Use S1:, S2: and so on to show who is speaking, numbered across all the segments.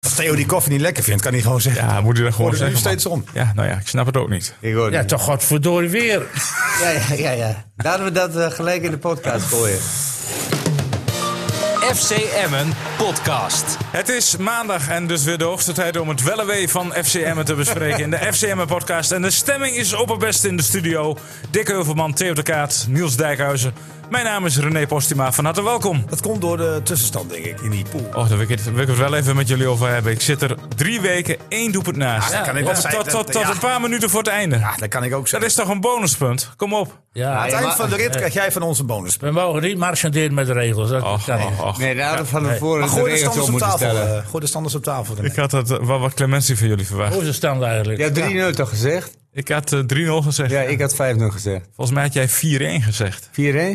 S1: als Theo die koffie niet lekker vindt, kan hij gewoon zeggen.
S2: Ja, moet je dan gewoon
S1: Wordt het nu
S2: zeggen, man.
S1: steeds om.
S2: Ja, nou ja, ik snap het ook niet.
S1: Ik hoor
S3: Ja,
S1: het niet.
S3: toch godverdorie weer.
S4: Ja, ja, ja, ja. Laten we dat eh, gelijk in de podcast gooien.
S5: FC Emmen podcast.
S2: Het is maandag en dus weer de hoogste tijd om het wellewee van FCM te bespreken in de FCM podcast. En de stemming is op het beste in de studio. Dick Heuvelman, Theo de Kaat, Niels Dijkhuizen. Mijn naam is René Postima. Van harte welkom.
S1: Dat komt door de tussenstand, denk ik, in die pool.
S2: Och, daar wil ik, het, wil ik het wel even met jullie over hebben. Ik zit er drie weken één doelpunt naast.
S1: Ah, dat kan ik wel
S2: tot
S1: zijn.
S2: tot, tot, tot
S1: Ja.
S2: een paar minuten voor het einde.
S1: Ja, dat kan ik ook
S2: Dat
S1: zeggen.
S2: is toch een bonuspunt? Kom op.
S3: Ja,
S1: Aan het eind van de rit krijg jij van ons een bonus.
S3: we mogen niet marchanderen met de regels. Dat
S1: Oh,
S2: Och,
S3: kan
S2: och,
S3: niet.
S2: och.
S4: Nee, daar hadden we van tevoren
S1: Maar
S4: de
S1: gooi de
S4: regels
S1: standers
S4: op
S1: op
S4: moeten
S1: tafel.
S4: stellen.
S1: eh, Gooi de standers op tafel.
S2: Ik had dat, eh, wel wat clementie van jullie verwacht.
S3: Hoe is de stand eigenlijk?
S4: Je hebt 3-0 toch gezegd?
S2: Ik had eh, 3-0 gezegd.
S4: Ja, ik had 5-0 gezegd. 4-1?
S2: Volgens mij had jij 4-1 gezegd.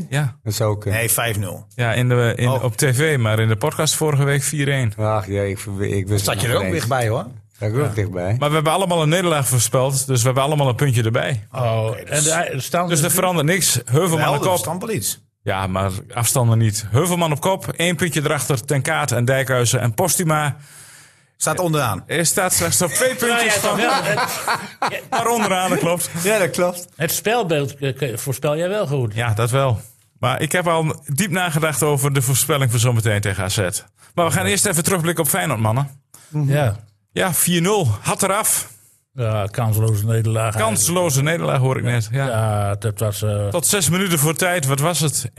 S2: Ja,
S4: Dat zou kunnen.
S1: Nee, 5-0.
S2: ja in de, in,
S1: Oh.
S2: op tv, maar in de podcast vorige week 4-1.
S4: Ach ja, ik, ik wist
S1: Zat
S4: het
S1: je
S4: nog
S1: er ook
S4: niet eens.
S1: dichtbij, hoor.
S4: Zat ik er ook dichtbij.
S2: Maar we hebben allemaal een nederlaag voorspeld, dus we hebben allemaal een puntje erbij.
S3: Oh, en de ei- de stand
S2: Dus
S3: is
S2: er verandert niks. Heuvelman
S1: Wel,
S2: op
S1: dat
S2: kop.
S1: stand wel iets.
S2: Ja, maar afstanden niet. Heuvelman op kop, één puntje erachter. Ten Kaat en Dijkhuizen en Postuma.
S1: Staat onderaan.
S2: Er staat slechts op twee
S3: Nou ja,
S2: puntjes
S3: toch
S2: van.
S3: wel. het,
S2: Maar onderaan, dat klopt.
S4: Ja, dat klopt.
S3: het spelbeeld eh, voorspel jij wel goed.
S2: Ja, dat wel. Maar ik heb al diep nagedacht over de voorspelling voor zometeen tegen AZ. Maar we gaan eerst even terugblikken op Feyenoord, mannen.
S1: Mhm.
S3: Ja.
S2: Ja, 4-0. Had eraf.
S3: Ja, kansloze nederlaag. eigenlijk.
S2: Kansloze nederlaag hoor ik net. Ja.
S3: Ja, dat was... eh,
S2: Tot zes minuten voor tijd, wat was het? 1-0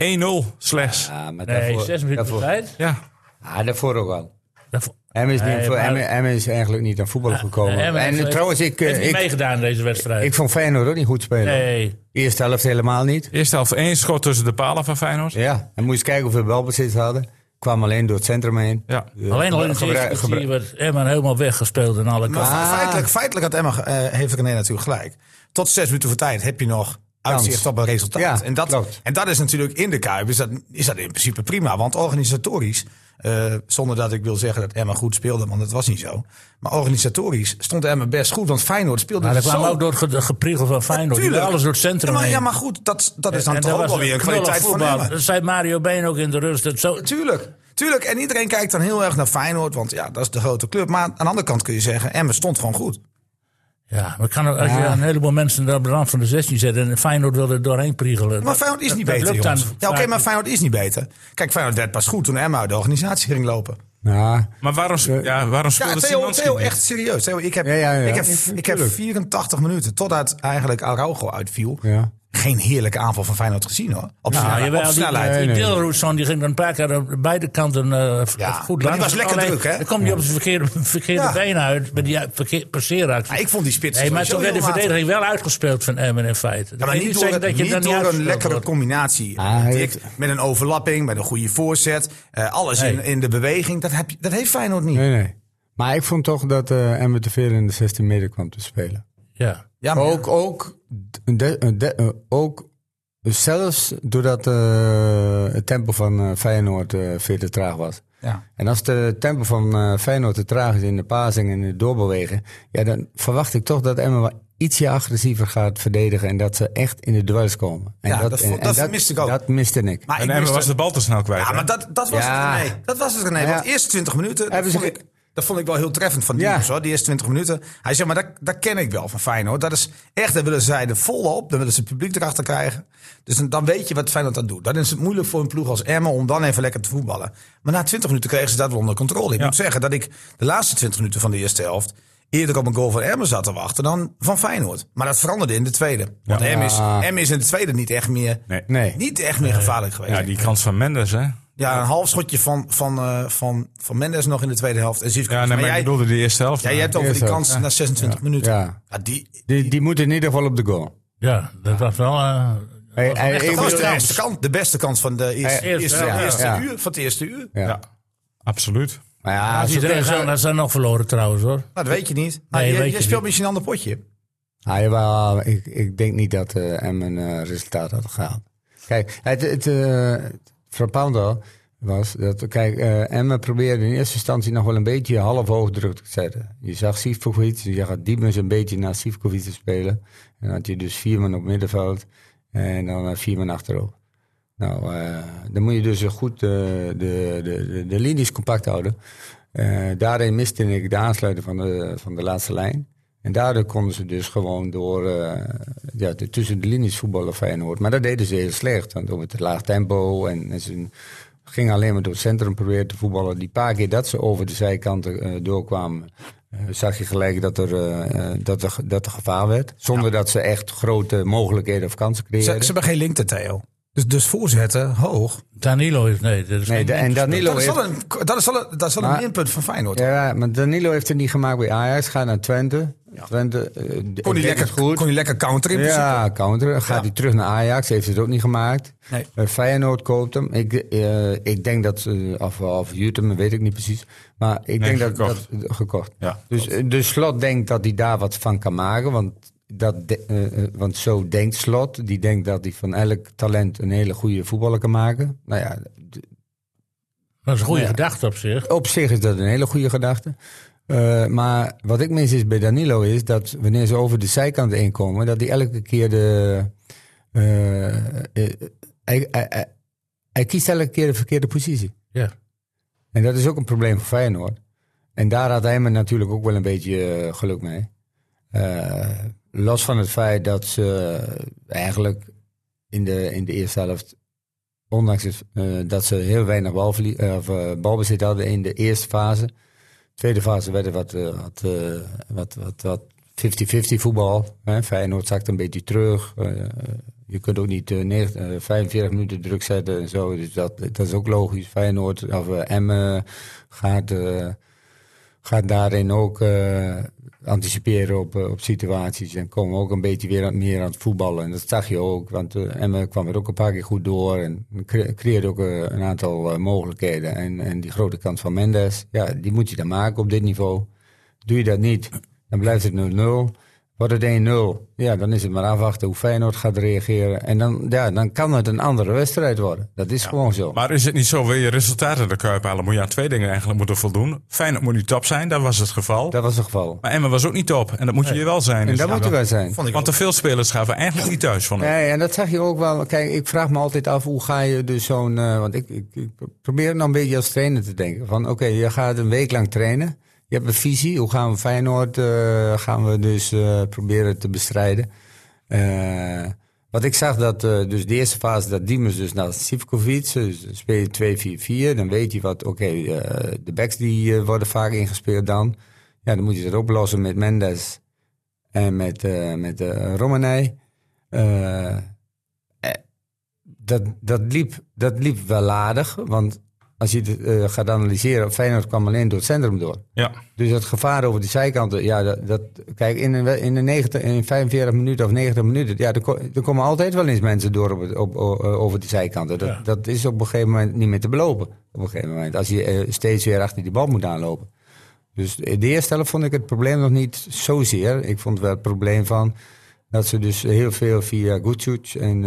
S2: slechts.
S4: Ja, maar
S3: nee,
S4: daarvoor,
S3: zes minuten
S4: daarvoor,
S3: voor tijd.
S2: Ja.
S4: Ah, daarvoor ook al.
S3: Daarvoor-
S4: Hem is, niet
S3: Nee,
S4: voor-
S3: maar-
S4: Hem- Hem is eigenlijk niet aan voetbal gekomen.
S1: Oh,
S3: Eh, Emmen
S4: en
S3: heeft-
S4: trouwens, ik, eh,
S3: heeft niet
S4: ik,
S3: meegedaan in deze wedstrijd.
S4: ik vond Feyenoord ook niet goed spelen.
S3: nee.
S4: Eerste helft helemaal niet.
S2: Eerste helft één schot tussen de palen van Feyenoord.
S4: Ja, en moest je kijken hoeveel balbezit ze hadden. Kwam alleen door het centrum heen.
S2: Ja.
S4: Eh,
S3: Alleen al in het
S4: gebruik-
S3: eerste
S4: gebruik-
S3: kwartier werd Emmen helemaal weggespeeld aan alle
S1: Maar
S3: kanten.
S1: feitelijk, feitelijk had Emma, eh, heeft René natuurlijk gelijk. Tot zes minuten voor tijd heb je nog uitzicht op een resultaat.
S4: Ja,
S1: en, dat,
S4: klopt.
S1: en dat is natuurlijk in de Kuip is dat, is dat in principe prima. Want organisatorisch, eh, zonder dat ik wil zeggen dat Emma goed speelde, want dat was niet zo. Maar organisatorisch stond Emma best goed, want Feyenoord speelde
S3: Maar dat
S1: zo...
S3: kwam ook door het ge- gepriegel van Feyenoord. Die
S1: Tuurlijk.
S3: alles door het centrum
S1: ja, maar,
S3: heen.
S1: ja, maar goed, dat, dat is dan
S3: En
S1: toch
S3: dat
S1: ook
S3: was
S1: wel weer een
S3: knullig
S1: kwaliteit van
S3: voetbal.
S1: Emma.
S3: Dat zei Mario Been ook in de rust. Dat zo,
S1: Tuurlijk. Tuurlijk, en iedereen kijkt dan heel erg naar Feyenoord, want ja, dat is de grote club. Maar aan de andere kant kun je zeggen, Emma stond gewoon goed.
S3: ja, maar kan, ook- als je een heleboel mensen daar op de rand van de 16 zet... en Feyenoord wil er doorheen priegelen...
S1: Maar Feyenoord is niet
S3: dat- dat
S1: beter,
S3: lukt dan
S1: jongens. Ja, oké,
S3: vaak
S1: maar
S3: niet.
S1: Feyenoord is niet beter. Kijk, Feyenoord werd pas goed toen Emma uit de organisatie ging lopen.
S4: Ja,
S2: Maar waarom, ja, waarom
S1: Ja,
S2: speelde
S1: Theo,
S2: Simonski
S1: Theo
S2: niet?
S1: echt serieus. Theo, ik, heb,
S4: Ja, ja, ja.
S1: Ik, heb,
S4: Ja,
S1: ik heb
S4: tuurlijk.
S1: 84 minuten, totdat eigenlijk Araujo uitviel,
S4: ja.
S1: geen heerlijke aanval van Feyenoord gezien, hoor. Op,
S3: Nou,
S1: snelle-
S3: jawel,
S1: op
S3: die-
S1: snelheid.
S3: Die,
S4: Nee, nee.
S3: Dilroetson, die ging dan een paar keer aan beide kanten eh, v-
S1: Ja, maar
S3: goed
S1: die
S3: langs.
S1: was lekker
S3: Alleen,
S1: druk, hè?
S3: Dan kwam hij op zijn verkeerde, verkeerde
S1: Ja.
S3: been uit. Met die eh, verkeer, passeeractie.
S1: Ja, ik vond die spits
S3: Nee, maar
S1: sowieso
S3: toen werd de
S1: heel matig.
S3: verdediging wel uitgespeeld van Emmen in feite.
S1: Ja, maar
S3: Ik wil
S1: niet door,
S3: zeggen
S1: het- niet
S3: dan
S1: door een
S3: uitgespeeld
S1: lekkere
S3: wordt.
S1: combinatie.
S4: Ah, hij
S1: Dik,
S4: heeft-
S1: met een overlapping, met een goede voorzet. eh, alles in,
S3: Nee.
S1: in de beweging. Dat, heb, je- dat heeft Feyenoord niet.
S4: Nee, nee. Maar ik vond toch dat eh Emmen te veel in de 16 meter kwam te spelen.
S3: Ja.
S1: Ja, maar-
S4: Ook, ook, de, de- eh, ook zelfs doordat eh, het tempo van eh, Feyenoord eh veel te traag was.
S1: ja.
S4: En als het tempo van eh, Feyenoord te traag is in de passing en in het doorbewegen... Ja, dan verwacht ik toch dat Emmen wel ietsje agressiever gaat verdedigen... en dat ze echt in de duels komen. En
S1: Ja, dat vo-
S4: en-
S1: dat
S4: en
S1: miste ik ook.
S4: Dat miste ik.
S1: Maar
S2: En
S1: ik
S2: Emma
S1: miste-
S2: was de bal te snel kwijt.
S1: Ja,
S2: hè?
S1: maar dat, dat was
S4: Ja.
S1: het René. Dat was het René.
S4: Ja.
S1: Want de eerste 20 minuten, dat
S4: Hebben ze
S1: vond, ik,
S4: ge-
S1: dat vond ik wel heel treffend van
S4: Ja.
S1: Diemers. hoor. Die eerste 20 minuten. Hij zei, maar dat, dat ken ik wel van Feyenoord. Dat is echt, daar willen zij de volle op. Dan willen ze het publiek erachter krijgen. Dus dan, dan weet je wat Feyenoord dat doet. Dan is het moeilijk voor een ploeg als Emmen om dan even lekker te voetballen. Maar na 20 minuten kregen ze dat wel onder controle. Ik moet zeggen dat ik de laatste 20 minuten van de eerste helft... Eerder op een goal van Emmen zat te wachten dan van Feyenoord. Maar dat veranderde in de tweede. Want Emmen is, Emmen is in de tweede niet echt meer,
S2: Nee.
S4: Nee.
S1: Niet echt meer gevaarlijk geweest.
S2: Ja, die kans van Mendes, hè?
S1: Ja, een half schotje van, van, eh, van, van Mendes nog in de tweede helft. En Zivkovic.
S2: Ja, nee,
S1: maar
S2: maar ik
S1: jij,
S2: bedoelde die eerste helft.
S1: ja, jij hebt over die
S4: Eerst ook.
S1: kans na 26 minuten.
S4: Ja.
S1: Ja, die,
S4: Die, die moeten in ieder geval op de goal.
S3: ja, dat was wel... eh,
S4: Hey, hey,
S3: echt
S4: ik
S3: een
S1: dat was de
S3: bedoel-
S1: beste kans, de beste kans van de eerste,
S3: Eh,
S1: eerste,
S3: ja,
S1: eerste
S4: ja.
S1: uur. Van het eerste uur. Nou,
S4: Ja.
S2: Ja, absoluut.
S4: Maar ja,
S3: als
S4: ze
S3: iedereen
S4: kregen-
S3: zo, dan zijn nog verloren trouwens hoor.
S1: dat weet je niet. Nou,
S3: Nee,
S1: je-
S3: weet
S1: je
S3: je
S1: speelt
S3: niet.
S1: misschien een ander potje.
S4: Ah, jawel, ik, ik denk niet dat eh M een eh, resultaat had gehaald. Kijk, het, het, eh, het frappante al was dat, kijk, eh Emmen probeerde in eerste instantie nog wel een beetje half hoog druk te zetten. Je zag Sivkovic, je zag Diemers een beetje naar Sivkovic te spelen. En dan had je dus vier man op middenveld en dan eh, vier man achterop. Nou, eh, dan moet je dus goed eh, de, de, de, de linies compact houden. Eh, Eh, daarin miste ik de aansluiting van de, van de laatste lijn. En daardoor konden ze dus gewoon door eh, ja, de- tussen de linies voetballen Feyenoord. Maar dat deden ze heel slecht, want door het laag tempo en, en ze gingen alleen maar door het centrum proberen te voetballen. Die paar keer dat ze over de zijkanten eh, doorkwamen, eh, zag je gelijk dat er, eh, eh, dat er, dat er gevaar werd. Zonder dat ze echt grote mogelijkheden of kansen
S1: Ze,
S4: creëerden.
S1: ze hebben geen link te Theo. Dus, dus voorzetten, hoog.
S3: Danilo heeft... Nee, dat is
S4: nee,
S3: geen-
S4: de- en Danilo
S1: Dat is
S4: heeft,
S1: wel een, dat is wel een, dat is wel een
S4: Maar-
S1: minpunt van Feyenoord.
S4: ja, maar Danilo heeft het niet gemaakt bij Ajax. Gaat naar Twente. Twente eh,
S1: kon,
S4: d-
S1: hij
S4: deed
S1: lekker,
S4: het goed.
S1: kon hij lekker counteren in principe.
S4: Ja, counter. Gaat
S1: Ja.
S4: hij terug naar Ajax? Heeft het ook niet gemaakt.
S1: Nee.
S4: Eh, Feyenoord koopt hem. Ik, eh, ik denk dat, eh, of, of huurt hem, weet ik niet precies. Maar
S2: Nee,
S4: ik denk dat
S2: gekocht.
S4: dat eh, gekocht.
S2: Ja,
S4: dus, eh, dus Slot denkt dat hij daar wat van kan maken. Want, dat de- eh, eh, want zo denkt Slot. Die denkt dat hij van elk talent een hele goede voetballer kan maken. Nou ja, d-
S3: Dat is een goede
S4: Ja.
S3: gedachte op zich.
S4: op zich is dat een hele goede gedachte. Eh, maar wat ik mis is bij Danilo is dat wanneer ze over de zijkant inkomen, dat hij elke keer de. eh, eh, hij, hij, hij, hij kiest elke keer de verkeerde positie.
S3: Ja.
S4: En dat is ook een probleem voor Feyenoord. En daar had hij me natuurlijk ook wel een beetje eh, geluk mee. Eh, los van het feit dat ze eigenlijk in de, in de eerste helft, ondanks het, eh, dat ze heel weinig balverlie- eh, of, eh, balbezit hadden in de eerste fase. Tweede fase werd er wat, eh, wat, eh, wat, wat, wat 50-50 voetbal. Hè? Feyenoord zakte een beetje terug. Eh, je kunt ook niet eh, negen- eh, 45 minuten druk zetten en zo. Dus dat, dat is ook logisch. Feyenoord of eh, Emmen gaat, eh, gaat daarin ook eh, anticiperen op, eh, op situaties. En komen ook een beetje weer aan- meer aan het voetballen. En dat zag je ook. Want eh, Emmen kwam er ook een paar keer goed door. En cre- creëerde ook eh, een aantal eh, mogelijkheden. En, en die grote kans van Mendes, ja, die moet je dan maken op dit niveau. Doe je dat niet, dan blijft het 0-0. Wordt het 1-0, ja, dan is het maar afwachten hoe Feyenoord gaat reageren. En dan, ja, dan kan het een andere wedstrijd worden. Dat is gewoon zo.
S2: Maar is het niet zo, wil je resultaten de Kuip halen, moet je aan twee dingen eigenlijk moeten voldoen. Feyenoord moet niet top zijn, dat was het geval.
S4: Dat was het geval.
S2: Maar Emma was ook niet top en dat moet je hier wel zijn.
S4: En
S2: is
S4: daar
S2: het
S4: moeten
S2: wel.
S4: wij zijn.
S1: Vond ik
S2: Want te veel spelers gaven eigenlijk niet thuis van
S4: Nee, en dat zag je ook wel. Kijk, ik vraag me altijd af hoe ga je dus zo'n. eh, want ik, ik, ik probeer nou een beetje als trainer te denken. Van oké, je gaat een week lang trainen. Je hebt een visie. Hoe gaan we Feyenoord eh, gaan we dus eh, proberen te bestrijden? Eh, wat ik zag dat eh, dus de eerste fase dat Diemers dus naar Sivkovic, dus dan speel je 2-4-4, dan weet je wat, oké, eh, de backs die eh, worden vaak ingespeeld dan. Ja, dan moet je dat oplossen met Mendes en met, eh met eh, Romanei. Eh, eh, dat, dat, liep, dat liep wel aardig, want als je het eh, gaat analyseren, Feyenoord kwam alleen door het centrum door.
S2: Ja,
S4: Dus het gevaar over de zijkanten, ja, dat, dat- kijk, in, een, we- in, de 90, in 45 minuten of 90 minuten, ja, er, ko- er komen altijd wel eens mensen door op, het- op, o- eh, over de zijkanten. Dat,
S3: Ja.
S4: dat is op een gegeven moment niet meer te belopen. Op een gegeven moment, als je eh, steeds weer achter die bal moet aanlopen. Dus de eerste helft vond ik het probleem nog niet zozeer. Ik vond wel het probleem van dat ze dus heel veel via Gucic en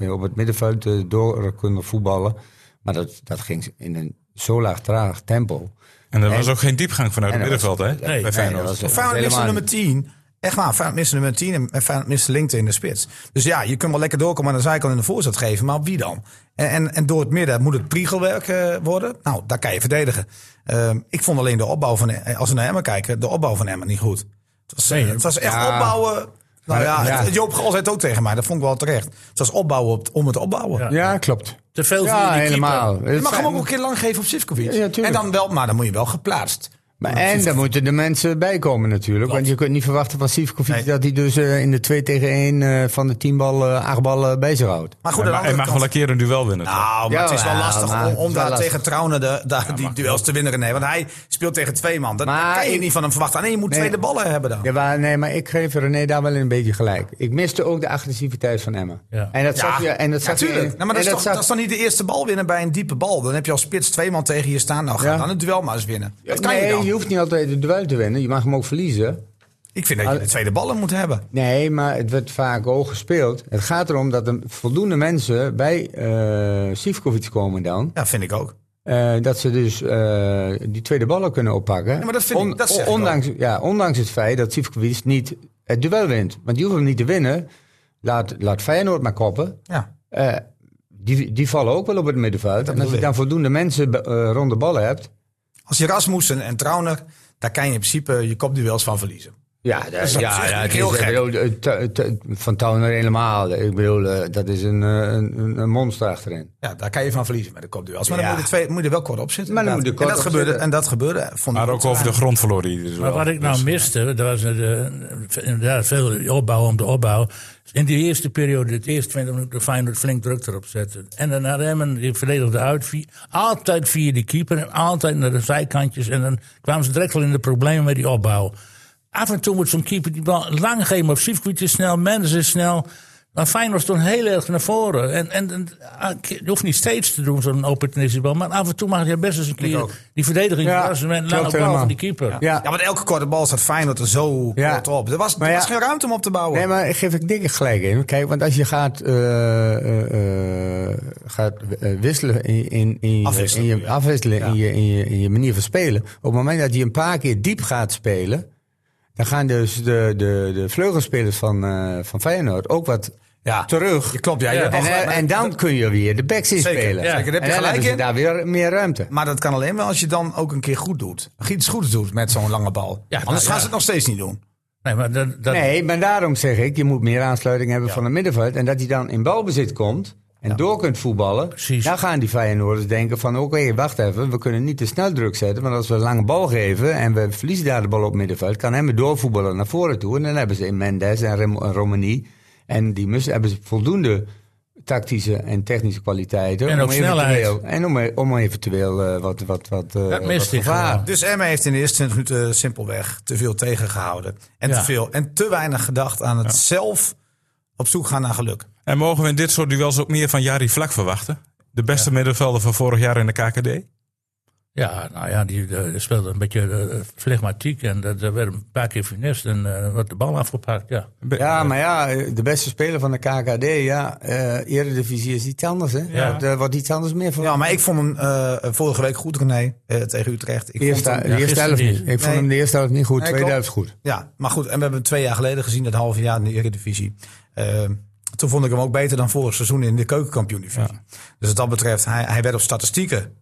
S4: eh, op het middenveld eh, door konden voetballen. Maar dat, dat ging in een zo laag traag tempo.
S2: en er was ook geen diepgang vanuit het
S4: en dat
S2: middenveld, hè?
S3: nee,
S2: bij Feyenoord.
S4: dat was-
S1: Of Feyenoord miste
S4: helemaal
S1: nummer 10. Echt waar, Feyenoord miste nummer 10 en- en Feyenoord miste lengte in de spits. Dus ja, je kunt wel lekker doorkomen aan de zijkant en de voorzet geven, maar op wie dan? En, en, en door het midden moet het priegelwerk eh, worden. Nou, daar kan je verdedigen. Ehm, ik vond alleen de opbouw van, eh, als we naar Emmen kijken, de opbouw van Emmen niet goed. Het was, eh,
S3: Nee,
S1: het was echt
S4: ja.
S1: opbouwen. Nou ja,
S4: Ja.
S1: het- Joop Gal zei het ook tegen mij, dat vond ik wel terecht. Het was opbouwen op- om het opbouwen.
S3: Ja.
S4: Ja, klopt.
S3: Te veel
S4: Ja,
S3: via die
S4: helemaal.
S1: Je mag hem ook een keer lang geven op Sivkovic.
S4: Ja, tuurlijk.
S1: en dan wel, maar dan moet je wel geplaatst.
S4: Maar en daar moeten de mensen bij komen natuurlijk. Want je kunt niet verwachten van Sivkovic
S1: Nee.
S4: dat hij dus eh, in de 2 tegen 1 van de 10 ballen, 8 ballen bij zich houdt.
S1: Maar goed, aan
S2: Hij
S1: de
S2: mag- hij
S1: andere
S2: mag
S1: kant-
S2: wel een keer een duel winnen. toch?
S1: Nou, maar het is wel
S4: Jawel,
S1: lastig
S4: maar
S1: om,
S4: het
S1: om
S4: is
S1: daar
S4: wel lastig.
S1: tegen Trauner de, daar die duels te winnen. Nee, want hij speelt tegen twee man. Dat
S4: Maar
S1: kan je
S4: ik-
S1: niet van hem verwachten. Nee, je moet
S4: Nee.
S1: tweede ballen hebben dan.
S4: Ja, maar, nee, maar ik geef René daar wel een beetje gelijk. Ik miste ook de agressiviteit van Emma.
S3: Ja.
S4: En dat zag je. En dat
S1: Ja,
S4: zag je-
S1: tuurlijk. Nou, maar
S4: en
S1: dat, is toch,
S4: zag-
S1: dat is toch niet de eerste bal winnen bij een diepe bal? Dan heb je als spits twee man tegen je staan. Nou, ga
S4: Ja.
S1: dan het duel maar eens winnen. Dat kan
S4: nee,
S1: je dan.
S4: hoeft niet altijd de duel te winnen. Je mag hem ook verliezen.
S1: Ik vind dat
S4: Ah.
S1: je de tweede ballen moet hebben.
S4: Nee, maar het werd vaak hoog gespeeld. Het gaat erom dat er voldoende mensen bij eh Sivkovic komen dan.
S1: Ja, vind ik ook.
S4: Eh, dat ze dus eh, die tweede ballen kunnen oppakken.
S1: Ja, maar dat vind ik- dat zeg ik
S4: ondanks, ja, ondanks het feit dat Sivkovic niet het duel wint. Want die hoeft hem niet te winnen. Laat, laat Feyenoord maar koppen.
S1: Ja.
S4: Eh, die, die vallen ook wel op het middenveld. en als
S1: bedoel
S4: je
S1: ik.
S4: dan voldoende mensen eh, rond de ballen hebt...
S1: Als je Rasmussen en Trauner, daar kan je in principe je kopduels van verliezen.
S4: Ja, dat,
S1: dat
S4: ja,
S1: is echt
S4: ja, het
S1: heel
S4: is- ik
S1: gek.
S4: bedoel, eh, T- T- van Towner helemaal. Ik bedoel, eh, dat is een, eh, een, een- een monster achterin.
S1: Ja, daar kan je van verliezen met de kopduels. Maar dan
S4: Ja.
S1: moet je, twee, moet je er wel kort op zitten.
S4: Maar dan
S1: inderdaad.
S4: moet je
S1: en,
S4: kort
S1: dat
S4: op
S1: gebeurde,
S4: zitten.
S1: en dat gebeurde. Vond ik
S2: Maar ook over de grond verloren hij dus
S3: Maar
S2: wel.
S3: wat ik nou
S2: Dus-
S3: miste, dat was eh, inderdaad veel opbouw om de opbouw. In die eerste periode, de eerste 20 minuten, Feyenoord flink druk erop zetten. En daarna Remmen, die verdedigde uit. vi- Altijd via de keeper en altijd naar de zijkantjes. En dan kwamen ze direct al in de problemen met die opbouw. Af en toe moet zo'n keeper die bal lang geven op Sivkovic is snel, Mendes is snel. Maar Feyenoord stond heel erg naar voren. En, en, en, ah, je hoeft niet steeds te doen zo'n opportunistische bal. Maar af en toe mag je best eens een keer
S1: ook.
S3: die verdediging
S4: Ja,
S3: verrassen met een lange
S4: klopt
S3: bal van
S4: helemaal.
S3: die keeper.
S1: Ja. want elke korte bal staat Feyenoord er zo
S4: Ja.
S1: kort op. Er was, er
S4: Maar ja.
S1: was geen ruimte om op te bouwen.
S4: Nee, maar ik geef ik dikke gelijk in. Kijk, want als je gaat, eh, eh, eh, gaat eh, wisselen in, in, in, je-
S1: Afwisselen,
S4: in je
S1: ja.
S4: afwisselen in, je, in, je, in je manier van spelen. Op het moment dat je een paar keer diep gaat spelen, dan gaan dus de, de, de vleugelspelers van, eh, van Feyenoord ook wat
S1: ja.
S4: terug.
S1: Je klopt, ja. je
S3: Ja,
S1: hebt
S4: En,
S1: wel
S4: eh,
S1: gelijk, maar-
S4: en dan kun je weer de backs
S1: Zeker,
S4: inspelen.
S1: ja. Zeker, daar heb je
S4: en dan
S1: gelijk
S4: hebben ze
S1: in.
S4: daar weer meer ruimte.
S1: Maar dat kan alleen wel als je dan ook een keer goed doet. Iets goeds doet met zo'n lange bal.
S3: Ja,
S1: Anders
S3: nou,
S1: gaan
S3: ja.
S1: ze het nog steeds niet doen.
S3: Nee, maar dat, dat,
S4: Nee, maar daarom zeg ik, je moet meer aansluiting hebben van het middenveld. En dat hij dan in balbezit komt en door kunt voetballen.
S3: Precies.
S4: Dan gaan die Feyenoorders denken van, oké, wacht even. We kunnen niet te snel druk zetten, want als we een lange bal geven... en we verliezen daar de bal op middenveld, kan hem doorvoetballen naar voren toe. En dan hebben ze in Mendes en Rem- en Romani en die Mus hebben ze voldoende tactische en technische kwaliteiten.
S3: En ook snelheid.
S4: eventueel- En om, e- om eventueel eh, wat, wat, wat, eh,
S3: Dat
S4: wat
S3: mist ik
S4: gevaar.
S3: gewoon.
S1: Dus Emma heeft in de eerste 20 minuten simpelweg te veel tegengehouden. En,
S3: Ja.
S1: te, veel, en te weinig gedacht aan het zelf op zoek gaan naar geluk.
S2: En mogen we in dit soort duels ook meer van Jari Vlak verwachten? De beste middenvelder van vorig jaar in de KKD?
S3: Ja, nou ja, die eh, speelde een beetje eh, flegmatiek en dat er werd een paar keer funest en eh, werd de bal afgepakt. Ja.
S4: Ja, maar ja, de beste speler van de KKD, ja, eh Eredivisie is iets anders, hè?
S3: Ja.
S4: Wordt, eh, wordt iets anders meer van.
S1: Ja, maar ik vond hem eh, vorige week goed, René, eh, tegen Utrecht. Ik
S4: de eerste,
S1: vond hem-
S4: de eerste
S3: gisteren
S4: helft niet.
S3: niet.
S4: Ik vond
S1: Nee.
S4: hem de eerste helft niet goed,
S1: Nee,
S4: tweede
S1: klopt.
S4: helft goed.
S1: Ja, maar goed. En we hebben hem twee jaar geleden gezien, dat halve jaar in de Eredivisie. Eh, toen vond ik hem ook beter dan vorig seizoen in de keukenkampioen-divisie. Dus wat dat betreft, hij, hij werd op statistieken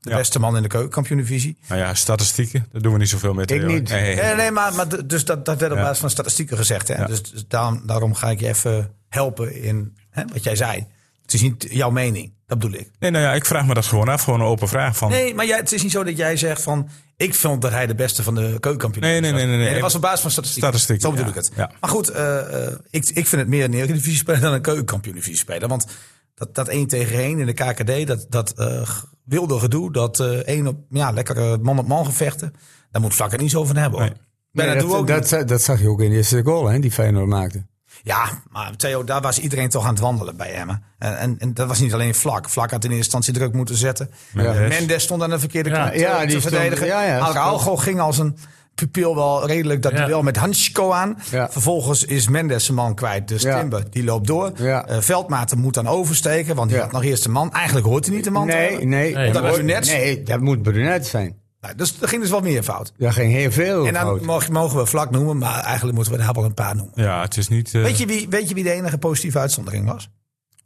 S1: de
S2: Ja.
S1: beste man in de keukenkampioen-divisie.
S2: Nou ja, statistieken, daar doen we niet zoveel mee.
S4: Ik
S2: Theo.
S4: niet.
S2: Nee,
S1: Nee, nee, maar, maar d- dus dat, dat werd op
S2: Ja.
S1: basis van statistieken gezegd. Hè?
S2: Ja.
S1: Dus, dus daarom, daarom ga ik je even helpen in hè, wat jij zei. Het is niet jouw mening, dat bedoel ik.
S2: nee, nou ja, ik vraag me dat gewoon af. Gewoon een open vraag van...
S1: Nee, maar jij, het is niet zo dat jij zegt van... ik vond dat hij de beste van de keukenkampioen
S2: Nee, nee, nee, nee, nee.
S1: Dat was op basis van statistieken.
S2: Statistieken,
S1: Zo bedoel
S2: ja.
S1: ik het.
S2: Ja.
S1: Maar goed, eh, eh, ik, ik vind het meer een eredivisie speler dan een keukenkampioen divisie speler. Want dat, dat één tegen één in de KKD, dat, dat eh, wilde gedoe... dat eh, één op, ja, lekkere man-op-man gevechten... daar moet Vlak het niet zo van hebben. Hoor.
S2: Nee.
S1: Maar
S4: Nee,
S1: dat, doen we ook
S4: dat,
S1: niet.
S4: dat, dat zag je ook in de eerste goal, hè, die Feyenoord maakte.
S1: Ja, maar Theo, daar was iedereen toch aan het wandelen bij Emmen. En, en, en dat was niet alleen Vlak. Vlak had in eerste instantie druk moeten zetten. Eh,
S2: Mendes.
S1: Mendes, stond aan de verkeerde
S3: Ja,
S1: kant eh,
S4: ja,
S1: te
S4: die stond-
S1: verdedigen.
S4: ja, ja,
S1: Araujo ging als een pupil wel redelijk dat
S3: Ja.
S1: duel met Hansko aan.
S4: Ja.
S1: Vervolgens is Mendes zijn man kwijt. Dus
S4: Ja.
S1: Timber, die loopt door.
S4: Ja.
S1: Eh, Veldmaten moet dan oversteken, want die
S4: Ja.
S1: had nog eerst een man. Eigenlijk hoort hij niet de man te
S4: Nee,
S1: hebben.
S4: nee,
S3: Nee,
S1: dat
S4: hoort-
S1: was Brunet.
S4: nee, dat moet Brunet zijn.
S1: Nou, dus er ging dus wat meer fout.
S4: Daar ging heel veel
S1: En
S4: fout.
S1: dan mag- mogen we Vlak noemen, maar eigenlijk moeten we daar wel een paar noemen.
S2: Ja, het is niet... eh
S1: Weet, je wie, weet je wie de enige positieve uitzondering was?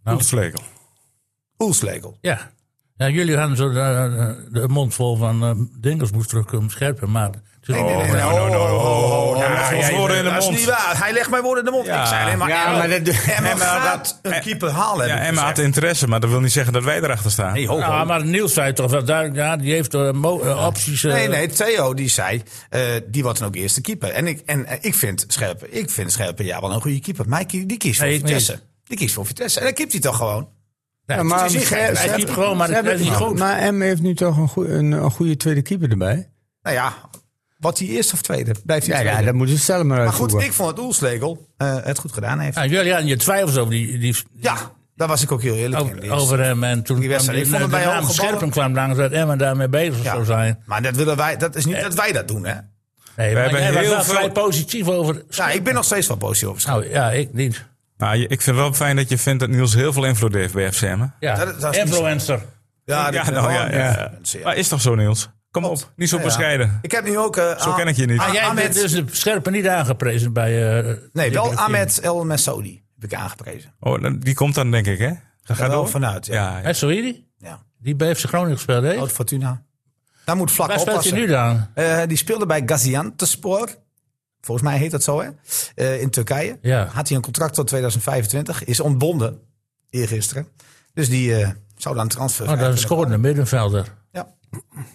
S2: Oet Vlegel.
S1: Oelslegel.
S3: Ja. ja, jullie hadden zo de, de mond vol van eh Dingels moest terugkomen scherpen, maar... het is-
S1: Nee, nee, nee,
S2: Oh, no, no, no, no, no.
S1: Ja,
S2: Leg ons
S1: jij-
S2: woorden in de
S1: dat is
S2: mond.
S1: niet waar. Hij legt mijn woorden in de mond.
S2: Ja.
S1: Ik zei alleen maar,
S4: Ja,
S1: Emma,
S4: maar dat-
S1: Emma
S2: Emma
S1: gaat
S2: dat-
S1: een keeper halen.
S2: Ja,
S1: heb ik
S2: Emma had
S1: gezegd.
S2: interesse, maar dat wil niet zeggen dat wij erachter staan.
S1: dus Nee, ho, ho.
S3: Ja, maar Niels zei toch wel duidelijk, ja, die heeft eh, mo- eh, opties. eh,
S1: Nee, nee, Theo die zei, eh, die wordt dan ook eerste keeper. En ik, en, eh, ik vind Scherpen, ik vind Scherpen ja wel een goede keeper. Maar die, die kiest voor
S3: Nee, ik
S1: Vitesse. Die kiest voor Vitesse. En dan kipt hij toch gewoon.
S4: Ja,
S3: nee, het
S4: maar
S3: is niet
S1: ze- ze
S3: gek. Hij
S1: hebben- Nou,
S3: keept gewoon, maar
S4: Ze
S3: dat
S4: hebben-
S3: is niet goed.
S4: Maar Em heeft nu toch een, goe- een, een goede tweede keeper erbij.
S1: Nou ja, wat hij eerste of tweede, blijft hij
S4: Ja, ja
S1: tweede.
S4: dat moeten ze zelf maar
S1: maar goed,
S4: uitvoeren.
S1: ik vond het Oelslegel eh, het goed gedaan heeft.
S3: Ja, Nou, jullie hadden je twijfels over die... die
S1: Ja, daar was ik ook heel eerlijk in.
S3: over,
S1: De eerste.
S3: over hem en toen
S1: Die wedstrijd.
S3: kwam
S1: Ik vond hem
S3: de
S1: bij
S3: naam
S1: hoge ballen.
S3: Scherpen kwam langs dat Emma daarmee bezig
S1: Ja.
S3: zou zijn.
S1: Maar dat, willen wij, dat is
S3: Eh.
S1: niet dat wij dat doen, hè?
S3: Nee, maar
S2: hebben
S3: jij was
S2: heel
S3: wel
S2: veel-
S3: vrij positief over...
S1: Ja, ik ben nog steeds wel positief over Scherpen.
S3: Nou ja, ik niet.
S2: Nou, je- ik vind het wel fijn dat je vindt dat Niels heel veel invloed heeft bij FCM. hè?
S3: Ja,
S1: Dat- dat is niet zo. Ah,
S3: influencer.
S1: Ja,
S2: Ja,
S1: dat-
S2: nou ja,
S1: oh,
S2: ja.
S1: dat is- ja.
S2: Maar is toch zo, Niels? Kom op, niet zo
S1: Ja, ja.
S2: bescheiden.
S1: Ik heb nu ook. eh,
S2: Zo
S1: Ah-
S2: ken ik je niet.
S1: Ah,
S3: jij
S1: Ahmed-
S3: bent dus de scherpe niet aangeprezen bij... eh
S1: nee, wel
S3: Ibrahim.
S1: Ahmed El Messaoudi heb ik aangeprezen.
S2: Oh, dan- die komt dan, denk ik, hè? Dat
S1: Daar
S2: gaat
S1: wel
S2: door.
S1: vanuit. Ja.
S2: Ja, ja.
S3: Hè, Sohiri?
S1: Ja.
S3: Die bij FC Groningen gespeeld heeft?
S1: Oud Fortuna. Daar moet vlak
S3: Waar speelt
S1: Oh, oppassen.
S3: hij nu dan?
S1: Eh, die speelde bij Gaziantepspor. Volgens mij heet dat zo, hè? Eh, in Turkije.
S3: Ja.
S1: Had hij een contract tot 2025. Is ontbonden eergisteren. Dus die eh, zou dan transfer
S3: Oh, dat is scoort een middenvelder.
S1: Ja.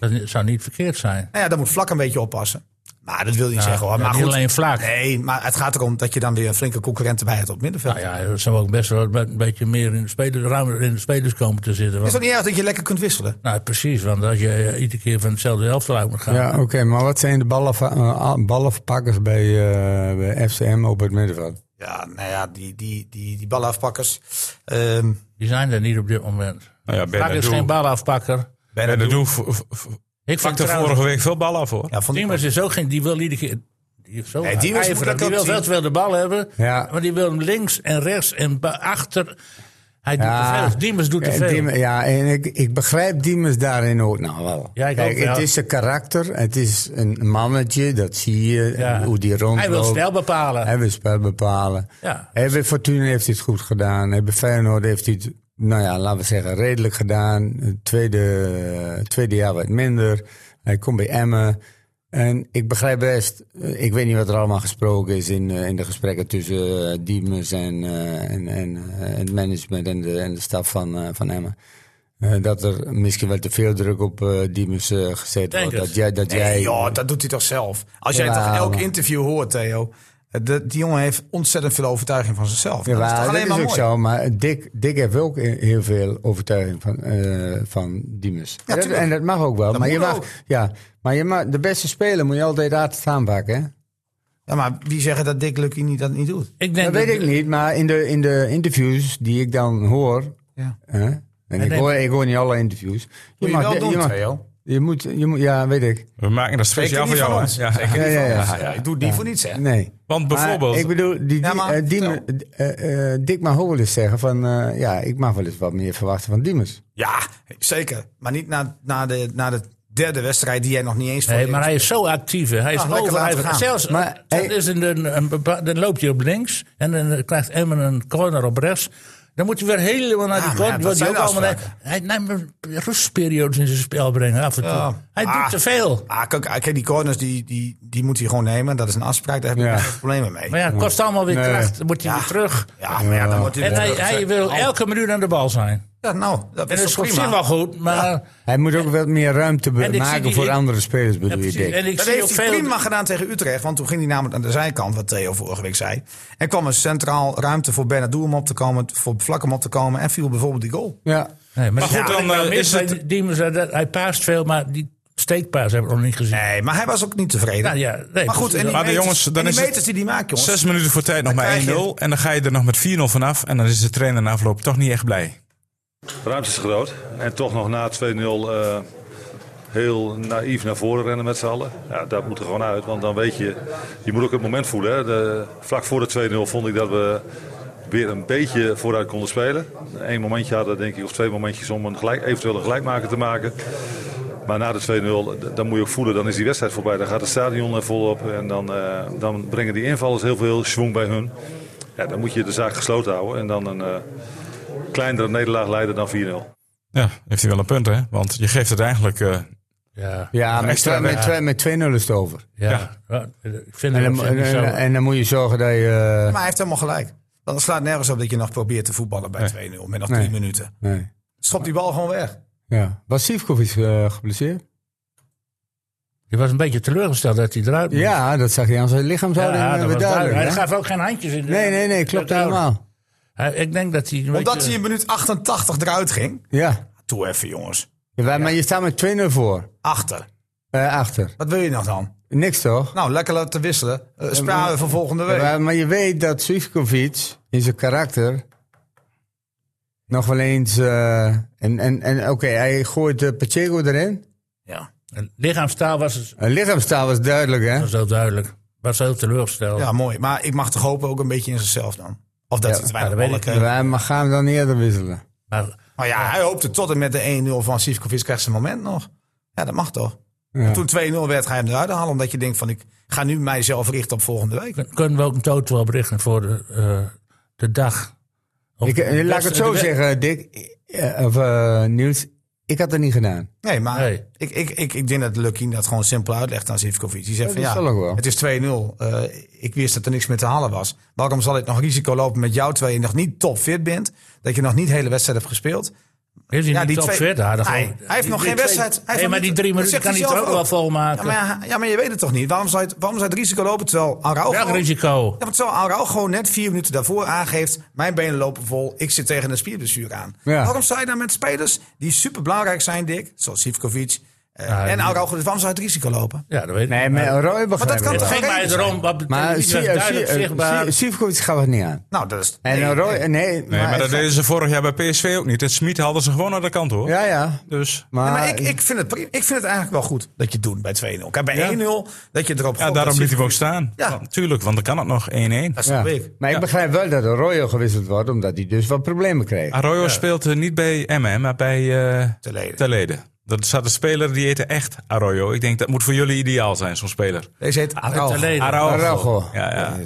S3: Dat ni- zou niet verkeerd zijn.
S1: Nou ja, daar moet vlak een beetje oppassen. Maar dat wil je niet zeggen hoor.
S3: ja,
S1: Maar
S3: niet
S1: goed.
S3: alleen vlak.
S1: Nee, maar het gaat erom dat je dan weer een flinke concurrent erbij hebt op het middenveld.
S3: Nou ja, dat zou ook best wel een be- een beetje meer in de spelers, ruimer in de spelers komen te zitten.
S1: Is
S3: Want,
S1: het niet erg dat je lekker kunt wisselen?
S3: nou, precies, want als je eh, iedere keer van hetzelfde elftal uit moet gaan.
S4: Ja, oké, maar wat zijn de ballen, ballenverpakkers bij, eh, bij FCM op het middenveld?
S1: Ja, nou ja, die, die, die, die ballenafpakkers. Ehm
S3: Die zijn er niet op dit moment.
S2: Nou ja,
S3: Vlak is geen
S2: Bernardo.
S3: balafpakker.
S2: Bernardo
S3: Ik vond
S2: pakte
S3: trouwens-
S2: vorige week veel bal af hoor.
S1: ja, van die,
S3: Immers is ook geen, die wil iedere keer. Die, is zo
S1: Nee, die was-
S3: ijverig.
S1: moet ik
S3: Die
S1: ook
S3: wil
S1: zien.
S3: wel wel de bal hebben,
S4: Ja.
S3: maar die wil hem links en rechts en ba- achter. Hij doet
S4: Ja.
S3: te veel. Diemers doet te
S4: Eh,
S3: veel.
S4: Diem- ja, en ik, ik begrijp Diemers daarin ook nou wel.
S3: Ja, ik
S4: Kijk,
S3: ook, ja.
S4: Het is een karakter, het is een mannetje, dat zie je,
S3: Ja.
S4: hoe die rondloopt.
S3: Hij wil het spel bepalen.
S4: Hij wil het spel bepalen.
S3: Ja.
S4: Hij bij Fortuna heeft hij het goed gedaan. Hij bij Feyenoord heeft hij het, nou ja, laten we zeggen, redelijk gedaan. Het tweede, eh, tweede jaar wat minder. Hij komt bij Emmen. En ik begrijp best, eh, ik weet niet wat er allemaal gesproken is in, eh, in de gesprekken tussen eh, Diemers en, eh, en, en eh, het management en de, en de staf van, eh, van Emmen. Eh, dat er misschien wel te veel druk op eh, Diemers eh, gezet
S3: Denk
S4: wordt.
S3: het.
S4: Dat jij, dat jij,
S1: nee, joh, dat doet hij toch zelf? Als jij
S4: Jawel,
S1: toch elk
S4: maar-
S1: interview hoort, Theo. de- die jongen heeft ontzettend veel overtuiging van zichzelf.
S4: Ja,
S1: dat is toch
S4: dat
S1: alleen
S4: is
S1: maar
S4: ook
S1: mooi.
S4: zo, maar Dick, Dick heeft ook he- heel veel overtuiging van, eh van Diemers.
S1: Ja,
S4: dat,
S1: tuurlijk.
S4: en dat mag ook wel. maar,
S1: moet
S4: je mag,
S1: ook.
S4: Ja, maar je mag, de beste speler moet je altijd hard aanpakken. Hè?
S1: Ja, maar wie zeggen dat Dick Lucky niet, dat niet doet?
S4: Dat
S3: Ik denk
S4: weet ik niet, maar in de, in de interviews die ik dan hoor.
S1: Ja.
S4: Hè? En ik
S3: nee,
S4: hoor, ik hoor niet alle interviews.
S1: Moet je
S4: mag-
S1: wel doen,
S4: je, mag-
S1: Theo.
S4: je moet, je moet, ja, weet ik.
S2: We maken dat speciaal
S1: Zeker
S2: voor
S1: niet
S2: jou.
S1: van
S2: hè?
S1: ons.
S2: Ja.
S1: Zeker
S4: Ja,
S1: niet
S4: ja,
S1: van
S4: ja.
S1: ons. Ja, Ik doe het niet voor niets, hè?
S4: Nee.
S2: Want
S4: Maar
S2: bijvoorbeeld,
S4: ik bedoel, die, die,
S1: Ja, maar
S4: eh, Diemers- eh, eh, Dick mag ook wel eens zeggen van, eh, ja, ik mag wel eens wat meer verwachten van Diemers.
S1: Ja, zeker. Maar niet na, na, de, na de derde wedstrijd die jij nog niet eens voor
S3: Nee,
S1: je-
S3: maar hij is zo actief. hè. Hij is
S1: Ah, lekker
S3: overal.
S1: laten gaan.
S3: Zelfs,
S4: Maar
S3: dat
S4: hij-
S3: is een, een, een bepa- dan loopt hij op links en dan eh, krijgt Emmen een corner op rechts. Dan moet hij weer helemaal naar
S1: Ja,
S3: die
S1: maar ja,
S3: corner.
S1: dat
S3: wordt hij
S1: zijn
S3: ook allemaal
S1: afspraken.
S3: naar- hij neemt een rustperiodes in zijn spel brengen af en toe.
S1: Ja.
S3: Hij
S1: Ah.
S3: doet te veel.
S1: Ah, kijk, kijk, die corners die, die, die moet hij gewoon nemen. Dat is een afspraak, daar heb ik
S4: Ja.
S1: geen problemen mee.
S3: Maar ja, het kost allemaal weer
S4: Nee.
S3: kracht. Dan moet hij
S1: Ja.
S3: weer terug.
S1: Ja, maar ja, dan wordt hij...
S3: En hij, hij wil elke minuut aan de bal zijn.
S1: Ja, nou, oh. dat
S3: En
S1: is
S3: dat
S1: toch
S3: is op zich
S1: prima.
S3: wel goed, maar...
S4: Hij moet ook wat meer ruimte be-
S3: En ik zie
S4: maken
S3: die-
S4: voor
S3: ik-
S4: andere spelers,
S3: Ja,
S4: bedoel je,
S3: precies.
S4: Dick?
S3: en ik
S1: Dat
S3: zie
S1: heeft
S3: ook
S1: hij
S3: veel...
S1: prima gedaan tegen Utrecht. Want toen ging hij namelijk aan de zijkant, wat Theo vorige week zei. En kwam er centraal ruimte voor Bernardo om op te komen, voor Vlak om op te komen. En viel bijvoorbeeld die goal.
S4: Ja.
S3: Nee, maar,
S2: Maar goed,
S3: ja,
S2: dan,
S3: maar
S2: eh,
S3: mis
S2: is
S3: bij
S2: het-
S3: Diemers, eh, dat- hij paast veel, maar die steekpaas hebben we nog niet gezien.
S1: Nee, maar hij was ook niet tevreden.
S3: Nou ja, nee,
S1: maar goed, en die
S2: Maar de
S1: meters,
S2: jongens, dan
S1: en die,
S2: is het-
S1: meters die die maakt, jongens.
S2: zes minuten voor tijd nog
S1: Dan
S2: maar 1-0.
S1: krijg je-
S2: En dan ga je er nog met 4-0 vanaf. En dan is de trainer na afloop toch niet echt blij.
S6: De ruimte is groot. En toch nog na 2-0 eh, heel naïef naar voren rennen met z'n allen. Ja, dat moet er gewoon uit. Want dan weet je, je moet ook het moment voelen. Hè. De, vlak voor de 2-0 vond ik dat we weer een beetje vooruit konden spelen. Eén momentje hadden, denk ik, of twee momentjes om een gelijk, eventueel een gelijkmaker te maken. Maar na de 2-0, d- dan moet je ook voelen, dan is die wedstrijd voorbij. Dan gaat het stadion er volop en dan, eh, dan brengen die invallers heel veel schwung bij hun. Ja, dan moet je de zaak gesloten houden en dan een eh, kleinere nederlaag leiden dan 4-0.
S2: Ja, heeft hij wel een punt, hè? Want je geeft het eigenlijk. eh,
S3: Ja, ja.
S4: Ja, met,
S2: extra
S4: twee, met,
S2: weg.
S4: twee, met 2-0 is het over.
S3: Ja, Ik vind
S4: En dan,
S3: het wel-
S4: en,
S3: vind ik zo-
S4: en- en dan moet je zorgen dat je... eh,
S1: Maar hij heeft helemaal gelijk. Want het slaat nergens op dat je nog probeert te voetballen bij 2-0 met nog
S4: Nee.
S1: drie minuten.
S4: nee.
S1: Schop die bal gewoon weg.
S4: Ja. Was Sivkovic eh, geblesseerd?
S3: Je was een beetje teleurgesteld dat hij eruit moest.
S4: Ja, dat zag je aan zijn lichaamshouding.
S3: Ja,
S4: Ja,
S3: dat was duidelijk.
S4: duidelijk,
S3: Hij
S4: hè?
S3: gaf ook geen handjes in. de-
S4: Nee, nee, nee, klopt
S3: Dat duidelijk.
S4: helemaal.
S3: Hij- Ik denk dat hij... een
S1: Omdat
S3: beetje-
S1: hij in minuut 88 eruit ging.
S4: Ja.
S1: Toe even, jongens.
S4: Ja, maar- Maar je staat met 2-0 voor.
S1: Achter.
S4: Eh, achter.
S1: Wat wil je nog dan?
S4: Niks toch?
S1: Nou, lekker laten wisselen. Eh, Sparen we van volgende
S4: Ja,
S1: week.
S4: maar, maar je weet dat Sivkovic in zijn karakter nog wel eens... eh, en en, en oké, hij gooit eh, Pacheco erin.
S1: Ja,
S3: En Lichaamstaal was het
S4: Een lichaamstaal was duidelijk, hè?
S3: was heel duidelijk. Was heel teleurgesteld.
S1: ja, mooi. Maar ik mag toch hopen ook een beetje in zichzelf dan. Of dat
S4: Ja,
S1: hij te
S3: ja,
S1: weinig
S3: dat
S1: ballen
S3: weet ik
S1: kreeg.
S4: Ja, maar gaan we dan eerder wisselen?
S3: Maar
S1: Maar ja, hij hoopte tot en met de 1-0 van Sivkovic krijgt zijn moment nog. Ja, dat mag toch.
S4: Ja.
S1: En Toen 2-0 werd, ga je hem eruit halen. Omdat je denkt van, ik ga nu mijzelf richten op volgende week.
S3: kun- kunnen we ook een totaal oprichten voor de, eh, de dag? Of
S4: Ik, eh, laat
S3: de
S4: ik
S3: beste-
S4: het zo
S3: de-
S4: zeggen, Dick. eh, Of eh, Niels. Ik had dat niet gedaan.
S1: Nee, maar
S3: Nee.
S1: Ik, ik, ik, ik denk dat Lucky dat gewoon simpel uitlegt aan Zivkovic. Die zegt
S4: Ja,
S1: van
S4: dat zal ook
S1: ja,
S4: wel.
S1: het is 2-0. Eh, ik wist dat er niks meer te halen was. Waarom zal ik nog risico lopen met jou terwijl je nog niet topfit bent? Dat je nog niet de hele wedstrijd hebt gespeeld?
S3: Heeft hij
S1: Ja,
S3: niet
S1: die
S3: top
S1: twee-
S3: fit? Ah, Hij,
S1: Hij- hij heeft nog geen wedstrijd. Hij heeft
S3: Nee,
S1: nog
S3: maar
S1: niet-
S3: die drie
S1: dat
S3: minuten
S1: zegt
S3: kan
S1: hij
S3: hij
S1: zelf
S3: er ook wel
S1: ook. Ja
S3: volmaken.
S1: maar, ja, ja, maar je weet het toch niet? Waarom zou het, waarom zou het risico lopen terwijl Araujo...
S3: Welk risico?
S1: Ja, want terwijl Araujo gewoon net vier minuten daarvoor aangeeft... mijn benen lopen vol, ik zit tegen een spierblessure aan.
S4: Ja.
S1: Waarom zou je dan met spelers die superbelangrijk zijn, Dick... zoals Sivkovic eh,
S3: Ja,
S1: en
S3: ja.
S1: Araujo, dus waarom zou je het risico lopen?
S3: Ja, dat weet ik.
S4: Nee, maar
S3: Maar
S4: Eh, Roy begrijp
S1: dat kan
S4: ik
S1: toch-
S4: wel.
S3: Het ging mij
S1: Geen
S3: erom. wat-
S4: Maar
S3: het was duidelijk zichtbaar.
S4: Sivkovic gaat het niet aan.
S1: Nou, dat is...
S4: En
S1: nee,
S4: Roy,
S1: nee.
S4: nee,
S2: Nee, maar, dat
S4: het-
S2: deden ze vorig jaar bij PSV ook niet. Het Smit hadden ze gewoon aan de kant hoor.
S4: Ja, ja.
S2: Dus
S1: Ja,
S4: Maar,
S1: maar ik, ik, vind het, pri- ik vind het eigenlijk wel goed dat je het doet bij 2-0. Kijk, bij
S2: Ja.
S1: 1-0 dat je erop
S2: ja, daarom liet hij hem ook staan.
S1: Ja.
S2: Ja. Natuurlijk, want dan kan het nog 1-1.
S1: Dat
S4: ja.
S1: snap ik.
S4: maar ik begrijp wel dat Arroyo gewisseld wordt, omdat hij dus wat problemen kreeg.
S2: Arroyo speelt eh, niet bij Emmen, maar bij eh
S1: Telede.
S2: Telede. Dat zat een speler die heette echt Arroyo. Ik denk dat moet voor jullie ideaal zijn, zo'n speler.
S1: Deze heet Araujo.
S3: Telede.
S2: Araujo. Ah,
S4: Araujo.
S2: oh, Ja, ja.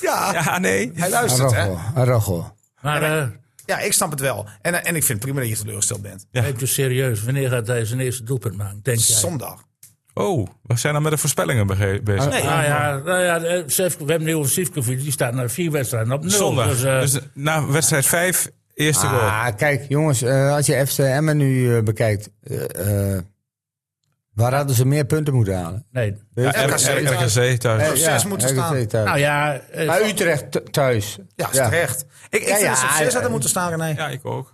S1: Ja,
S2: ja, nee.
S1: hij luistert, hè?
S4: Arrojo. Arrojo.
S3: Maar eh,
S1: Ja, ik snap het wel. En, en ik vind het prima dat je teleurgesteld bent.
S3: neemt u serieus. Wanneer gaat hij zijn eerste doelpunt maken? Denk jij?
S1: Zondag.
S2: Oh, we zijn dan met de voorspellingen bege- bezig.
S3: Nee. Nou ja, nou ja eh, Sef- we hebben nu over Sivkovic. Die staat na vier wedstrijden op nul.
S2: Zondag.
S3: Dus,
S2: Dus,
S3: eh,
S2: na wedstrijd 5, eerste goal.
S4: Ah, kijk, jongens, eh, als je FC Emmen nu eh, bekijkt, eh, eh, waar hadden ze meer punten moeten halen?
S3: nee.
S2: Ja,
S1: RKC
S2: Eh, R-
S1: thuis.
S2: RKC thuis.
S4: Eh,
S1: zes moeten
S4: RKC
S1: staan.
S4: thuis.
S3: Nou ja, eh,
S4: Maar Utrecht th- thuis.
S1: Ja, is terecht. Ik, ik vind
S4: ja, eh,
S1: dat ze op zes
S4: ja.
S1: hadden moeten staan, René.
S2: Ja, ik ook.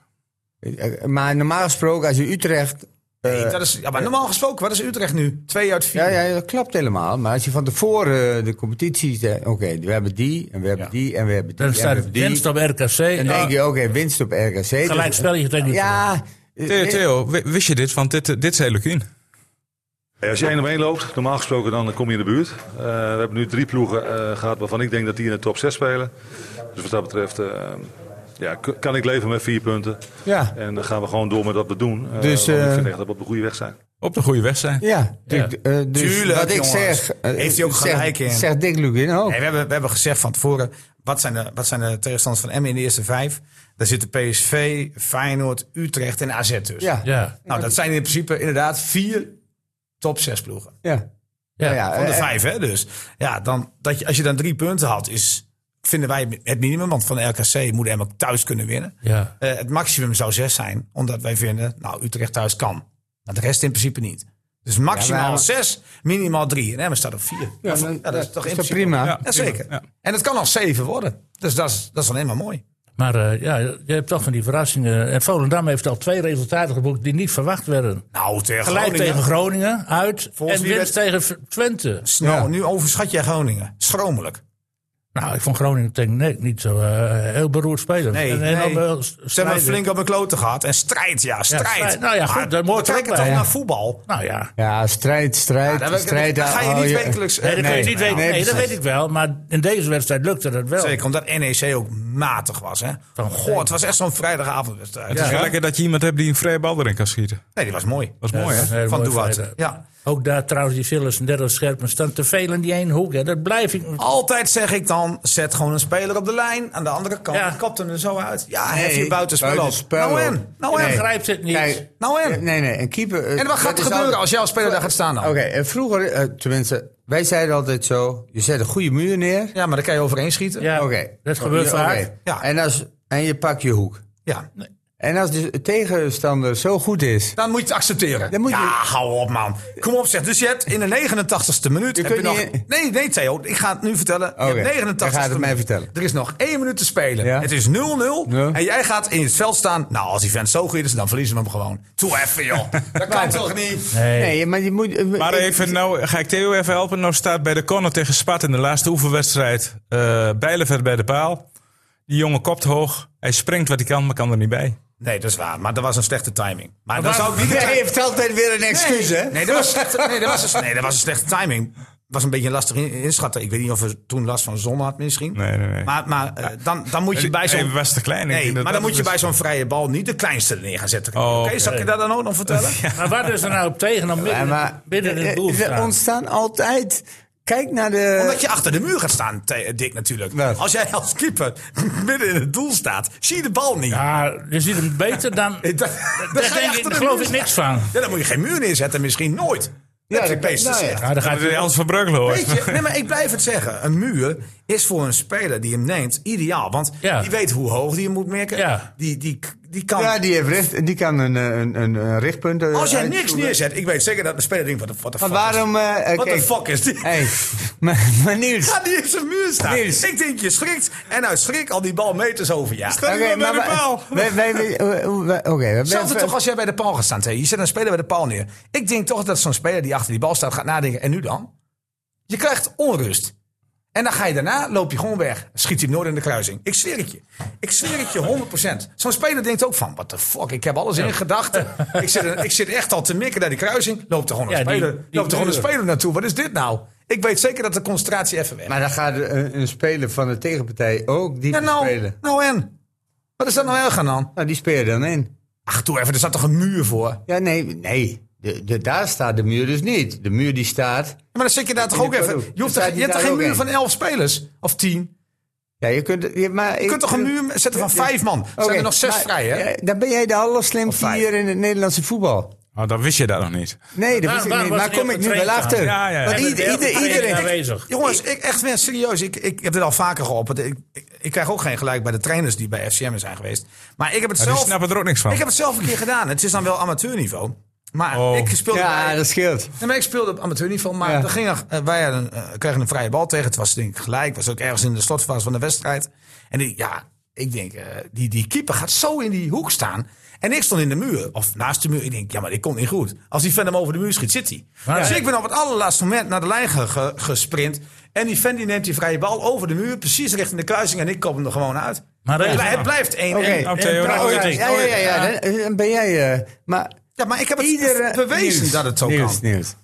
S4: Eh, Maar normaal gesproken, als je Utrecht... eh,
S1: Nee, dat is, ja, maar normaal gesproken, wat is Utrecht nu? Twee uit vier.
S4: ja, ja, dat klopt helemaal. Maar als je van tevoren eh, de competitie... zegt, Oké, we hebben die en we hebben die en we hebben die
S3: dan
S4: en we
S3: staat
S4: hebben
S3: het
S4: die.
S3: winst op RKC.
S4: Dan denk je, oké, winst op RKC. Dus-
S3: Gelijk spelletje tegen Utrecht.
S4: Ja.
S2: Theo,
S4: eh,
S2: Theo, wi- wist je dit? Want dit, eh, dit zei Lukien.
S6: Hey, als je 1 op 1 loopt, normaal gesproken dan kom je in de buurt. Eh, we hebben nu drie ploegen eh, gehad waarvan ik denk dat die in de top 6 spelen. Dus wat dat betreft eh, ja, k- kan ik leven met vier punten.
S4: Ja.
S6: En dan gaan we gewoon door met wat we doen. Eh,
S4: Dus,
S6: want ik
S4: eh,
S6: vind echt dat we op de goede weg zijn.
S2: Op de goede weg zijn.
S4: Ja,
S3: Ja.
S4: Dick, eh, dus
S1: Tuurlijk,
S4: wat ik
S1: jongens.
S4: zeg... eh,
S1: Heeft hij ook
S4: zegt-
S1: gelijk in.
S4: Zegt Dick Lugin ook.
S1: Nee, we, hebben, we hebben gezegd van tevoren, wat zijn de, wat zijn de tegenstanders van Emmen in de eerste vijf? Daar zitten PSV, Feyenoord, Utrecht en AZ tussen.
S4: Ja, ja.
S3: Ja.
S1: Nou, dat zijn in principe inderdaad vier top zes ploegen.
S4: ja.
S3: Ja.
S1: Van de
S4: eh,
S1: vijf, hè? Dus ja, dan, dat je, als je dan drie punten had, is, vinden wij het minimum. Want van de RKC moet Emmen thuis kunnen winnen.
S3: Ja.
S1: Eh, het maximum zou zes zijn, omdat wij vinden, nou, Utrecht thuis kan. Maar de rest in principe niet. Dus maximaal
S4: Ja, maar-
S1: zes, minimaal drie. En Emmen staat op vier.
S4: Ja,
S1: Ja,
S4: maar
S1: dat is toch in principe-
S4: prima?
S2: Ja.
S1: Ja, zeker.
S2: Ja.
S1: En het kan al zeven worden. Dus dat is, dat is alleen maar mooi.
S3: Maar eh, ja, je hebt toch van die verrassingen. En Volendam heeft al twee resultaten geboekt die niet verwacht werden.
S1: Nou, tegen
S3: Gelijk tegen Groningen, uit.
S1: Volgens
S3: en
S1: wie
S3: winst tegen V- Twente.
S1: Nou,
S4: Ja.
S1: nu overschat jij Groningen. Schromelijk.
S3: Nou, ik vond Groningen tegen Nek niet zo eh, heel beroerd spelen.
S1: Nee,
S3: En- en
S1: nee.
S3: ook wel
S1: Ze hebben flink op mijn kloten gehad. En strijd, ja, strijd.
S3: strijd. Nou ja, goed, dat hoort
S1: we
S3: er ook
S1: kijken
S3: bij,
S1: toch
S3: ja.
S1: naar voetbal.
S3: Nou ja.
S4: Ja, strijd, strijd,
S1: Ja, daar-
S4: strijd.
S1: daar ga je
S4: oh,
S1: niet wekelijks...
S3: Nee, dat, kun je
S4: Nee,
S3: niet weten.
S4: nee,
S3: nee, dat
S4: precies.
S3: weet ik wel. Maar in deze wedstrijd lukte dat wel.
S1: Zeker, omdat NEC ook matig was. Hè?
S3: Van
S1: Goh, het was echt zo'n vrijdagavondwedstrijd.
S2: Het is
S1: Ja.
S2: wel lekker dat je iemand hebt die een vrije bal erin kan schieten.
S1: Nee, die was mooi.
S2: Dat is mooi, hè?
S3: Ja, een hele
S1: Van
S3: mooie
S1: Duarte.
S3: vrijdag.
S1: Ja.
S3: Ook daar trouwens, die Villas en Derrel Scherpen staan te veel in die één hoek. Hè. Dat blijf ik.
S1: Oh, Altijd zeg ik dan, zet gewoon een speler op de lijn. Aan de andere kant,
S3: Ja.
S1: kapt hem er zo uit. Ja,
S4: Nee,
S1: hef je buitenspel op.
S4: buitenspel
S1: Nou
S4: op.
S1: en, nou en.
S3: Nee. Begrijpt het niet.
S4: Kijk,
S1: Nou en?
S4: Nee, nee, een keeper... eh,
S1: En wat gaat
S4: dat
S1: er
S4: is
S1: gebeuren
S4: altijd-
S1: als jouw speler daar gaat staan dan?
S4: Oké, en vroeger, eh, tenminste, wij zeiden altijd zo... Je zet een goede muur neer.
S1: Ja, maar dan kan je overheen schieten. Ja.
S3: Ja,
S4: Oké. Oh,
S3: Dat gebeurt
S4: Ja,
S3: vaak.
S4: oké.
S1: Ja.
S4: En, als, en je pakt je hoek. En als de tegenstander zo goed is...
S1: Dan moet je het accepteren.
S4: Dan moet je-
S1: Ja, hou op man. Kom op zeg. Dus je hebt in de 89ste minuut...
S4: Je
S1: heb je
S4: kunt
S1: nog...
S4: niet-
S1: Nee, nee Theo, ik ga het nu vertellen. Je hebt
S4: Oké,
S1: 89ste
S4: je gaat het mij
S1: minuut.
S4: vertellen.
S1: Er is nog één minuut te spelen.
S4: Ja.
S1: Het is 0-0.
S4: Ja.
S1: En jij gaat in het veld staan. Nou, als die vent zo goed is, dan verliezen we hem gewoon. Toe even joh. Dat kan toch niet?
S3: Nee.
S4: Nee, maar je moet... eh,
S2: Maar
S4: ik-
S2: even, nou ga ik Theo even helpen. Nou staat bij de corner tegen Spat in de laatste oefenwedstrijd eh Bijleveld bij de paal. Die jongen kopt hoog. Hij springt wat hij kan, maar kan er niet bij.
S1: Nee, dat is waar. Maar dat was een slechte timing. Maar dat
S3: Maar
S1: zou ik niet...
S4: Jij heeft altijd weer een excuus, hè?
S1: Nee, dat was, slechte- nee, dat was, een- nee, dat was een slechte timing. Was een beetje lastig in- inschatten. Ik weet niet of we toen last van zon had misschien.
S2: Nee, nee, nee.
S1: Maar, maar eh, dan, dan moet je bij
S2: Hij
S1: zo'n...
S2: was te klein. Ik
S1: Nee,
S2: denk dat
S1: maar dan
S2: dat
S1: moet je
S2: het
S1: bij
S2: is.
S1: zo'n vrije bal niet de kleinste er neer gaan zetten.
S2: Oh,
S1: Oké, zal ik je dat dan ook nog vertellen?
S3: Maar wat is er nou op tegen om
S4: Ja,
S3: midden,
S4: maar
S3: binnen in het
S4: eh,
S3: doel te
S4: er
S3: staan?
S4: ontstaan altijd Kijk naar de...
S1: Omdat je achter de muur gaat staan, T- Dick natuurlijk.
S4: Wat?
S1: Als jij als keeper midden in het doel staat, zie je de bal niet.
S3: Ja, je ziet hem beter dan...
S1: Eh, Dan, dan
S3: Daar
S1: ga je
S3: denk ik-
S1: achter
S3: daar
S1: de
S3: geloof
S1: muur
S3: ik niks
S1: staan.
S3: van. Nou,
S1: Ja, dan moet je geen muur neerzetten, misschien nooit. Ja, dat
S4: dat
S1: heb je
S4: kan-
S1: beest
S4: nou ja.
S1: gezegd.
S3: Ja, daar gaat
S2: Dat is Hans van Breukelen hoor.
S1: Weet je, nee, maar ik blijf het zeggen. Een muur is voor een speler die hem neemt ideaal. Want
S3: Ja.
S1: die weet hoe hoog die hem moet merken.
S3: Ja.
S1: Die, die, die kan...
S4: Ja, die, heeft recht, die kan een, eh, een, een, een richtpunt... eh,
S1: als jij niks
S4: uitvoeren.
S1: neerzet, ik weet zeker dat de speler denkt, wat de what the fuck
S4: Maar waarom... eh,
S1: is
S4: eh,
S1: Wat de
S4: kijk-
S1: fuck is dit?
S4: Hey, maar, maar Niels...
S1: Ja, die heeft zijn muur staan.
S4: Niels.
S1: Ik denk, je schrikt. En uit schrik al die bal meters over je.
S4: Oké, maar
S1: bij de
S4: wij-
S1: paal.
S4: wij- wij- wij- eh, hoe- wij- Oké, we
S1: Hetzelfde
S4: hebben-
S1: toch als jij bij de paal gaat staan. Thee. Je zet een speler bij de paal neer. Ik denk toch dat zo'n speler die achter die bal staat gaat nadenken. En nu dan? Je krijgt onrust. En dan ga je daarna, loop je gewoon weg. Schiet hij hem nooit in de kruising. Ik zweer het je. Ik zweer het je 100%. Zo'n speler denkt ook van, what the fuck, ik heb alles in gedachten. Ik zit, ik zit echt al te mikken naar die kruising. Loopt er gewoon een,
S3: Ja, die-
S1: speler,
S3: die
S1: loopt er gewoon een
S3: muren.
S1: speler naartoe. Wat is dit nou? Ik weet zeker dat de concentratie even weg is.
S4: Maar dan gaat een, een speler van de tegenpartij ook die
S1: Ja, nou,
S4: spelen.
S1: nou en? Wat is dat nou erg aan dan?
S4: Nou, die spelen dan in.
S1: Ach, doe even, er staat toch een muur voor? Ja,
S4: Ja, nee, nee. De, de, daar staat de muur dus niet. De muur die staat...
S1: Maar dan zit je daar toch
S4: In
S1: ook
S4: de
S1: even...
S4: Bordeaux.
S1: Je, hoeft
S4: Staat
S1: er,
S4: die
S1: je hebt er
S4: daar
S1: geen
S4: ook
S1: muur
S4: in?
S1: van elf spelers? Of tien?
S4: Ja, je kunt, je, maar eh,
S1: Je kunt toch een muur zetten van vijf man? Zijn er nog zes vrij, hè?
S4: dan ben jij de
S1: Of
S4: allerslimste
S1: vijf.
S4: hier in het Nederlandse voetbal.
S2: Oh, dan wist je dat nog niet.
S4: Nee, dat
S3: Waar-
S4: wist ik
S3: waar
S4: niet.
S3: was
S4: Maar
S3: die
S4: kom
S3: op
S4: ik
S3: de
S4: nu wel
S3: trainer?
S4: achter.
S2: Ja, ja, ja.
S4: Want
S2: Ja,
S4: ieder,
S3: dat-
S4: ieder,
S3: dat-
S4: iedereen...
S3: aanwezig.
S1: Jongens, ik echt weer serieus. Ik, ik heb dit al vaker geopperd. Ik, ik, ik krijg ook geen gelijk bij de trainers die bij FCM zijn geweest. Maar ik heb het
S2: Die
S1: zelf...
S2: snappen er ook niks van.
S1: Ik heb het zelf een keer gedaan. Het is dan wel amateurniveau. Maar
S2: Oh.
S1: ik speelde
S4: Ja,
S1: bij-
S4: dat scheelt.
S1: Nee, maar ik speelde op amateurniveau, maar
S4: Ja.
S1: dan ging er, eh, wij hadden, eh, kregen een vrije bal tegen. Het was denk ik gelijk, was ook ergens in de slotfase van de wedstrijd. En die, ja, ik denk, eh, die, die keeper gaat zo in die hoek staan. En ik stond in de muur, of naast de muur. Ik denk, ja, maar dit komt niet goed. Als die fan hem over de muur schiet, zit hij.
S3: Ja.
S1: Dus ik ben op het allerlaatste moment naar de lijn ge- ge- gesprint. En die fan die neemt die vrije bal over de muur, precies richting de kruising. En ik kop hem er gewoon uit.
S3: Maar dat
S1: het,
S3: is-
S1: blij- het blijft 1-1.
S4: Oké.
S2: Oh, Theo,
S3: Ja,
S2: dat
S4: ja,
S2: weet ik.
S4: ja, ja, ja, ja. Dan, dan ben jij... eh, maar
S1: Ja, maar ik heb het
S4: iedere...
S1: bewezen
S4: Niels,
S1: dat het zo
S4: Niels,
S1: kan.
S4: Niels.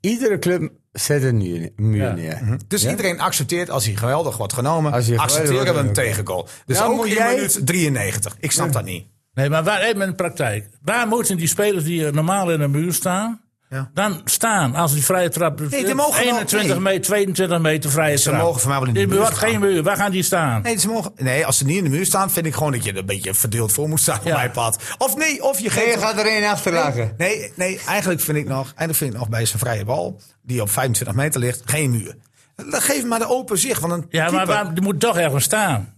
S4: Iedere club zet een muur, muur
S3: Ja.
S4: neer.
S1: Dus iedereen accepteert als hij geweldig wordt genomen,
S4: Als hij geweldig
S1: accepteren we
S4: wordt
S1: een
S4: genomen.
S1: tegengoal. Dus
S4: Nou,
S1: ook
S4: moet
S1: in
S4: jij-
S1: minuut 93. Ik snap dat niet.
S3: Nee, maar waar, even in de praktijk. Waar moeten die spelers die eh, normaal in de muur staan,
S1: Ja.
S3: dan staan als die vrije trap...
S1: Nee, die mogen wel-
S3: 21
S1: nee.
S3: meter, 22 meter vrije
S1: Ze
S3: trap.
S1: mogen voor mij wel in de
S3: Er
S1: muur
S3: wordt
S1: staan.
S3: geen muur, waar gaan die staan?
S1: Nee, ze mogen, nee, als ze niet in de muur staan, vind ik gewoon dat je er een beetje verdeeld voor moet staan op
S3: Ja.
S1: mijn pad. Of nee, of je
S4: Nee,
S1: geeft...
S4: je gaat er één achterlagen.
S1: Nee, nee, eigenlijk vind ik nog, eigenlijk vind ik nog bij zijn vrije bal, die op 25 meter ligt, geen muur. Dan Geef hem maar de open zicht. Want een
S3: Ja, maar
S1: keeper-
S3: waar, die moet toch ergens staan.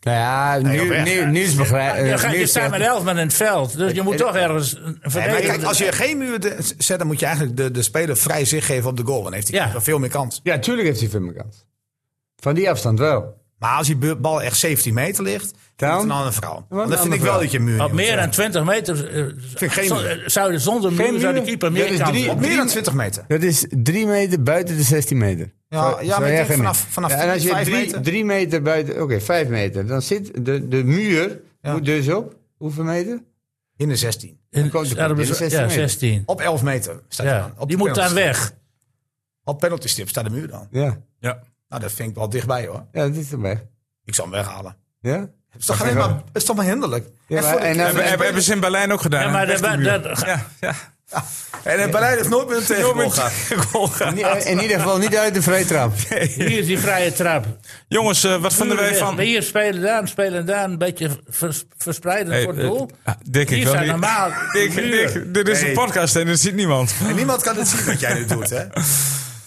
S4: Nou ja,
S1: joh,
S4: nu,
S1: weg.
S4: nu, nu is begrijp.
S3: Je,
S4: eh,
S3: gaat,
S4: nu
S3: je
S4: is
S3: staat
S4: het-
S3: met elf man in het veld, dus je moet toch ergens een
S1: Nee, maar
S3: verdediger-
S1: kijk, als je geen muur de- zet, dan moet je eigenlijk de, de speler vrij zicht geven op de goal. Dan heeft hij
S3: Ja.
S1: keeper veel meer kans.
S4: Ja, tuurlijk heeft hij veel meer kans. Van die afstand wel.
S1: Maar als die bu- bal echt 17 meter ligt, dan
S4: Dan?
S1: is het een andere vrouw.
S4: Dan
S1: Want dat vind ik wel dat je een muur
S3: Op
S1: neer moet
S3: meer dan
S1: zetten.
S3: 20 meter eh,
S1: ik geen
S3: zou-
S1: muur.
S3: zou je zonder
S4: Geen
S3: muur zou de
S4: muur?
S3: keeper
S4: Dat
S3: meer
S4: is
S3: kans
S4: drie-
S3: hebben.
S1: Op meer dan 20 meter.
S4: Dat is drie meter buiten de 16 meter.
S1: Ja,
S4: Zo-
S1: ja,
S4: zo
S1: maar ik denk
S4: erg hem
S1: vanaf-
S4: in.
S1: vanaf
S4: Ja, en als je
S1: vijf
S4: drie,
S1: meter.
S4: drie meter buiten, oké, vijf meter. Dan zit de, de muur,
S1: Ja.
S4: moet dus op, hoeveel meter?
S1: In de 16.
S3: In-
S4: komt hij
S3: ja,
S4: op,
S3: dat
S4: in
S3: is-
S4: 16
S3: Ja,
S4: meter.
S3: 16.
S1: Op 11 meter staat hij
S3: Ja,
S1: dan. Op de
S3: die moet dan
S1: penalty
S3: weg.
S1: stip. Op penalty stip staat de muur dan.
S4: Ja,
S2: Ja.
S1: Nou, dat vind ik wel dichtbij hoor.
S4: ja dat is er weg.
S1: Ik zal hem weghalen.
S4: Ja?
S1: Het is toch, alleen maar, het is toch maar hinderlijk.
S4: Ja, maar-
S1: voor de-
S4: en dan-
S1: en-
S2: Hebben, hebben ze in Berlijn ook gedaan.
S3: Ja, maar dat,
S2: Echt een muur.
S3: dat-
S2: ja, ja.
S1: en eh, Berlijn heeft nooit meer een tegengoal gehad.
S4: In, i- in ieder geval niet uit de vrije trap.
S3: hier is die vrije trap.
S2: Jongens, eh, wat vonden wij van...
S3: Maar Hier spelen daar, spelen daar, een beetje vers, verspreiden
S2: Hey,
S3: voor het
S2: eh,
S3: doel.
S2: ah, Dick, ik
S3: hier
S2: wil
S3: zijn
S2: niet-
S3: normaal
S2: Dick,
S3: muren.
S2: Dick, dit is een
S1: Nee.
S2: podcast en dit ziet niemand.
S1: En niemand kan het zien wat jij nu doet, hè?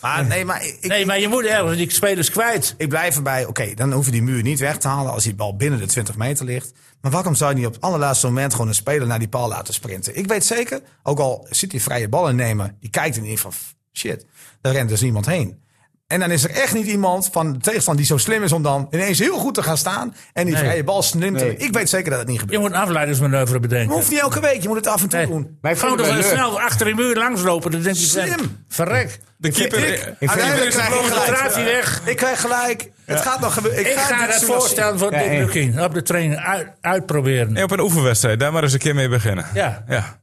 S1: Maar nee, maar ik,
S3: Nee, maar je moet ergens die spelers kwijt.
S1: ik blijf erbij. Oké, dan hoef je die muur niet weg te halen als die bal binnen de 20 meter ligt. Maar waarom zou je niet op het allerlaatste moment gewoon een speler naar die paal laten sprinten? Ik weet zeker, ook al zit die vrije bal innemen, die kijkt in ieder geval van shit, daar rent dus niemand heen. En dan is er echt niet iemand van de tegenstander die zo slim is om dan ineens heel goed te gaan staan en die
S3: Nee.
S1: vrije bal slim te.
S4: Nee.
S1: Ik weet zeker dat het niet
S3: Je
S1: gebeurt.
S3: moet een afleidingsmanoeuvre
S1: Je
S3: bedenken.
S1: hoeft niet elke week, je moet het af en toe
S3: Nee.
S1: doen.
S4: Maar ik
S3: Gewoon
S4: vond het wel
S3: er
S4: leuk.
S3: snel achter de muur langslopen. Dan denk je,
S1: Slim.
S3: verrek.
S2: De keeper...
S1: Ik-
S2: eh,
S1: uiteindelijk
S2: het een
S1: krijg ik
S2: blokje.
S1: gelijk.
S3: Draait hij weg.
S1: Ik krijg gelijk. Het gaat nog gebeuren.
S3: Ik
S1: dit
S3: ga dat
S1: zo nog zien.
S3: voorstellen voor Dick
S4: Ja, en-
S3: Lukien. Op de training uit-
S2: Nee,
S3: uitproberen.
S2: op een oefenwedstrijd, daar maar eens een keer mee beginnen.
S3: Ja.
S2: ja.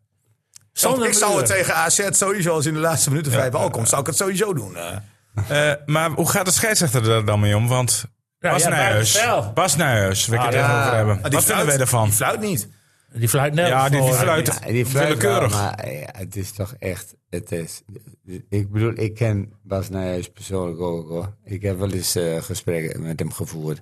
S3: Zonder
S1: ik zou het
S3: muren.
S1: tegen AZ sowieso, als in de laatste minuten vrij bal komt, zou ik het sowieso doen. eh.
S2: Eh, maar hoe gaat de scheidsrechter daar dan mee om? Want
S3: Ja,
S2: Bas
S3: ja,
S2: Nijhuis,
S3: buitenspel.
S2: Bas Nijhuis, we kunnen
S4: ja.
S2: het even over hebben.
S1: Maar Ah, die
S2: Wat
S1: fluit-
S2: vinden wij ervan?
S1: Die fluit niet.
S3: Die fluit net.
S2: Ja, die- die
S3: voor-
S2: fluit-
S4: Ja, die fluit
S2: Willekeurig.
S4: wel, maar ja, het is toch echt... Het is, ik bedoel, ik ken Bas Nijhuis persoonlijk ook hoor. Ik heb wel eens eh, gesprekken met hem gevoerd.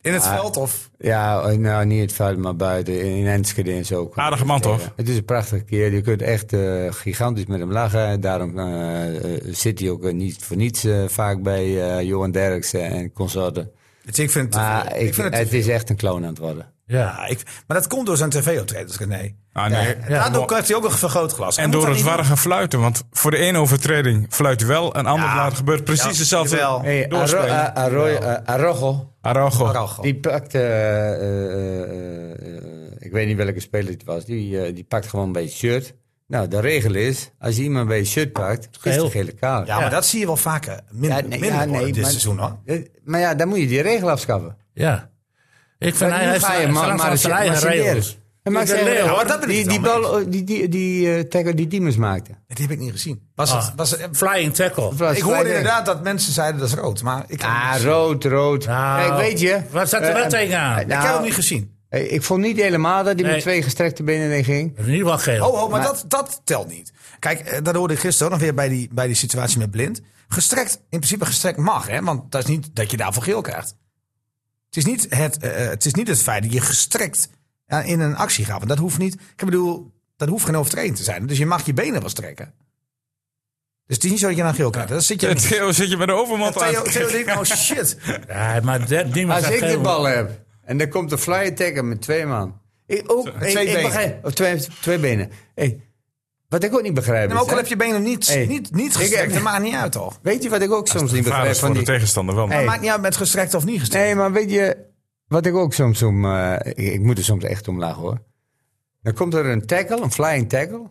S1: In het
S4: Ah.
S1: veld of?
S4: Ja, nou niet het vuil, maar buiten. In, in Enschede en zo.
S2: Aardige man, toch?
S4: Het is een prachtige keer. Je kunt echt eh, gigantisch met hem lachen. Daarom eh, eh, zit hij ook eh, niet voor niets eh, vaak bij eh, Johan Derksen en consorten.
S1: Dus ik vind,
S4: Maar
S1: ik,
S4: ik,
S1: vind het,
S4: het, is echt een clown aan het worden.
S1: ja,
S3: Ja.
S1: ik, maar dat komt door zijn tv-optredens, René.
S2: Ah, nee.
S1: Daardoor krijgt hij ook een vergrootglas. Hij
S2: En
S1: moet
S2: door
S1: dat
S2: het
S1: niet
S2: warrige fluiten. Want voor de ene overtreding fluit hij wel. En ander
S1: Ja.
S2: laat gebeurt precies
S1: Ja,
S2: hetzelfde.
S1: jawel.
S4: Hey, Arro-
S2: doorspelen.
S4: A- Arroyo- eh, Arrojo,
S2: Araujo.
S1: doen. Araujo.
S4: die pakt, eh, eh, eh, eh, ik weet niet welke speler het was, die, eh, die pakt gewoon bij het shirt. Nou, de regel is, als je iemand bij het shirt pakt, is
S3: Geel.
S4: het gele kaart.
S1: Ja, maar dat zie je wel vaker. Minder, minder worden dit seizoen, hoor.
S4: eh, Maar ja, dan moet je die regel afschaffen.
S3: ja. Ik vind
S4: Ja,
S3: hij
S4: nu
S3: heeft
S4: ga je
S3: zijn-
S4: maar,
S3: zijn
S4: maar
S3: zijn eigen regels.
S4: En maak
S3: De
S4: zijn
S3: leeuw.
S1: Ja, maar dat ben ik
S4: die,
S1: het
S4: die
S1: wel mee
S4: bal, die, die, die eh, tackle die Diemers maakte.
S1: Die heb ik niet gezien. Was
S3: Ah.
S1: het, was het-
S3: Flying tackle.
S1: ik hoorde inderdaad dat mensen zeiden dat is rood. Maar ik,
S4: Ah, rood, rood.
S3: Nou,
S4: Kijk, weet je.
S3: waar zat de
S4: eh,
S3: wet tegenaan?
S4: eh,
S1: ik
S4: nou,
S1: heb hem niet gezien.
S4: eh, ik vond niet helemaal dat hij
S3: Nee.
S4: met twee gestrekte benen heen ging.
S3: In ieder geval geel.
S1: Oh, oh maar, dat, dat telt niet. Kijk, eh, dat hoorde ik gisteren ook nog weer bij die, bij die situatie met blind. Gestrekt, in principe gestrekt mag, hè? Want dat is niet dat je daarvoor geel krijgt. Het is niet het, eh, eh, het, is niet het feit dat je gestrekt eh, in een actie gaat. Want dat hoeft niet. Ik bedoel, dat hoeft geen overtreding te zijn. Dus je mag je benen wel strekken. Dus het is niet zo dat je dan geel krijgt. Dat zit je.
S2: Ja,
S1: niet.
S2: Theo zit je met de overmand aan.
S1: Theo, Theo denkt, oh shit.
S3: Ja, maar de, die
S4: Als
S3: was
S4: ik de
S3: geel.
S4: bal heb en dan komt de fly tackle met twee man. Ik, ook, ik-
S1: twee
S4: ik
S1: benen.
S4: begrijp- of twee, twee benen. Hey, wat ik ook niet begrijp
S1: Maar
S4: is,
S1: ook al
S4: hè,
S1: heb je benen niet,
S4: Hey.
S1: niet, niet
S4: Ik-
S1: gestrekt, dat maakt niet uit toch?
S4: Weet je wat ik ook soms niet begrijp
S2: Vaders
S4: van
S2: voor de
S4: die...
S2: tegenstander wel.
S4: Hey.
S1: Maakt niet uit met gestrekt of niet gestrekt.
S4: Nee, maar weet je, wat ik ook soms om. eh, ik, ik moet er soms echt om lachen hoor. Dan komt er een tackle, een flying tackle.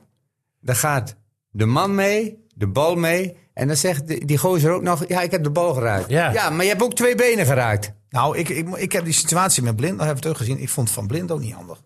S4: Dan gaat de man mee, de bal mee. En dan zegt die, die gozer ook nog: Ja, ik heb de bal geraakt.
S3: Ja.
S4: maar je hebt ook twee benen geraakt.
S1: Nou, ik, ik, ik heb die situatie met Blind nog even teruggezien. Ik vond Van Blind ook niet handig.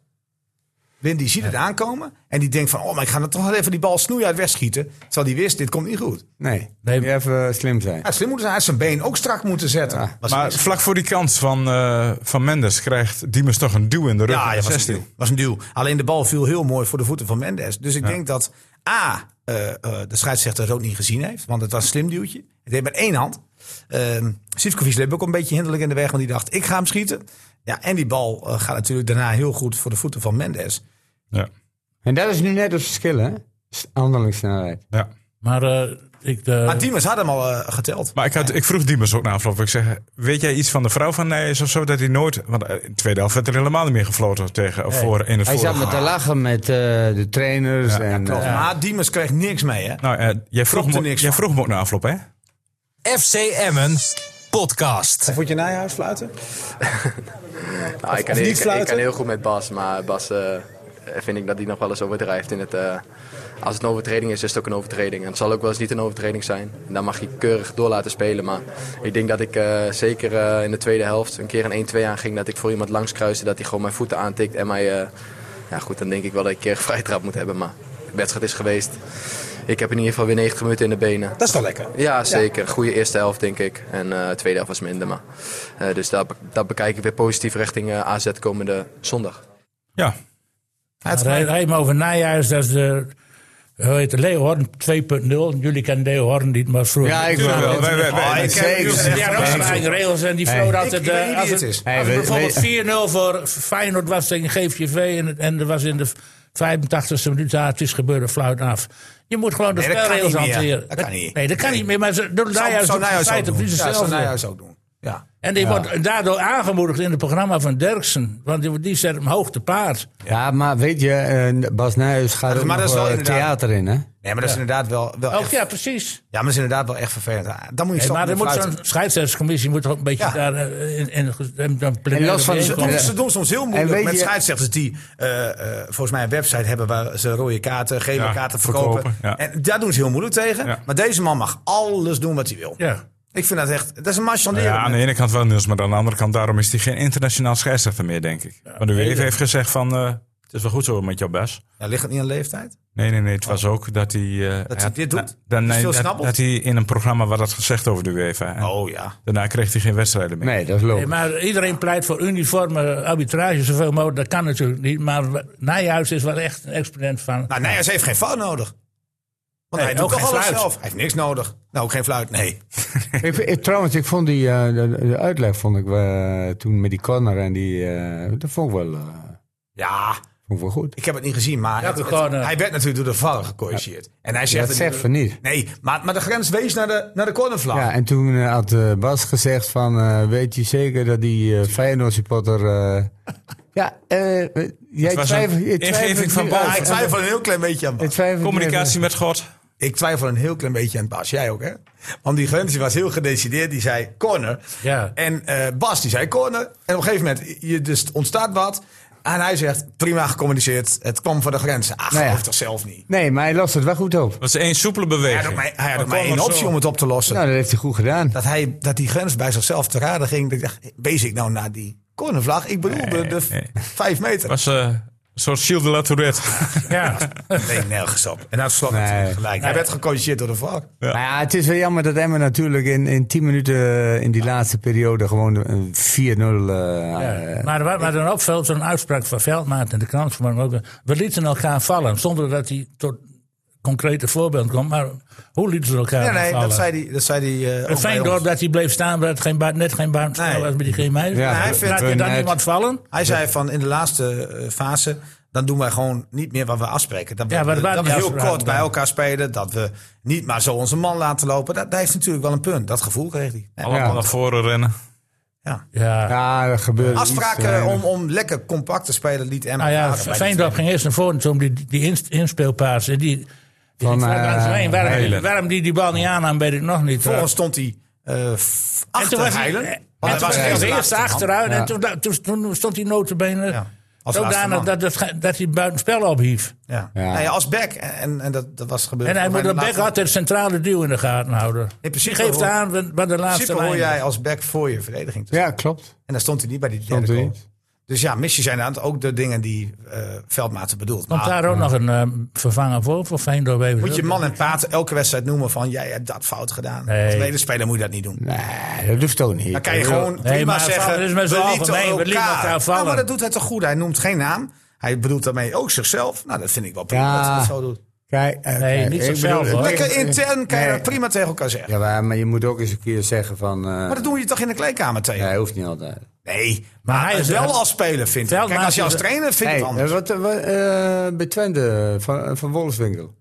S1: Blind die ziet het aankomen en die denkt van... oh, maar ik ga dan toch wel even die bal snoeien uit wegschieten. Terwijl die wist, dit komt niet goed.
S4: Nee,
S3: Nee.
S4: moet je even slim zijn.
S1: Ja, slim moeten zijn, hij had zijn been ook strak moeten zetten. Was
S2: Maar
S1: een-
S2: vlak voor die kans van, eh, van Mendes krijgt Diemers toch een duw in de rug.
S1: ja,
S2: in
S1: ja,
S2: de
S1: was, een
S2: 16.
S1: duw, was een duw. Alleen de bal viel heel mooi voor de voeten van Mendes. Dus ik denk dat A, eh, eh, de scheidsrechter het ook niet gezien heeft. Want het was een slim duwtje. Het deed met één hand. Ehm Sivkovic liep ook een beetje hinderlijk in de weg. Want die dacht, ik ga hem schieten. Ja, en die bal eh, gaat natuurlijk daarna heel goed voor de voeten van Mendes.
S2: Ja.
S4: En dat is nu net het verschil, hè? S- Handelingssnelheid.
S2: Ja.
S3: Maar eh, ik... de-
S1: Maar Diemers had hem al eh, geteld.
S2: Maar ik, had, ik vroeg Diemers ook na afloop. Ik zeg, weet jij iets van de vrouw van Nijs of zo? Dat hij nooit... Want eh, in de tweede helft werd er helemaal niet meer gefloten tegen, of voor, in het
S4: Hij zat
S2: vorige.
S4: met te lachen met eh, de trainers. en,
S1: Klopt.
S4: eh,
S1: Maar Diemers kreeg niks mee, hè?
S2: Nou, eh, jij, vroeg
S1: Klopte
S2: me,
S1: niks
S2: jij
S1: van.
S2: vroeg me ook na afloop, hè?
S5: FC Emmen podcast.
S1: Vond je Nijhuis fluiten?
S7: Nou, ik, kan,
S1: niet
S7: ik- ik
S1: fluiten?
S7: kan heel goed met Bas, maar Bas eh, vind ik dat hij nog wel eens overdrijft. In het, eh, als het een overtreding is, is het ook een overtreding. En het zal ook wel eens niet een overtreding zijn. En dan mag je keurig door laten spelen. Maar ik denk dat ik eh, zeker eh, in de tweede helft een keer een 1-2 aanging. Dat ik voor iemand langs kruiste, dat hij gewoon mijn voeten aantikt. En mij, eh, ja goed, dan denk ik wel dat ik een keer een vrije trap moet hebben. Maar de wedstrijd is geweest. Ik heb in ieder geval weer 90 minuten in de benen.
S1: Dat is wel lekker.
S7: Ja, zeker. Goede eerste helft, denk ik. En eh tweede helft was minder. Maar, eh, dus dat, dat bekijk ik weer positief richting eh, AZ komende zondag.
S2: Ja.
S1: Het
S3: Maar Hij hij heeft me over Nijhuis, dat is de... Hoe heet het? Leeuwarden 2.0. Jullie kennen Leeuwarden niet, maar vroeger...
S4: ja, ik
S2: Tuurlijk wel.
S4: wel.
S2: Wij- wij- wij-
S1: ik ken
S4: Zeker.
S1: Niels.
S3: Die hadden ook zijn eigen regels en die vloot
S1: Ik-
S3: altijd...
S1: ik weet niet
S3: eh,
S1: wie
S3: als
S1: het
S3: het,
S1: is.
S4: Hey,
S3: als het
S4: we-
S3: bijvoorbeeld 4-0 voor Feyenoord was tegen GVV... en, het- en er was in de 85e minuut, ah, het is gebeurd, een fluit af. Je moet gewoon de
S1: Nee, dat kan
S3: spelregels
S1: niet meer.
S3: hanteren.
S1: Dat kan niet.
S3: Nee, dat kan niet meer, maar ze, door
S1: Zou,
S3: Nijhuis
S1: zou
S3: doet in
S1: Nijhuis ook
S3: feite
S1: doen.
S3: precies
S1: Ja, zou
S3: hetzelfde.
S1: Nijhuis ook doen. Ja.
S3: En die wordt daardoor aangemoedigd in het programma van Derksen. Want die, die zet hem hoog te paard.
S4: Ja, maar weet je, eh, Bas Nijhuis gaat
S1: Maar
S4: ook nog
S1: dat is wel
S4: wel
S1: inderdaad-
S4: theater in, hè?
S1: Nee, maar dat is inderdaad wel, wel
S3: Ook
S1: echt, ja.
S3: ja, precies.
S1: maar dat is inderdaad wel echt vervelend. Ah, Dan moet je
S3: Hey,
S1: stoppen
S3: maar er
S1: met
S3: moet
S1: fluiten.
S3: zo'n scheidsrechtscommissie moet ook een beetje
S1: Ja.
S3: daar eh, in, in, in, dan plenaire
S4: los van de-
S1: Ze
S3: bijeenkomst.
S1: doen, ze doen soms heel
S4: En
S1: moeilijk
S4: weet
S1: met
S4: je-
S1: scheidsrechters die eh, eh, volgens mij een website hebben waar ze rode kaarten, gele
S2: Ja,
S1: kaarten verkopen.
S2: verkopen, ja.
S1: En daar doen ze heel moeilijk tegen.
S2: Ja.
S1: Maar deze man mag alles doen wat hij wil.
S3: Ja.
S1: Ik vind dat echt, dat is een marchanderen.
S2: ja, aan de ene kant wel Niels, maar aan de andere kant daarom is hij geen internationaal scheidsrechter meer, denk ik. Maar de UEFA heeft gezegd van, eh, Het is wel goed zo met jouw bas.
S1: Ja, ligt het niet aan leeftijd?
S2: Nee, nee, nee. Het was ook dat hij... eh,
S1: Oh. hij
S2: had-
S1: dit doet?
S2: Dan,
S1: Is
S2: nee,
S1: veel
S2: dat,
S1: snabbelt?
S2: dat hij in een programma wat had gezegd over de UEFA. En
S1: Oh ja.
S2: Daarna kreeg hij geen wedstrijden meer.
S4: Nee, dat is
S3: Nee,
S4: logisch.
S3: maar iedereen pleit voor uniforme arbitrage zoveel mogelijk. Dat kan natuurlijk niet. Maar wa- Nijhuis is wel echt een exponent van.
S1: Nou, Nijers heeft geen fout nodig. Want hij doet
S3: ook
S1: toch
S3: geen
S1: alles
S3: fluit.
S1: zelf. Hij heeft niks nodig. Nou, ook geen fluit, nee.
S4: Ik vind- ik- trouwens, ik vond die eh, de, de uitleg vond ik eh, toen met die corner en die. eh, dat vond ik wel, eh,
S1: Ja,
S4: vond ik wel goed.
S1: ik heb het niet gezien, maar
S3: Welke
S1: het-
S3: corner?
S1: het- hij werd natuurlijk door de VAR gecorrigeerd. En hij zegt...
S4: dat
S1: het-
S4: zegt van niet.
S1: Nee, maar, maar de grens wees naar de, naar de cornervlag.
S4: Ja, en toen eh, had eh, Bas gezegd van, eh, weet je zeker dat die eh Feyenoord supporter... eh, ja, eh, jij
S2: was
S4: twijfelt...
S2: een
S4: je twijfelt
S2: ingeving van
S4: nu-
S2: Bas.
S1: Ja, ik
S4: eh,
S1: twijfel een heel klein beetje aan Bas.
S4: je twijfelt nu
S2: Communicatie met God.
S1: Ik twijfel een heel klein beetje aan Bas. Jij ook, hè? Want die Gwensie was heel gedecideerd. Die zei corner.
S3: Ja.
S1: En eh, Bas, die zei corner. En op een gegeven moment je, dus ontstaat wat. En hij zegt, prima gecommuniceerd. Het kwam van de grenzen. Ach,
S4: Nou ja.
S1: geloof toch zelf niet.
S4: even- Nee, maar hij lost het wel goed op.
S2: Dat is één soepele
S1: Hij
S2: beweging.
S1: had ook maar, hij had ook
S2: kwam
S1: maar één
S2: er zo.
S1: optie om het op te lossen.
S4: Nou, dat heeft hij goed gedaan.
S1: Dat, hij, dat die grens bij zichzelf te raden ging. Dat ik dacht, wees ik nou naar die cornervlag? Ik bedoel, de, de v-
S2: nee.
S1: vijf meter.
S2: was eh, een soort Gilles de la Tourette.
S3: Ja.
S1: Nee, nergens op. En dat slot natuurlijk gelijk. Hij werd gecorrigeerd door de VAR.
S4: Maar ja, het is wel jammer dat Emmen natuurlijk in, in 10 minuten eh, in die laatste periode gewoon een 4-0... eh,
S3: Ja. Maar wat mij dan opvalt, zo'n uitspraak van Veldmaat en de krant vanmorgen ook. We lieten elkaar vallen, zonder dat hij tot concrete voorbeeld komt. Maar hoe lieten ze elkaar
S1: Nee, nee,
S3: vallen?
S1: dat zei hij. Dat zei hij eh,
S3: Een
S1: ook bij
S3: fijn
S1: ons.
S3: dorp dat hij bleef staan, maar dat geen baan, net geen baan
S1: Nee.
S3: was met die geen meisje.
S4: Ja,
S1: hij vindt-
S3: Laat je dan
S4: Net.
S3: iemand vallen?
S1: Hij zei van in de laatste eh, fase, dan doen wij gewoon niet meer wat we afspreken. Dat we,
S3: Ja, maar
S1: dat
S3: dat waren
S1: we
S3: die
S1: heel
S3: afspraken
S1: kort bij
S3: dan.
S1: elkaar spelen, dat we niet maar zo onze man laten lopen. Dat, dat heeft natuurlijk wel een punt. Dat gevoel kreeg hij. Ja.
S2: Allemaal
S4: Ja.
S2: naar voren rennen.
S1: Ja.
S3: Ja.
S4: ja, dat gebeurt iets,
S1: Afspraken
S4: eh,
S1: om, om lekker compact te spelen liet Emma.
S3: Nou ja,
S1: varen bij die
S3: Veendorp
S1: twee.
S3: ging eerst naar voren toen die, die ins- inspeelpaas. En die, die
S4: Van,
S3: ging vlak langs
S4: eh,
S3: me heen. waarom,
S2: Heilen.
S3: waarom die die bal niet aannam, weet ik nog niet.
S1: Vervolgens stond hij eh, f-
S3: en toen
S1: achter
S3: was
S1: Heilen.
S3: hij,
S1: Want
S3: en toen was hij als
S1: de
S3: eerste
S1: laatste man.
S3: achteruit.
S4: Ja.
S3: En toen, toen, toen stond hij notenbenen
S1: Ja, als laatste
S3: zodanig
S1: man.
S3: dat, dat, dat hij buitenspel ophief.
S1: Ja.
S4: Ja.
S1: Nou ja, als back. En, en dat, dat was gebeurd.
S3: En hij moet
S1: Bij
S3: de
S1: de
S3: bek
S1: laatste-
S3: altijd centrale duw in de gaten houden.
S1: In principe
S3: die geeft
S1: hoor-
S3: aan bij de
S1: In
S3: laatste
S1: principe hoor
S3: lijn.
S1: jij als back voor je verdediging te
S4: Ja, klopt.
S1: En daar stond hij niet bij die
S4: Stond
S1: derde
S4: hij
S1: goal.
S4: niet.
S1: Dus ja, missies zijn aan het ook de dingen die eh Veldmaten bedoelt.
S3: Komt
S1: Maar
S3: daar ook nog een eh, vervanger voor, voor Veendorp even.
S1: Ah. moet je man en paat elke wedstrijd noemen van jij hebt dat fout gedaan.
S3: Nee.
S1: Als medespeler moet je dat niet doen.
S4: Nee, dat hoeft ook niet.
S1: Dan kan je gewoon prima
S3: maar
S1: zeggen,
S3: vallen is met z'n
S1: we
S3: allen.
S1: lieten
S3: Nee, we
S1: elkaar.
S3: lieten elkaar vallen.
S1: Nou, maar dat doet hij toch goed. Hij noemt geen naam. Hij bedoelt daarmee ook zichzelf. Nou, dat vind ik wel prima
S4: Ja.
S1: dat hij dat zo doet.
S4: Kijk, eh,
S3: Nee,
S4: kijk,
S3: niet
S4: ik
S3: zichzelf,
S4: bedoel,
S3: hoor.
S4: het ligt-
S1: Lekker intern kan je
S4: Nee.
S1: dat prima tegen elkaar zeggen.
S4: Ja, maar, maar je moet ook eens een keer zeggen van... eh,
S1: Maar dat doen je toch in de kleedkamer tegen?
S4: Nee, hoeft niet altijd.
S1: Nee, maar,
S3: Maar hij
S1: hij
S3: is-
S1: is wel als speler vindt. hij. Kijk,
S3: Veldmaat
S1: als je
S3: is-
S1: als trainer vindt
S4: Hey,
S1: het anders.
S4: eh, wat, eh, wat, eh, bij Twente, eh, van, van Wolfswinkel.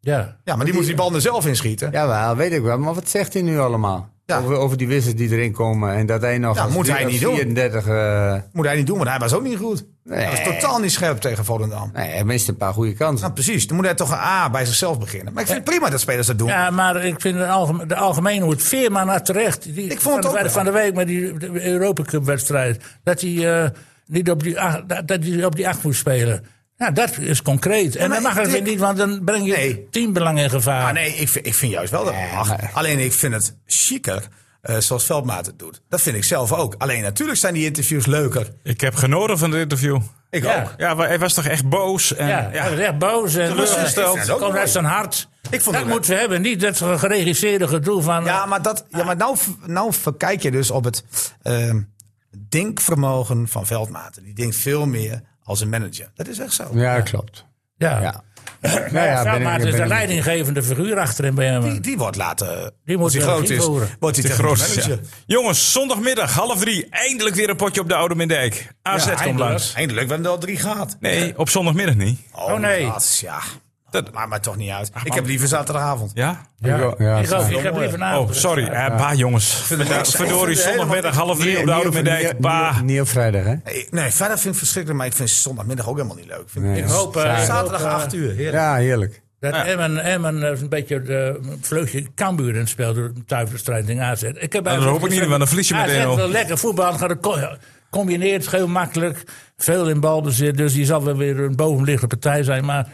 S3: Ja.
S1: Ja, maar die moet die bal er zelf inschieten.
S4: Ja, wel, weet ik wel. Maar wat zegt hij nu allemaal?
S1: Ja.
S4: Over, over die wissels die erin komen en dat hij nog
S1: Ja,
S4: als
S1: moet
S4: drie-
S1: hij
S4: als
S1: niet doen.
S4: 34... eh
S1: Moet hij niet doen, want hij was ook niet goed. Hij was totaal niet scherp tegen Volendam.
S4: nee, hij mist een paar goede kansen.
S1: Nou, precies. Dan moet hij toch een A bij zichzelf beginnen. Maar ik vind het prima dat spelers dat doen.
S3: ja, maar ik vind de, algemeen, de algemene hoed Veerman naar terecht. Die,
S1: Ik vond het
S3: van, de-
S1: ook wel.
S3: van de week met die de Europa Cup wedstrijd. Dat hij eh, niet op die, acht- dat, dat hij op die acht moest spelen. Ja, dat is concreet. en
S1: maar
S3: dat mag
S1: ik
S3: het weer
S1: denk-
S3: niet, want dan breng je
S1: Nee.
S3: teambelang in gevaar.
S1: Ah, nee, ik vind, ik vind juist wel dat het mag. Alleen ik vind het chiquer eh, zoals Veldmaat het doet. Dat vind ik zelf ook. Alleen natuurlijk zijn die interviews leuker.
S2: Ik heb genoten van dit interview.
S1: Ik
S3: Ja.
S1: ook.
S2: Ja, maar hij was toch echt boos. En,
S3: Ja, hij was echt boos en
S1: Teleurgesteld.
S3: teleurgesteld. Komt uit zijn hart.
S1: Ik vond
S3: dat
S1: het-
S3: moeten we hebben, niet dat geregisseerde gedoe van... eh,
S1: Ja, maar, dat, ja, maar nou, v- nou verkijk je dus op het ehm denkvermogen van Veldmaten. Die denkt veel meer als een manager. Dat is echt zo.
S4: Ja, klopt.
S3: ja.
S4: Ja. Nou
S3: Ja,
S4: ben ik-
S3: Veldmaat
S4: ben
S3: is de
S4: ik-
S3: leidinggevende figuur achterin bij hem.
S1: Die, die wordt later,
S3: Die moet
S1: als hij
S3: er
S1: groot is,
S3: invoeren.
S1: wordt hij
S2: De
S1: technisch
S2: grootste.
S1: manager.
S2: ja. Jongens, zondagmiddag half drie. Eindelijk weer een potje op de Oude Mindijk. AZ komt
S3: eindelijk.
S2: langs.
S1: Eindelijk, we hebben er al drie gehad.
S2: Nee, op zondagmiddag niet.
S1: Oh,
S3: nee.
S1: dat, ja.
S2: Dat- Ah,
S1: Maar, maar toch niet uit. ik
S2: man.
S1: heb liever zaterdagavond.
S2: Ja?
S3: ja.
S4: Ja,
S3: ik, ook,
S4: ja.
S3: ik heb
S1: Nou,
S3: liever na.
S2: Oh, sorry. Eh, Bah, jongens. Verdorie, zondagmiddag half drie op de Oude Mindijk. Bah.
S4: Niet op vrijdag, hè?
S1: Nee, nee, verder vind ik verschrikkelijk, maar ik vind zondagmiddag ook helemaal niet leuk. Ik vind
S4: Nee.
S3: Ik hoop, eh, ik hoop,
S1: zaterdag
S3: eh,
S1: 8 uur. heerlijk.
S4: Ja, heerlijk.
S3: dat Emmen, Emmen eh, een beetje de vleugje Cambuur in het spel door een tuinverstrijding aanzet. Ik heb eigenlijk
S2: hoop ik niet,
S3: gezegd,
S2: want dan verlies je met
S3: AZ
S2: 1-0.
S3: wil lekker voetbal, gaat het co- combineert heel makkelijk, veel in balbezit, dus die zal wel weer een bovenliggende partij zijn. Maar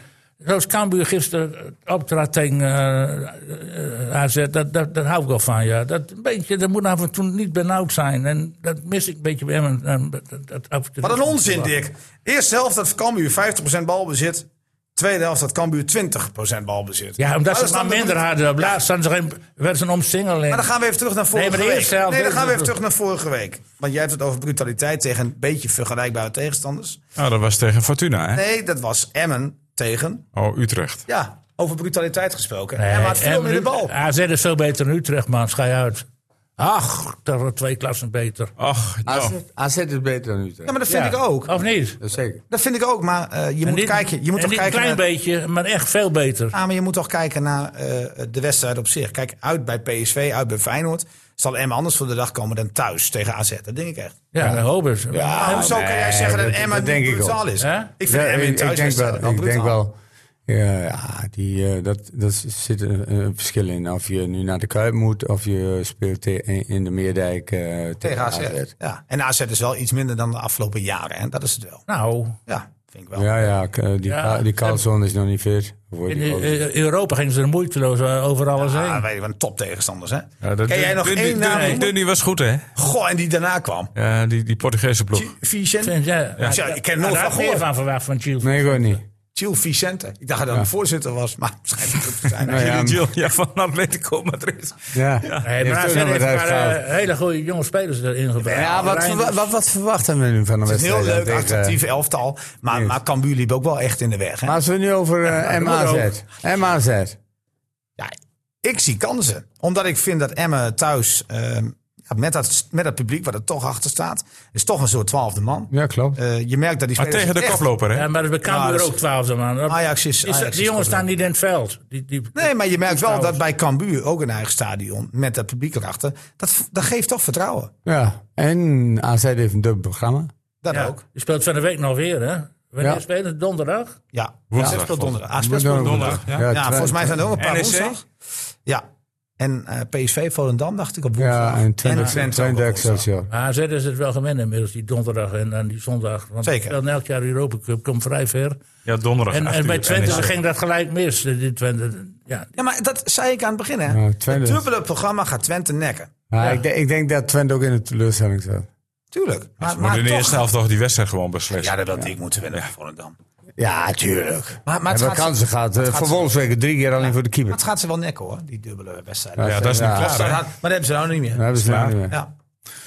S3: Zoals Cambuur gisteren optrad tegen eh, eh, AZ, dat, dat, dat hou ik wel van. Ja. Dat, een beetje, dat moet af en toe niet benauwd zijn. En dat mis ik een beetje bij hem. En dat- dat- dat af en toe
S1: Wat een
S3: niet.
S1: onzin, Dick. Eerste helft dat Cambuur 50% balbezit. Tweede helft dat Cambuur 20% balbezit.
S3: Ja, omdat
S1: Maar dat
S3: ze
S1: is
S3: het maar
S1: dan-
S3: minder hadden. Op laatst hadden ze geen, werden ze een omsingeling.
S1: Maar dan gaan we even terug naar vorige
S3: maar de
S1: week.
S3: eerste helft
S1: nee, dan
S3: is-
S1: gaan we even terug naar vorige week. Want jij hebt het over brutaliteit tegen een beetje vergelijkbare tegenstanders.
S2: Nou, dat was tegen Fortuna, hè?
S1: Nee, dat was Emmen tegen.
S2: Oh, Utrecht.
S1: Ja, over brutaliteit gesproken.
S3: Nee,
S1: Emmen had veel
S3: en
S1: meer de
S3: nu-
S1: bal.
S3: AZ is veel beter dan Utrecht, man. Schij uit. Ach, dat waren twee klassen beter.
S2: Ach,
S4: AZ,
S2: nou.
S4: AZ is beter dan Utrecht.
S1: Ja, maar dat vind
S3: Ja.
S1: ik ook.
S3: Of niet?
S4: Dat zeker.
S1: Dat vind ik ook, maar eh, je
S3: En
S1: moet
S3: niet-
S1: kijken. Je moet
S3: en
S1: toch
S3: niet
S1: kijken
S3: een klein
S1: naar,
S3: beetje, maar echt veel beter.
S1: Ah, maar je moet toch kijken naar eh, de wedstrijd op zich. Kijk, uit bij PSV, uit bij Feyenoord. Zal Emmen anders voor de dag komen dan thuis tegen AZ. Dat denk ik echt.
S3: Ja, dat hoop ik.
S1: Ah, hoezo kan jij zeggen dat,
S4: dat-
S1: Emma
S4: dat
S1: niet
S4: denk ik wel.
S1: brutaal is?
S3: Hè?
S1: Ik vind
S4: Ja,
S1: Emma in
S4: ik, ik denk
S1: thuiswedstrijden
S4: wel. Ik denk
S1: brutaal.
S4: wel ja, ja, die, eh, dat, dat zit een, een verschil in. Of je nu naar de Kuip moet of je speelt te- in in de Meerdijk eh,
S1: Tegen AZ. Ja. En AZ is wel iets minder dan de afgelopen jaren. Hè? Dat is het wel.
S3: Nou,
S1: Ja, vind ik wel.
S4: Ja, ja, k- eh, die,
S3: Ja,
S4: Ka- die Carlson is nog niet fit. Hoe
S3: in
S4: heet die Carlson?
S3: eh, Europa gingen ze er moeiteloos eh, over alles
S1: Ah,
S3: heen.
S1: weet je, wat een toptegenstanders, hè?
S2: Ja, dat
S1: Ken jij nog
S2: Dun-
S1: één
S2: Dun-
S1: naam
S2: Dun-
S1: noemen?
S2: Dunny was goed, hè?
S1: Goh, en die daarna kwam.
S2: Ja, die, die Portugese ploeg.
S1: Vicente.
S3: Vind jij-
S1: Ja, ik ken nooit
S3: Daar
S1: van
S3: had meer
S1: gehoord.
S3: van verwacht van Chelsea.
S4: Nee, gewoon niet.
S1: Gil Vicente. Ik dacht dat hij de voorzitter was, maar waarschijnlijk moet het zijn.
S4: Ja,
S2: Die Gil, ja, van Atletico Madrid.
S4: ja.
S3: Nee, maar AZ
S4: Heeft ook nog
S3: heeft
S4: wat
S3: maar
S4: uitgehaald.
S3: eh, hele goede jonge spelers erin gebracht.
S4: Ja, wat, verwa- wat, wat verwachten we nu van een
S1: Het is een
S4: wedstrijd?
S1: heel
S4: dan
S1: leuk,
S4: tegen-
S1: attractief elftal. Maar, maar Cambuur liep ook wel echt in de weg. Hè?
S4: Maar als we nu over eh, MAZ. MAZ.
S1: Ja, ik zie kansen. Omdat ik vind dat Emmen thuis, eh, ja, met, dat, met dat publiek wat er toch achter staat, is toch een soort twaalfde man.
S4: Ja, klopt.
S1: Eh, je merkt dat die
S2: Maar
S1: spelers
S2: tegen de
S1: echt-
S2: koploper, hè?
S3: Ja, maar dat is bij
S1: Ja,
S3: Cambuur
S1: dat is-
S3: ook twaalfde man. Dat-
S1: Ajax is-
S3: dat-
S1: Ajax
S3: die
S1: is
S3: jongens
S1: goed,
S3: staan niet in het veld. Die, die,
S1: Nee, maar je merkt wel dat bij Cambuur, ook een eigen stadion, met dat publiek erachter, dat, dat geeft toch vertrouwen.
S4: Ja. En AZ heeft een dubbel programma.
S1: Dat
S3: ja,
S1: ook.
S3: Die speelt van de week nog weer, hè? Wanneer
S4: Ja.
S3: spelen ze? Donderdag?
S1: Ja,
S2: Woensdag,
S1: AZ speelt donderdag. AZ speelt
S4: Donderdag.
S2: donderdag, ja.
S1: Ja,
S4: twee-
S1: volgens mij zijn er ook een paar
S2: NEC?
S1: woensdag. Ja, en eh PSV Volendam dacht ik op woensdag. eh,
S4: Ja, en Twente
S1: Twente ook
S4: Twente
S1: op
S4: Excelsior.
S3: Maar AZ is het wel gewend inmiddels, die donderdag en dan die zondag. Want
S1: Zeker.
S3: Dan elk jaar de Europa Cup komt vrij ver.
S2: Ja, donderdag.
S3: En,
S2: acht
S3: en bij
S2: uur,
S3: Twente
S2: NEC.
S3: ging dat gelijk mis. eh, Die Twente, ja,
S1: Ja, maar dat zei ik aan het begin, hè.
S4: Ja,
S1: het
S4: Twente.
S1: dubbele programma gaat Twente nekken.
S4: Maar ik, denk- ik denk dat Twente ook in de teleurstelling zat.
S1: Tuurlijk. Maar,
S2: Ze moeten
S1: maar
S2: in de
S1: toch-
S2: eerste helft toch die wedstrijd gewoon beslissen.
S1: Ja, dat had ik moeten winnen voor Volendam.
S4: Ja, tuurlijk.
S1: Maar, maar, het
S4: Hebben
S1: gaat,
S4: kansen
S1: ze,
S4: gehad. eh,
S1: gaat
S4: Voor
S1: ze-
S4: Wolfsweken drie keer alleen voor de
S1: maar
S4: keeper.
S1: het gaat ze wel nekken hoor, die dubbele wedstrijd.
S2: Ja, dat is niet
S4: Ja.
S2: klaar,
S1: Dat
S2: hè?
S1: had- maar dat hebben ze nou niet meer.
S4: Dat hebben ze nou niet meer.
S1: Ja,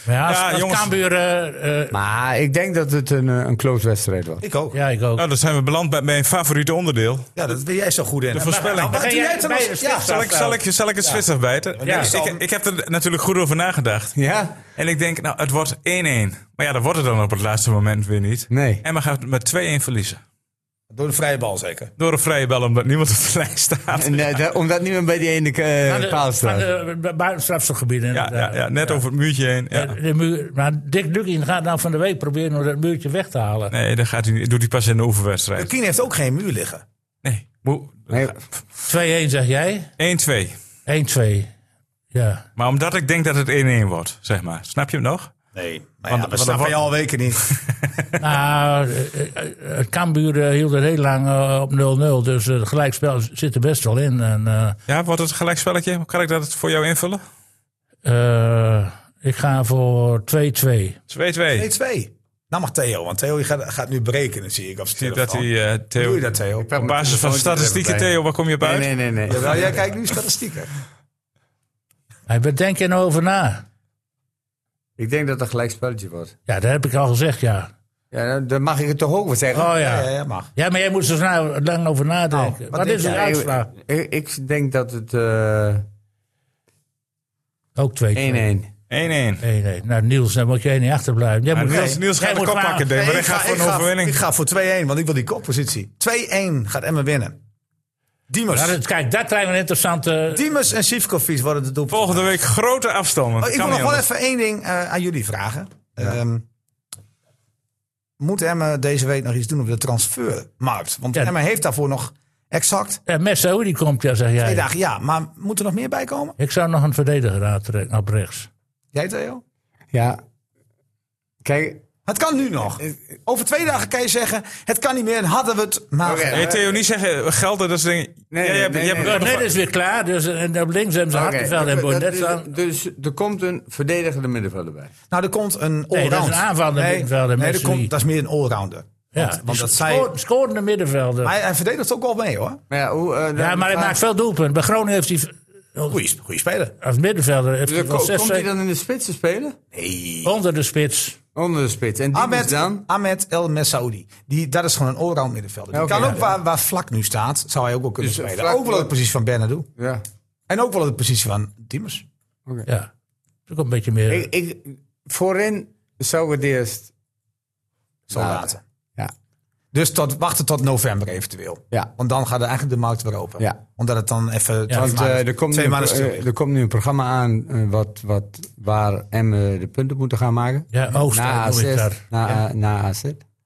S3: Maar ja, als,
S2: Ja,
S3: als
S2: jongens.
S3: Cambuur... eh, eh,
S4: Maar ik denk dat het een, eh, een close wedstrijd wordt.
S1: ik ook. Ja,
S3: ja, ik ook.
S2: Nou, dan zijn we beland bij mijn favoriete onderdeel.
S1: dat ben jij zo goed in.
S2: De voorspelling.
S1: Wat
S3: Ga
S1: doe jij
S3: jij
S1: ten
S3: bij
S1: als-
S3: de
S1: Ja,
S3: spits
S2: Zal ik, zal ik, zal ik het Zwitser bijten?
S3: Ja.
S2: Ik, ik heb er natuurlijk goed over nagedacht.
S4: Ja?
S2: En ik denk, nou, het wordt 1-1. Maar ja, dat wordt het dan op het laatste moment weer niet.
S4: Nee.
S2: En we gaan met 2-1 verliezen.
S1: door de vrije bal zeker.
S2: Door een vrije bal, omdat niemand op de lijn staat.
S4: En, eh, da- omdat niemand bij die ene eh,
S3: Van de-
S4: paal
S3: van
S4: staat.
S3: de- bu- Buiten het strafschopgebied
S2: Ja, ja,
S3: inderdaad.
S2: ja, net over het muurtje heen. Ja.
S3: De muur, maar Dick Dukkie gaat nou van de week proberen om dat muurtje weg te halen.
S2: Nee, dat gaat hij niet. doet hij pas in de oefenwedstrijd.
S1: Kien heeft ook geen muur liggen.
S2: Nee. Moe-
S4: Nee,
S3: 2-1 zeg jij?
S2: 1-2.
S3: 1-2. Ja.
S2: Maar omdat ik denk dat het 1-1 wordt, zeg maar. Snap je hem nog?
S1: Nee, maar
S2: Want-
S1: ja, dat
S2: want-
S1: snappen je al weken niet.
S3: Nou, eh, eh, eh, Cambuur eh, hield het heel lang eh, op 0-0. Dus het gelijkspel zit er best wel in. En, eh,
S2: Ja, wordt het een gelijkspelletje? Kan ik dat voor jou invullen? 2-2.
S3: eh, ik ga voor 2-2.
S1: 1-2. Nou mag Theo, want Theo die gaat, gaat nu berekenen zie ik op zijn
S2: Zie dat hij,
S1: telefoon.
S2: eh,
S1: Doe
S2: Theo,
S1: je dat Theo?
S2: op basis van statistieken, Theo, waar kom je op uit?
S4: Nee, nee, nee.
S1: Jawel, jij kijkt nu statistieken.
S3: Hey, Waar denk je nou over na?
S4: Ik denk dat het een gelijk spelletje wordt.
S3: Ja, dat heb ik al gezegd, ja.
S4: Ja, dan- dan mag ik het toch ook wel zeggen.
S3: Oh ja.
S1: Ja, ja, mag.
S3: Ja, maar jij moet er zo na- lang over nadenken.
S1: Nou, wat
S3: wat
S1: denk
S3: is de
S1: jij?
S3: uitslag?
S4: ik, ik- ik denk dat het eh, 1-1.
S3: Ook 2-2.
S2: 1-1.
S3: Nee, nee. Nou, Niels, dan moet jij niet achterblijven. Jij
S2: Ja,
S3: moet,
S2: Niels, Niels
S3: jij
S2: gaat de
S3: moet
S2: kop
S3: maar-
S2: pakken, denk ik. Maar
S1: Nee,
S2: hij gaat voor
S1: ik
S2: een
S1: Ik
S2: overwinning.
S1: ga voor 2-1, want ik wil die koppositie. 2-1 gaat Emmen winnen. Diemers.
S3: Ja, dat- kijk, daar krijgen we een interessante...
S1: Diemers en Sivkovic worden de doelpunten.
S2: Volgende week grote afstanden.
S1: Oh, ik wil nog wel even één ding eh, aan jullie vragen. Ehm, moet Emmen deze week nog iets doen op de transfermarkt? Want
S3: Ja.
S1: Emmen heeft daarvoor nog exact
S3: Ja, Messo, die komt, ja, zeg
S1: twee
S3: jij.
S1: dagen. Ja, maar moet er nog meer bij komen?
S3: Ik zou nog een verdediger aantrekken op rechts.
S1: Jij Theo?
S4: Ja. Kijk,
S1: Het kan nu nog. Over twee dagen kan je zeggen, het kan niet meer en hadden we het maar
S4: Oké.
S1: gedaan.
S2: Nee, Theo, niet zeggen eh, gelden, dat is dingen. Ja,
S4: Nee,
S2: je
S4: nee,
S2: hebt-
S4: nee,
S2: je hebt-
S4: nee.
S3: Net is weer klaar, dus en op links hebben ze
S4: Oké,
S3: Hartenveld en
S4: dat-
S3: Bonnet
S4: dus-
S3: staan.
S4: Dus er komt een verdedigende middenvelder bij.
S1: Nou, er komt een allround.
S3: dat is een aanvallende
S1: nee,
S3: middenvelder
S1: Nee,
S3: met
S1: er komt,
S3: Sully.
S1: dat is meer een allrounder.
S3: Ja,
S1: Want, want dat zei,
S3: scoor, scorende middenvelder.
S1: hij, hij verdedigt ook wel mee hoor.
S4: Maar ja, hoe, eh,
S3: ja,
S4: dan-
S3: maar hij maakt veel doelpunten. Bij Groningen heeft hij,
S1: Goeie, goeie speler.
S3: als middenvelder, heeft
S4: Dus
S3: hij wel
S4: ko-
S3: zes,
S4: komt hij
S3: zeven-
S4: dan in de spits te spelen?
S3: onder de spits.
S4: Onder de spits. En die is
S1: Ahmed,
S4: dan?
S1: Ahmed El Messaoudi. Die, dat is gewoon een allround middenvelder. Die
S4: Ja, oké,
S1: kan
S4: ja,
S1: ook
S4: ja.
S1: Waar, waar vlak nu staat, zou hij ook wel kunnen
S4: Dus, eh,
S1: spelen.
S4: Vlak
S1: ook wel op de
S4: wordt-
S1: positie van Bernardo.
S4: Ja.
S1: En ook wel op de positie van Diemers.
S3: Ja, dat is ook een beetje meer.
S4: Ik, ik, voorin zou ik het eerst...
S1: Zo
S4: Later.
S1: laten.
S4: Ja.
S1: Dus tot, wachten tot november eventueel.
S4: Ja.
S1: Want dan gaat er eigenlijk de markt weer open.
S4: Ja.
S1: Omdat het dan even twee
S4: Want
S1: maanden-
S4: eh, er, komt nu,
S1: twee
S4: een-
S1: maanden stil
S4: eh,
S1: ligt.
S4: er komt nu een programma aan eh, wat, wat, waar Emmen de punten moeten gaan maken.
S3: ja, Oost,
S4: na
S3: noem ik
S4: AZ.
S3: daar.
S4: Na, na AZ.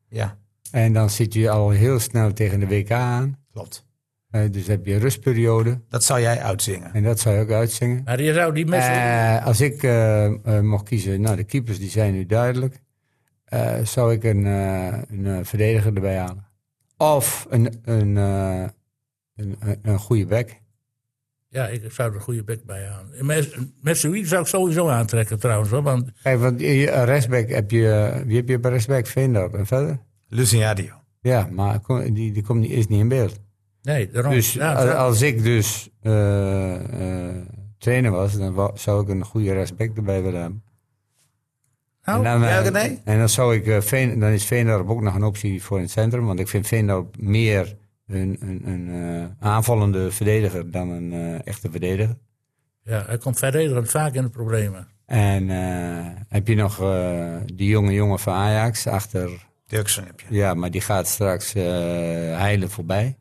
S1: Ja,
S4: En dan zit je al heel snel tegen de WK aan.
S1: klopt.
S4: Eh, dus heb je een rustperiode.
S1: Dat zou jij uitzingen.
S4: En dat zou je ook uitzingen.
S3: Maar je zou die mensen...
S4: Eh, als ik eh, eh, mocht kiezen, nou de keepers die zijn nu duidelijk. Eh, zou ik een, eh, een eh, verdediger erbij halen. Of een, een, eh, een, een, een goede back.
S3: ja, ik zou er een goede bek bij aan. Met, met zoiets zou ik sowieso aantrekken trouwens. Hoor, want
S4: Kijk, want je- je- een rechtsback heb je, eh, wie heb je bij rechtsback? Veendorp en verder?
S1: Luciadio.
S4: Ja, maar kom- die, die komt, niet- is niet in beeld.
S3: nee, daarom...
S4: Dus
S3: Oh, ja,
S4: als,
S3: dat-
S4: als ik dus eh, eh, trainer was, dan wa- zou ik een goede respect erbij willen hebben.
S3: nou,
S4: dan, eh,
S1: ja, René?
S4: en dan zou ik eh, Veen, dan is Veendorp ook nog een optie voor in het centrum, want ik vind Veendorp meer een, een, een eh, aanvallende verdediger dan een eh, echte verdediger.
S3: ja, hij komt verdedigend vaak in de problemen.
S4: En eh, heb je nog eh, die jonge jongen van Ajax achter,
S1: Dirksen heb je.
S4: ja, maar die gaat straks eh Heilen voorbij.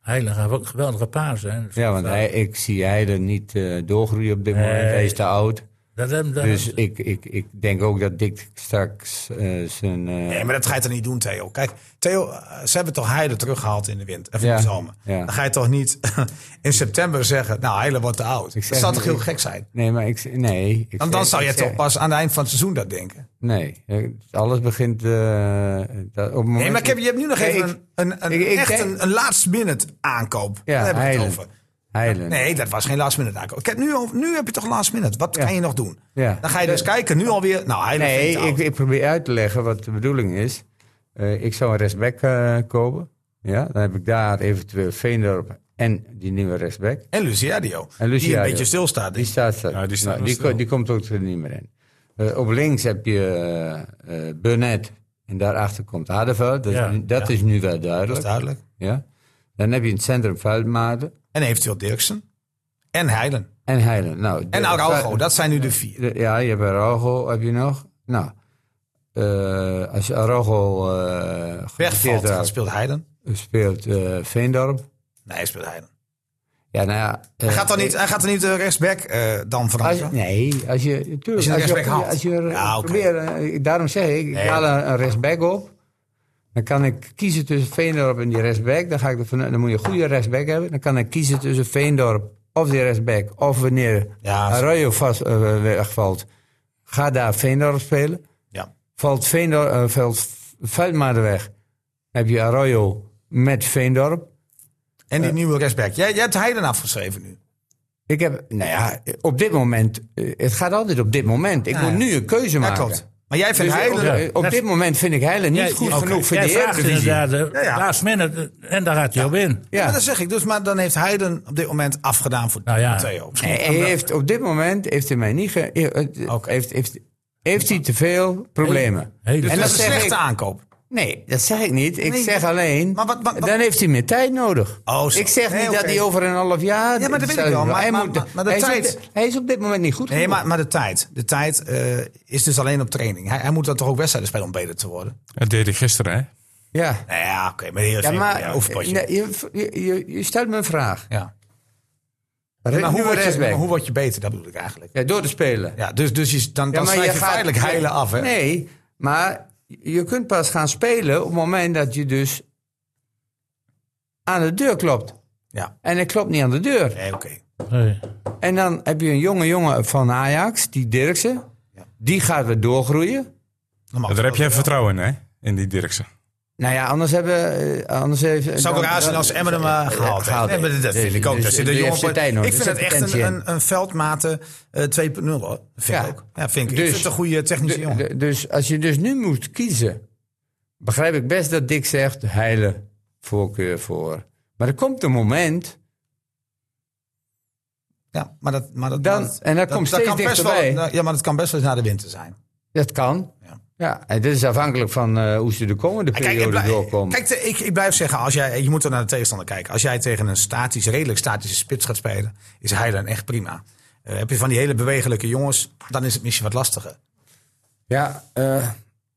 S3: Heilig heeft ook een geweldige paas. Hè.
S4: Ja, want hij, ik zie Heilen niet eh, doorgroeien op dit moment,
S3: Nee.
S4: hij is te oud.
S3: Dat, dat, dat-
S4: Dus ik, ik, ik denk ook dat Dick straks eh, zijn. eh,
S1: Nee, maar dat ga je toch niet doen, Theo? Kijk, Theo, eh, ze hebben toch Heide teruggehaald in de wind. Even
S4: Ja,
S1: in de zomer.
S4: ja.
S1: Dan ga je toch niet in september zeggen, nou, Heide wordt te oud. Dat
S4: zeg
S1: zou toch
S4: niet-
S1: heel gek zijn?
S4: nee, maar ik. Nee. Ik
S1: Dan, dan
S4: zeg-
S1: zou
S4: ik
S1: je
S4: zeg-
S1: toch pas aan het eind van het seizoen dat denken.
S4: Nee, eh, alles begint. eh, dat, op het moment
S1: Nee, maar ik heb, je hebt nu nog
S4: Nee,
S1: even
S4: ik-
S1: een, een, een,
S4: ik- ik
S1: echt
S4: denk-
S1: een, een last minute aankoop.
S4: Ja,
S1: Daar heb ik
S4: Heilen.
S1: het over.
S4: Heilen.
S1: Nee, dat was geen last minute aankoop. Ik heb nu, al- nu heb je toch last minute. Wat kan je nog doen?
S4: Ja.
S1: Dan ga je dus kijken, nu alweer. Nou, Heilen
S4: Nee,
S1: vindt het
S4: ik,
S1: oud.
S4: ik probeer uit te leggen wat de bedoeling is. Eh, ik zou een rechtsback eh, kopen. Ja, dan heb ik daar eventueel Veendorp en die nieuwe rechtsback.
S1: En Luciadio. Die een
S4: Luciadio.
S1: beetje stilstaat.
S4: Die
S1: denk ik.
S4: staat er.
S2: Ja, die staat
S4: Nou,
S2: wel
S4: die,
S2: stil.
S4: ko- die komt ook er niet meer in. Eh, op links heb je eh eh, Burnett. En daarachter komt Hardenveld. Dat, is
S3: Ja,
S4: nu- dat is nu wel duidelijk.
S1: Dat is duidelijk.
S4: Ja. Dan heb je in het centrum Vuilmaarden
S1: En eventueel Dirksen. En Heilen.
S4: en Heilen. Nou,
S1: En
S4: de-
S1: Araujo.
S4: Vuil-
S1: Dat zijn nu de vier.
S4: de- ja, je hebt Araujo heb je nog. Nou, eh, als je Araujo eh
S1: Wegvalt,
S4: geblesseerd
S1: dan
S4: raakt,
S1: speelt Heiden.
S4: speelt eh, Veendorp.
S1: Nee, hij speelt Heiden.
S4: Ja, nou ja.
S1: Hij
S4: eh,
S1: gaat dan niet, hij gaat dan niet de rechtsback eh, dan
S4: Als,
S1: veranderen.
S4: nee, als je, tuurlijk,
S1: Als
S4: als
S1: je een
S4: je, als
S1: rechtsback
S4: je,
S1: haalt. Ja, oké.
S4: probeert, eh, daarom zeg ik, ik
S1: Nee.
S4: haal een, een rechtsback op. Dan kan ik kiezen tussen Veendorp en die rechtsback. Dan, ga ik ervan, uit- dan moet je een goede rechtsback hebben. Dan kan ik kiezen tussen Veendorp of die rechtsback. Of wanneer
S1: Ja,
S4: Arroyo vast, eh, wegvalt, ga daar Veendorp spelen.
S1: Ja.
S4: Valt, Veendorp, eh, valt Vuilmaarden weg, heb je Arroyo met Veendorp.
S1: En die nieuwe rechtsback. Jij, jij hebt Heiden afgeschreven nu.
S4: Ik heb, nou ja, op dit moment, eh, het gaat altijd op dit moment. Ik moet nu een keuze
S1: Ja,
S4: maken.
S1: klopt. Maar jij vindt
S4: Ah, Dus
S1: Heiden...
S4: op,
S3: Ja.
S4: op dit moment vind ik Heilen niet
S3: Jij-
S4: goed
S3: jij-
S4: genoeg voor
S3: jij
S4: de
S3: vraagt
S4: Eredivisie.
S3: inderdaad,
S1: Ja,
S3: eh,
S1: ja.
S3: Last minute, eh, en daar gaat hij op in.
S1: Ja.
S4: Ja.
S1: dat zeg ik. Dus, maar dan heeft Heiden op dit moment afgedaan voor
S3: Nou ja.
S1: Theo. Misschien
S4: Hij hij heeft, op dit moment heeft hij mij niet... ge- eh, eh,
S1: Oké.
S4: heeft, heeft, heeft hij te veel problemen.
S3: Hele-
S4: en
S1: dat
S4: dat
S1: is een
S4: Dus zeg
S1: slechte
S4: ik,
S1: aankoop.
S4: nee, dat zeg ik niet. Ik
S1: Nee,
S4: zeg
S1: maar-
S4: alleen,
S1: maar wat- wat- wat-
S4: dan heeft hij meer tijd nodig.
S1: Oh, zo.
S4: ik zeg
S1: Nee,
S4: niet
S1: oké.
S4: dat hij over een half jaar...
S1: Ja, maar dat weet ik wel. Maar-
S4: hij,
S1: maar-
S4: moet,
S1: maar- maar de
S4: hij, is
S1: tijd-
S4: op, hij is op dit moment niet goed
S1: Nee,
S4: genoeg.
S1: maar, maar de tijd. De tijd eh, is dus alleen op training. Hij, hij moet dan toch ook wedstrijden spelen om beter te worden?
S2: Dat deed hij gisteren, hè?
S4: Ja,
S1: Nou ja, oké. maar heel
S4: ja maar
S1: overpotje.
S4: nee, je, je, je- je stelt me een vraag.
S1: ja.
S4: Re-
S1: Maar, hoe
S4: nieuwe
S1: word je,
S4: rechtsback.
S1: maar hoe word je beter? Dat bedoel ik eigenlijk.
S4: Ja, door te spelen.
S1: Ja, dus dus je, dan,
S4: Ja,
S1: dan
S4: maar
S1: snijdt je,
S4: gaat-
S1: feitelijk heilen af, hè?
S4: Nee, maar je kunt pas gaan spelen op het moment dat je dus aan de deur klopt.
S1: Ja.
S4: En hij klopt niet aan de deur.
S1: Nee, oké.
S3: Nee.
S4: En dan heb je een jonge jongen van Ajax, die Dirksen. Die gaat weer doorgroeien.
S1: Dan mag
S2: Daar heb
S1: dat
S2: jij
S1: wel.
S2: vertrouwen in, hè? In die Dirksen.
S4: Nou ja, anders hebben... eh, Anders heeft,
S1: Zou ik
S4: dan-
S1: raar zijn als Emmen hem eh, gehaald heeft. Nee, maar dat vind ik ook. Daar zit een jongen voor- ik vind het echt een, een, een veldmaten eh, 2.0 hoor. Vind
S4: Ja.
S1: ik ook. Ja, vind ik. ik
S4: Dus-
S1: vind het een goede technische
S4: Du-
S1: jongen.
S4: du- Dus als je dus nu moet kiezen, begrijp ik best dat Dick zegt heile voorkeur voor. Maar er komt een moment,
S1: Ja, maar dat, maar dat,
S4: Dan-
S1: maar dat-
S4: en dat komt steeds
S1: kan best
S4: dichterbij.
S1: wel- ja, maar dat kan best wel eens na de winter zijn.
S4: dat kan.
S1: Ja. Ah,
S4: Ja, en dit is afhankelijk van eh, hoe ze de komende
S1: Kijk, ik,
S4: periode
S1: blij-
S4: doorkomen.
S1: kijk, te- ik, ik blijf zeggen, als jij, je moet er naar de tegenstander kijken. Als jij tegen een statisch, redelijk statische spits gaat spelen, is hij dan echt prima. Eh, heb je van die hele bewegelijke jongens, dan is het misschien wat lastiger.
S4: ja, eh,
S1: En dat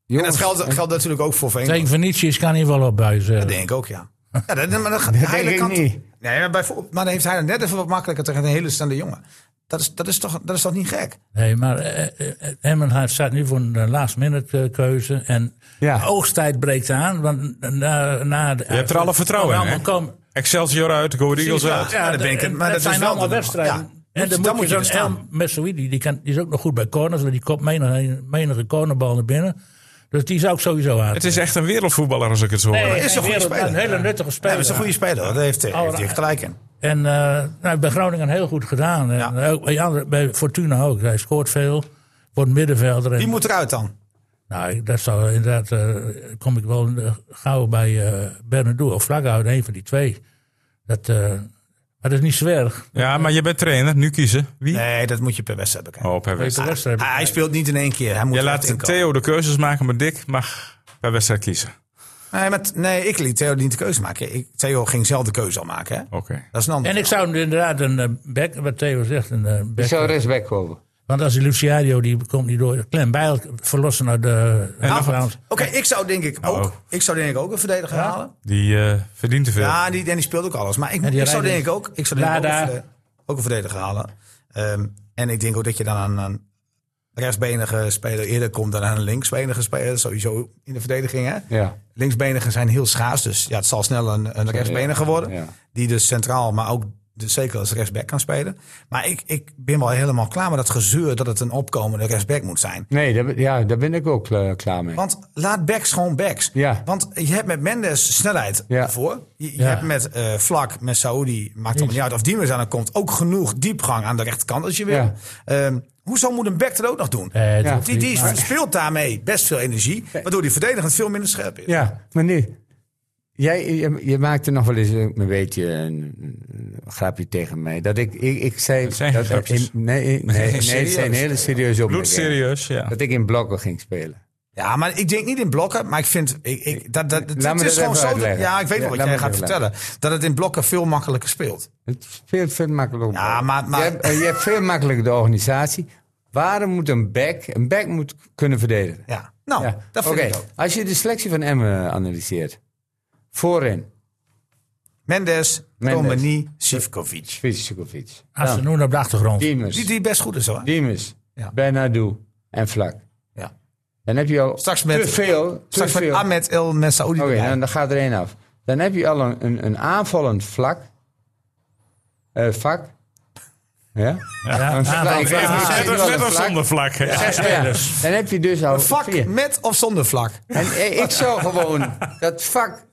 S4: jongens,
S1: geldt, geldt natuurlijk ook voor Veen.
S3: Tegen Venetius kan hij wel opbuizen.
S1: Dat denk ik ook, ja. ja dat, maar dan gaat Heiland
S4: ik
S1: kan-
S4: niet.
S1: Nee, maar, bijvoorbeeld- maar dan heeft hij net even wat makkelijker tegen een hele snelle jongen. Dat is, dat is, toch, dat is toch niet gek?
S3: Nee, maar eh, eh, eh, Emmen heeft- staat nu voor een eh, last minute eh, keuze. En
S4: Ja.
S3: de oogsttijd breekt aan. Want eh, na, na de,
S2: Je hebt er alle vertrouwen in,
S3: Allemaal
S2: hè?
S3: komen-
S2: Excelsior uit, Go Ahead Eagles
S1: Ja.
S2: uit.
S1: daar ben ik het-
S3: en
S1: maar dat
S3: dat
S1: is
S3: zijn
S1: wel
S3: allemaal
S1: de-
S3: wedstrijden.
S1: ja,
S3: en dan moet je
S1: er
S3: zo'n El
S1: staan.
S3: Messoudi, die, kan, die is ook nog goed bij corners, want die komt menige, menige cornerbal naar binnen. Dus die zou ik sowieso aan.
S2: Het is echt een wereldvoetballer als ik het zo hoor.
S1: is een goede speler.
S3: Een hele nuttige
S1: Ja,
S3: speler.
S1: dat is een goede speler, hoor. daar heeft, eh, heeft hij echt gelijk in.
S3: En eh, nou, bij Groningen heel goed gedaan. En
S1: Ja.
S3: ook bij, andere, bij Fortuna ook. Hij scoort veel. Wordt middenvelder. En,
S1: Die moet eruit dan.
S3: Nou, ik- dat zou inderdaad. eh, kom ik wel eh, gauw bij eh Bernardo of Vlaghout, een van die twee. Dat, eh, maar dat is niet zo erg.
S2: Ja, maar je bent trainer. Nu kiezen. Wie?
S1: Nee, dat moet je per wedstrijd bekijken.
S2: Oh, per wedstrijd.
S3: Deze wedstrijd.
S1: Hij, hij speelt niet in één keer. Hij moet
S2: Je
S1: er echt in
S2: laat
S1: komen.
S2: Theo de keuzes maken, maar Dick mag per wedstrijd kiezen.
S1: Nee, maar, t- nee, ik liet Theo niet de keuze maken. Ik, Theo ging zelf de keuze al maken. Hè?
S2: Oké.
S1: Dat is een ander.
S3: En ik zou hem inderdaad een eh, back, wat Theo zegt, een eh,
S4: ik
S3: back.
S4: zou rechtsback komen.
S3: Want als die Luciadio, die komt niet door. Clem Bijl verlossen naar de eh,
S2: nog-
S3: afgrond.
S1: Oké, ik zou denk ik ook, ik zou denk ik ook een verdediger halen.
S2: Die eh, verdient te veel.
S1: Ja, en die, en die speelt ook alles. Maar ik,
S3: die
S1: ik zou
S3: rijden.
S1: denk ik ook, ik zou denk ik ook,
S3: Lada.
S1: een verde- ook een verdediger halen. Ehm, en ik denk ook dat je dan aan een rechtsbenige speler eerder komt dan aan een linksbenige speler. Sowieso in de verdediging. Hè?
S4: Ja.
S1: Linksbenigen zijn heel schaars, dus ja, het zal snel een, een rechtsbenige worden.
S4: ja.
S1: Die dus centraal, maar ook dus zeker als rechtsback kan spelen. Maar ik, ik ben wel helemaal klaar met dat gezeur dat het een opkomende rechtsback moet zijn.
S4: Nee, daar, ben- ja, daar ben ik ook eh, klaar mee.
S1: Want laat backs gewoon backs.
S4: Ja.
S1: Want je hebt met Mendes snelheid
S4: Ja.
S1: ervoor. Je, je
S3: Ja.
S1: hebt met eh, Vlak, met Saudi, maakt het niet uit of die maar aan het komt. Ook genoeg diepgang aan de rechterkant als je wil.
S4: Ja.
S1: Ehm, hoezo moet een back dat ook nog doen?
S3: Eh, dat
S4: Ja.
S3: hoeft
S1: die die
S3: niet, maar-
S1: speelt daarmee best veel energie. Waardoor die verdedigend veel minder scherp is.
S4: Ja, maar nu. Jij, je, je maakte nog wel eens een een beetje een, een grapje tegen mij. Dat ik, ik, ik zei.
S2: zijn geen
S4: dat,
S2: grapjes.
S4: in- nee, nee, nee, het zijn hele serieuze opmerkingen.
S2: Bloedserieus, ja.
S4: Dat ik in blokken ging spelen.
S1: Ja, maar ik denk niet in blokken. Maar ik vind. Ik, ik, dat, dat, het
S4: me
S1: is
S4: dat
S1: gewoon
S4: even
S1: zo. dat-
S4: uitleggen.
S1: ja, ik weet
S4: Ja,
S1: wel wat
S4: laat
S1: jij
S4: me
S1: gaat
S4: dat even
S1: vertellen. Dat het in blokken veel makkelijker speelt.
S4: Het speelt veel makkelijker. op.
S1: Ja, maar- maar-
S4: Je, hebt, eh, je hebt veel makkelijker de organisatie. Waarom moet een back. Een back moet kunnen verdedigen.
S1: Ja. Nou,
S4: Ja,
S1: dat vind
S4: oké.
S1: ik ook.
S4: Als je de selectie van Emmen eh, analyseert. Voorin,
S1: Mendes,
S4: Mendes.
S1: Romani, Sivkovic.
S4: Fiskovic.
S3: Asenoen op de achtergrond.
S1: Die,
S4: Diemus.
S1: die best goed is hoor.
S4: Diemus.
S1: Ja.
S4: Bernardo. En Vlak.
S1: Ja.
S4: Dan heb je al
S1: Straks met-
S4: te veel. te
S1: Straks met
S4: veel.
S1: Ahmed El Messaoudi.
S4: Oké,
S1: erbij.
S4: dan, dan gaat er één af. Dan heb je al een, een, een aanvallend vlak. Eh, vak. Ja?
S3: Ja,
S4: Een vlak-
S3: aanval-
S4: ik weet niet,
S2: Net
S4: ik
S2: als,
S4: wil
S2: net
S4: een
S2: als
S4: vlak.
S2: zonder vlak. hè.
S4: Zes spelers. Dan heb je dus al
S1: Vak
S4: vier.
S1: met of zonder vlak.
S4: En eh, ik zou gewoon dat vak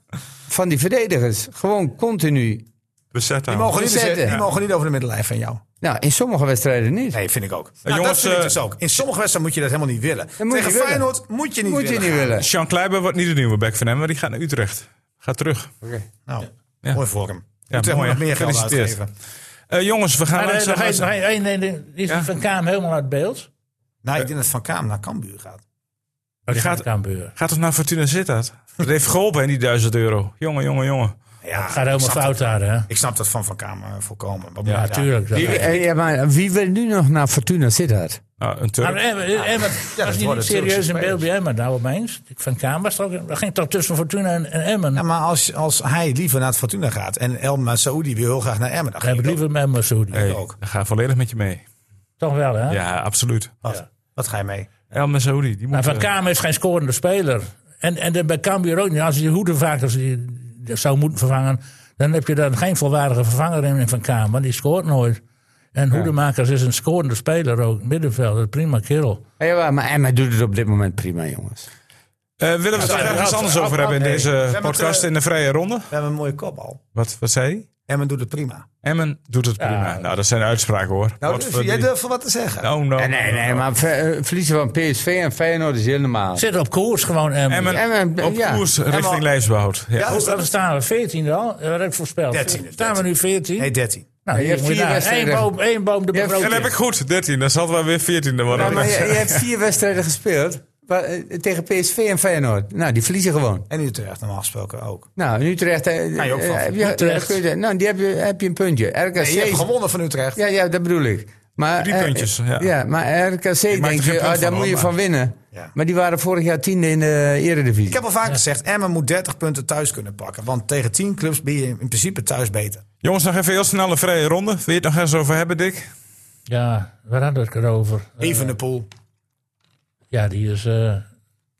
S4: van die verdedigers gewoon continu...
S2: Bezet
S1: Die
S2: aan.
S1: mogen, niet,
S4: Zetten.
S1: die mogen niet over de middellijn van jou.
S4: Nou, in sommige wedstrijden niet.
S1: Nee, vind ik ook. Nou,
S2: jongens,
S1: dat vind ik
S2: eh,
S1: dus ook. In sommige wedstrijden moet je dat helemaal niet willen.
S4: moet je
S1: Tegen
S4: willen.
S1: Feyenoord moet je niet
S4: Moet je
S1: willen.
S4: niet
S1: gaan.
S4: willen.
S2: Sean Kleiber wordt niet de nieuwe back van hem, maar die gaat naar Utrecht. Gaat terug.
S1: Nou,
S2: Ja.
S1: mooi voor hem.
S2: Ja,
S1: Utrecht moet
S2: mooi,
S1: nog
S2: hè?
S1: meer geld
S2: Gefeliciteerd.
S1: uitgeven.
S2: Eh, jongens, we gaan
S3: Maar er-
S2: langzaam-
S3: nog één- nog één- één- één ding. Is die van Kaam helemaal uit beeld?
S1: Nou, ik denk dat Van Kaam naar Cambuur gaat.
S3: Dat
S2: gaat-
S3: gaat Kaambuur.
S2: Gaat toch naar Fortuna Sittard? Dat heeft geholpen, hè, die 1000 euro. Jongen, jongen, jongen.
S1: Ja,
S3: Gaat helemaal
S1: ik snap dat.
S3: fout daar, hè?
S1: Ik snap dat van Van Kaam eh, volkomen. Wat moet
S3: Ja,
S1: je daar-
S3: natuurlijk.
S4: Wie, eh, ja, maar wie wil nu nog naar Fortuna Sittard?
S2: Nou, een
S3: Maar eh,
S2: Turk.
S3: Emma, Emma, was die niet
S1: worden
S3: serieus
S1: Turkse
S3: in beeld bij Emma, nou opeens? Van Kaam was toch, dat ging toch tussen Fortuna en, en Emmen.
S1: Ja, maar als, als hij liever naar het Fortuna gaat en El Saoudi wil heel graag naar Emmen, dan ga
S3: Dan heb
S1: ik
S3: ik liever met Massoudi.
S2: Hey,
S1: ook.
S2: ik ga volledig met je mee.
S3: Toch wel, hè?
S2: Ja, absoluut.
S1: Wat, wat ga je mee?
S2: El Messaoudi, die
S3: Maar
S2: moet...
S3: Van
S2: eh,
S3: Kamer is geen scorende speler. En, en dan bij Cambuur ook niet. Als je Hoede vaak als je die zou moeten vervangen... dan heb je dan geen volwaardige vervanger in in Van Kamer. Want die scoort nooit. En Hoedemakers is een scorende speler ook. Middenvelder, prima kerel.
S4: Ja, Eh, maar Emma doet het op dit moment prima, jongens.
S2: Eh, willen we het ergens anders over hebben in deze
S1: hebben
S2: podcast
S1: het, eh,
S2: in de vrije ronde?
S1: We hebben een mooie kop al.
S2: Wat, wat zei hij?
S1: En men doet het prima.
S2: Emmen doet het prima. Nou, dat zijn uitspraken hoor.
S1: Nou,
S2: Wat
S1: dus
S2: voor
S1: jij
S2: die-
S1: durft wel wat te zeggen.
S2: Oh, no.
S4: Ja, nee, nee, maar ver- eh, verliezen van PSV en Feyenoord is heel normaal.
S3: Zit op koers gewoon. Emmen.
S2: Emmen
S4: Emmen,
S2: op
S4: ja.
S2: koers richting lijfsbehoud. Ja.
S1: Ja,
S3: Hoe-
S1: dus dat
S3: Dan
S1: is...
S3: staan we 14 al. Dat heb ik voorspeld.
S1: 13 is
S3: Staan we nu 14?
S1: Nee, 13.
S3: nou,
S4: je
S3: hier
S4: hebt
S3: moet je
S4: vier
S3: naar. Eén
S4: wedstrijden.
S3: boom, één boom de
S4: Je hebt-
S3: broodje.
S2: En dat heb ik goed, 13. Dan zal we weer 14 worden.
S4: Ja, maar je, je hebt vier wedstrijden gespeeld wa- eh, tegen PSV en Feyenoord. Nou, die verliezen gewoon.
S1: En Utrecht normaal gesproken ook.
S4: Nou, in Utrecht... eh,
S1: je ook
S4: eh,
S1: van.
S4: heb je-
S3: Utrecht.
S4: kun je- nou, die heb je, heb je een puntje. RKC...
S1: Nee, je hebt gewonnen van Utrecht.
S4: ja, ja, dat bedoel ik. Maar,
S2: Drie
S4: eh,
S2: puntjes,
S4: eh,
S2: ja.
S4: maar
S2: maak
S4: RKC
S2: er
S4: denk
S2: geen
S4: je,
S2: punt
S4: ah,
S2: van,
S4: daar
S2: hoor,
S4: moet je
S2: maar-
S4: van winnen.
S1: Ja.
S4: Maar die waren vorig jaar tiende in de Eredivisie.
S1: Ik heb al vaak gezegd, Emmen moet 30 punten thuis kunnen pakken. Want tegen 10 clubs ben je in principe thuis beter.
S2: Jongens, nog even heel snel een vrije ronde. Wil je het nog eens over hebben, Dick?
S3: Ja, waar hadden we het erover? Eh,
S1: Evenepoel.
S3: ja, die is, eh,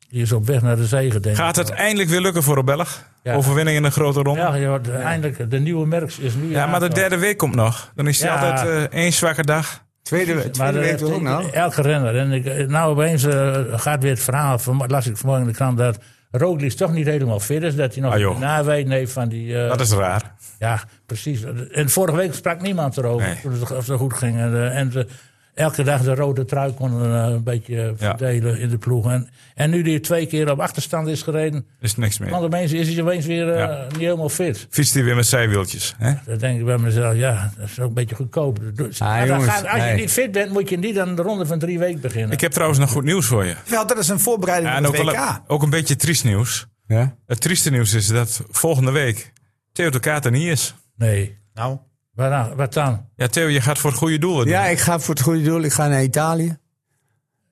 S3: die is op weg naar de zegen, denk ik.
S2: Gaat het eindelijk weer lukken voor de Belg?
S3: Ja.
S2: Overwinning in een grote ronde? Ja,
S3: Ja, ja, de- eindelijk, de nieuwe Merks is nu...
S2: maar de derde week komt nog. Dan is hij
S3: Ja.
S2: altijd eh, één zwakke dag.
S4: tweede tweede
S3: dat
S4: week
S3: heeft
S4: toch ook nou?
S3: Elke renner. En ik, nou opeens eh, gaat weer het verhaal, van, las ik vanmorgen in de krant, dat Roglic toch niet helemaal fit is. Dat hij nog
S2: Ah, joh.
S3: een naween heeft van die... eh,
S2: Dat is raar.
S3: Ja, precies. En vorige week sprak niemand erover
S2: Nee.
S3: toen het zo- zo goed ging. En, eh, en ze- elke dag de rode trui konden eh, een beetje eh, verdelen in de ploeg. En, en nu die twee keer op achterstand is gereden,
S2: Is niks meer.
S3: want opeens is hij opeens weer eh,
S2: Ja.
S3: niet helemaal fit.
S2: Fietst hij weer met zijwieltjes. Hè?
S3: Dan denk ik bij mezelf, ja, dat is ook een beetje goedkoop. Dus-
S4: Ah,
S3: maar dan
S4: jongens,
S3: gaat- als je
S4: nee.
S3: niet fit bent, moet je niet aan de ronde van drie weken beginnen.
S2: Ik heb trouwens nog goed nieuws voor je.
S1: Ja, dat is een voorbereiding
S2: Ja,
S1: op
S2: en ook,
S1: het
S2: wel
S1: WK.
S2: een, ook een beetje triest nieuws.
S4: Ja?
S2: Het trieste nieuws is dat volgende week Theo de Kaat er niet is.
S3: Nee,
S1: Nou,
S3: Waaraan- wat dan?
S2: Ja, Theo, je gaat voor het goede doel.
S4: ja, ik ga voor het goede doel. Ik ga naar Italië.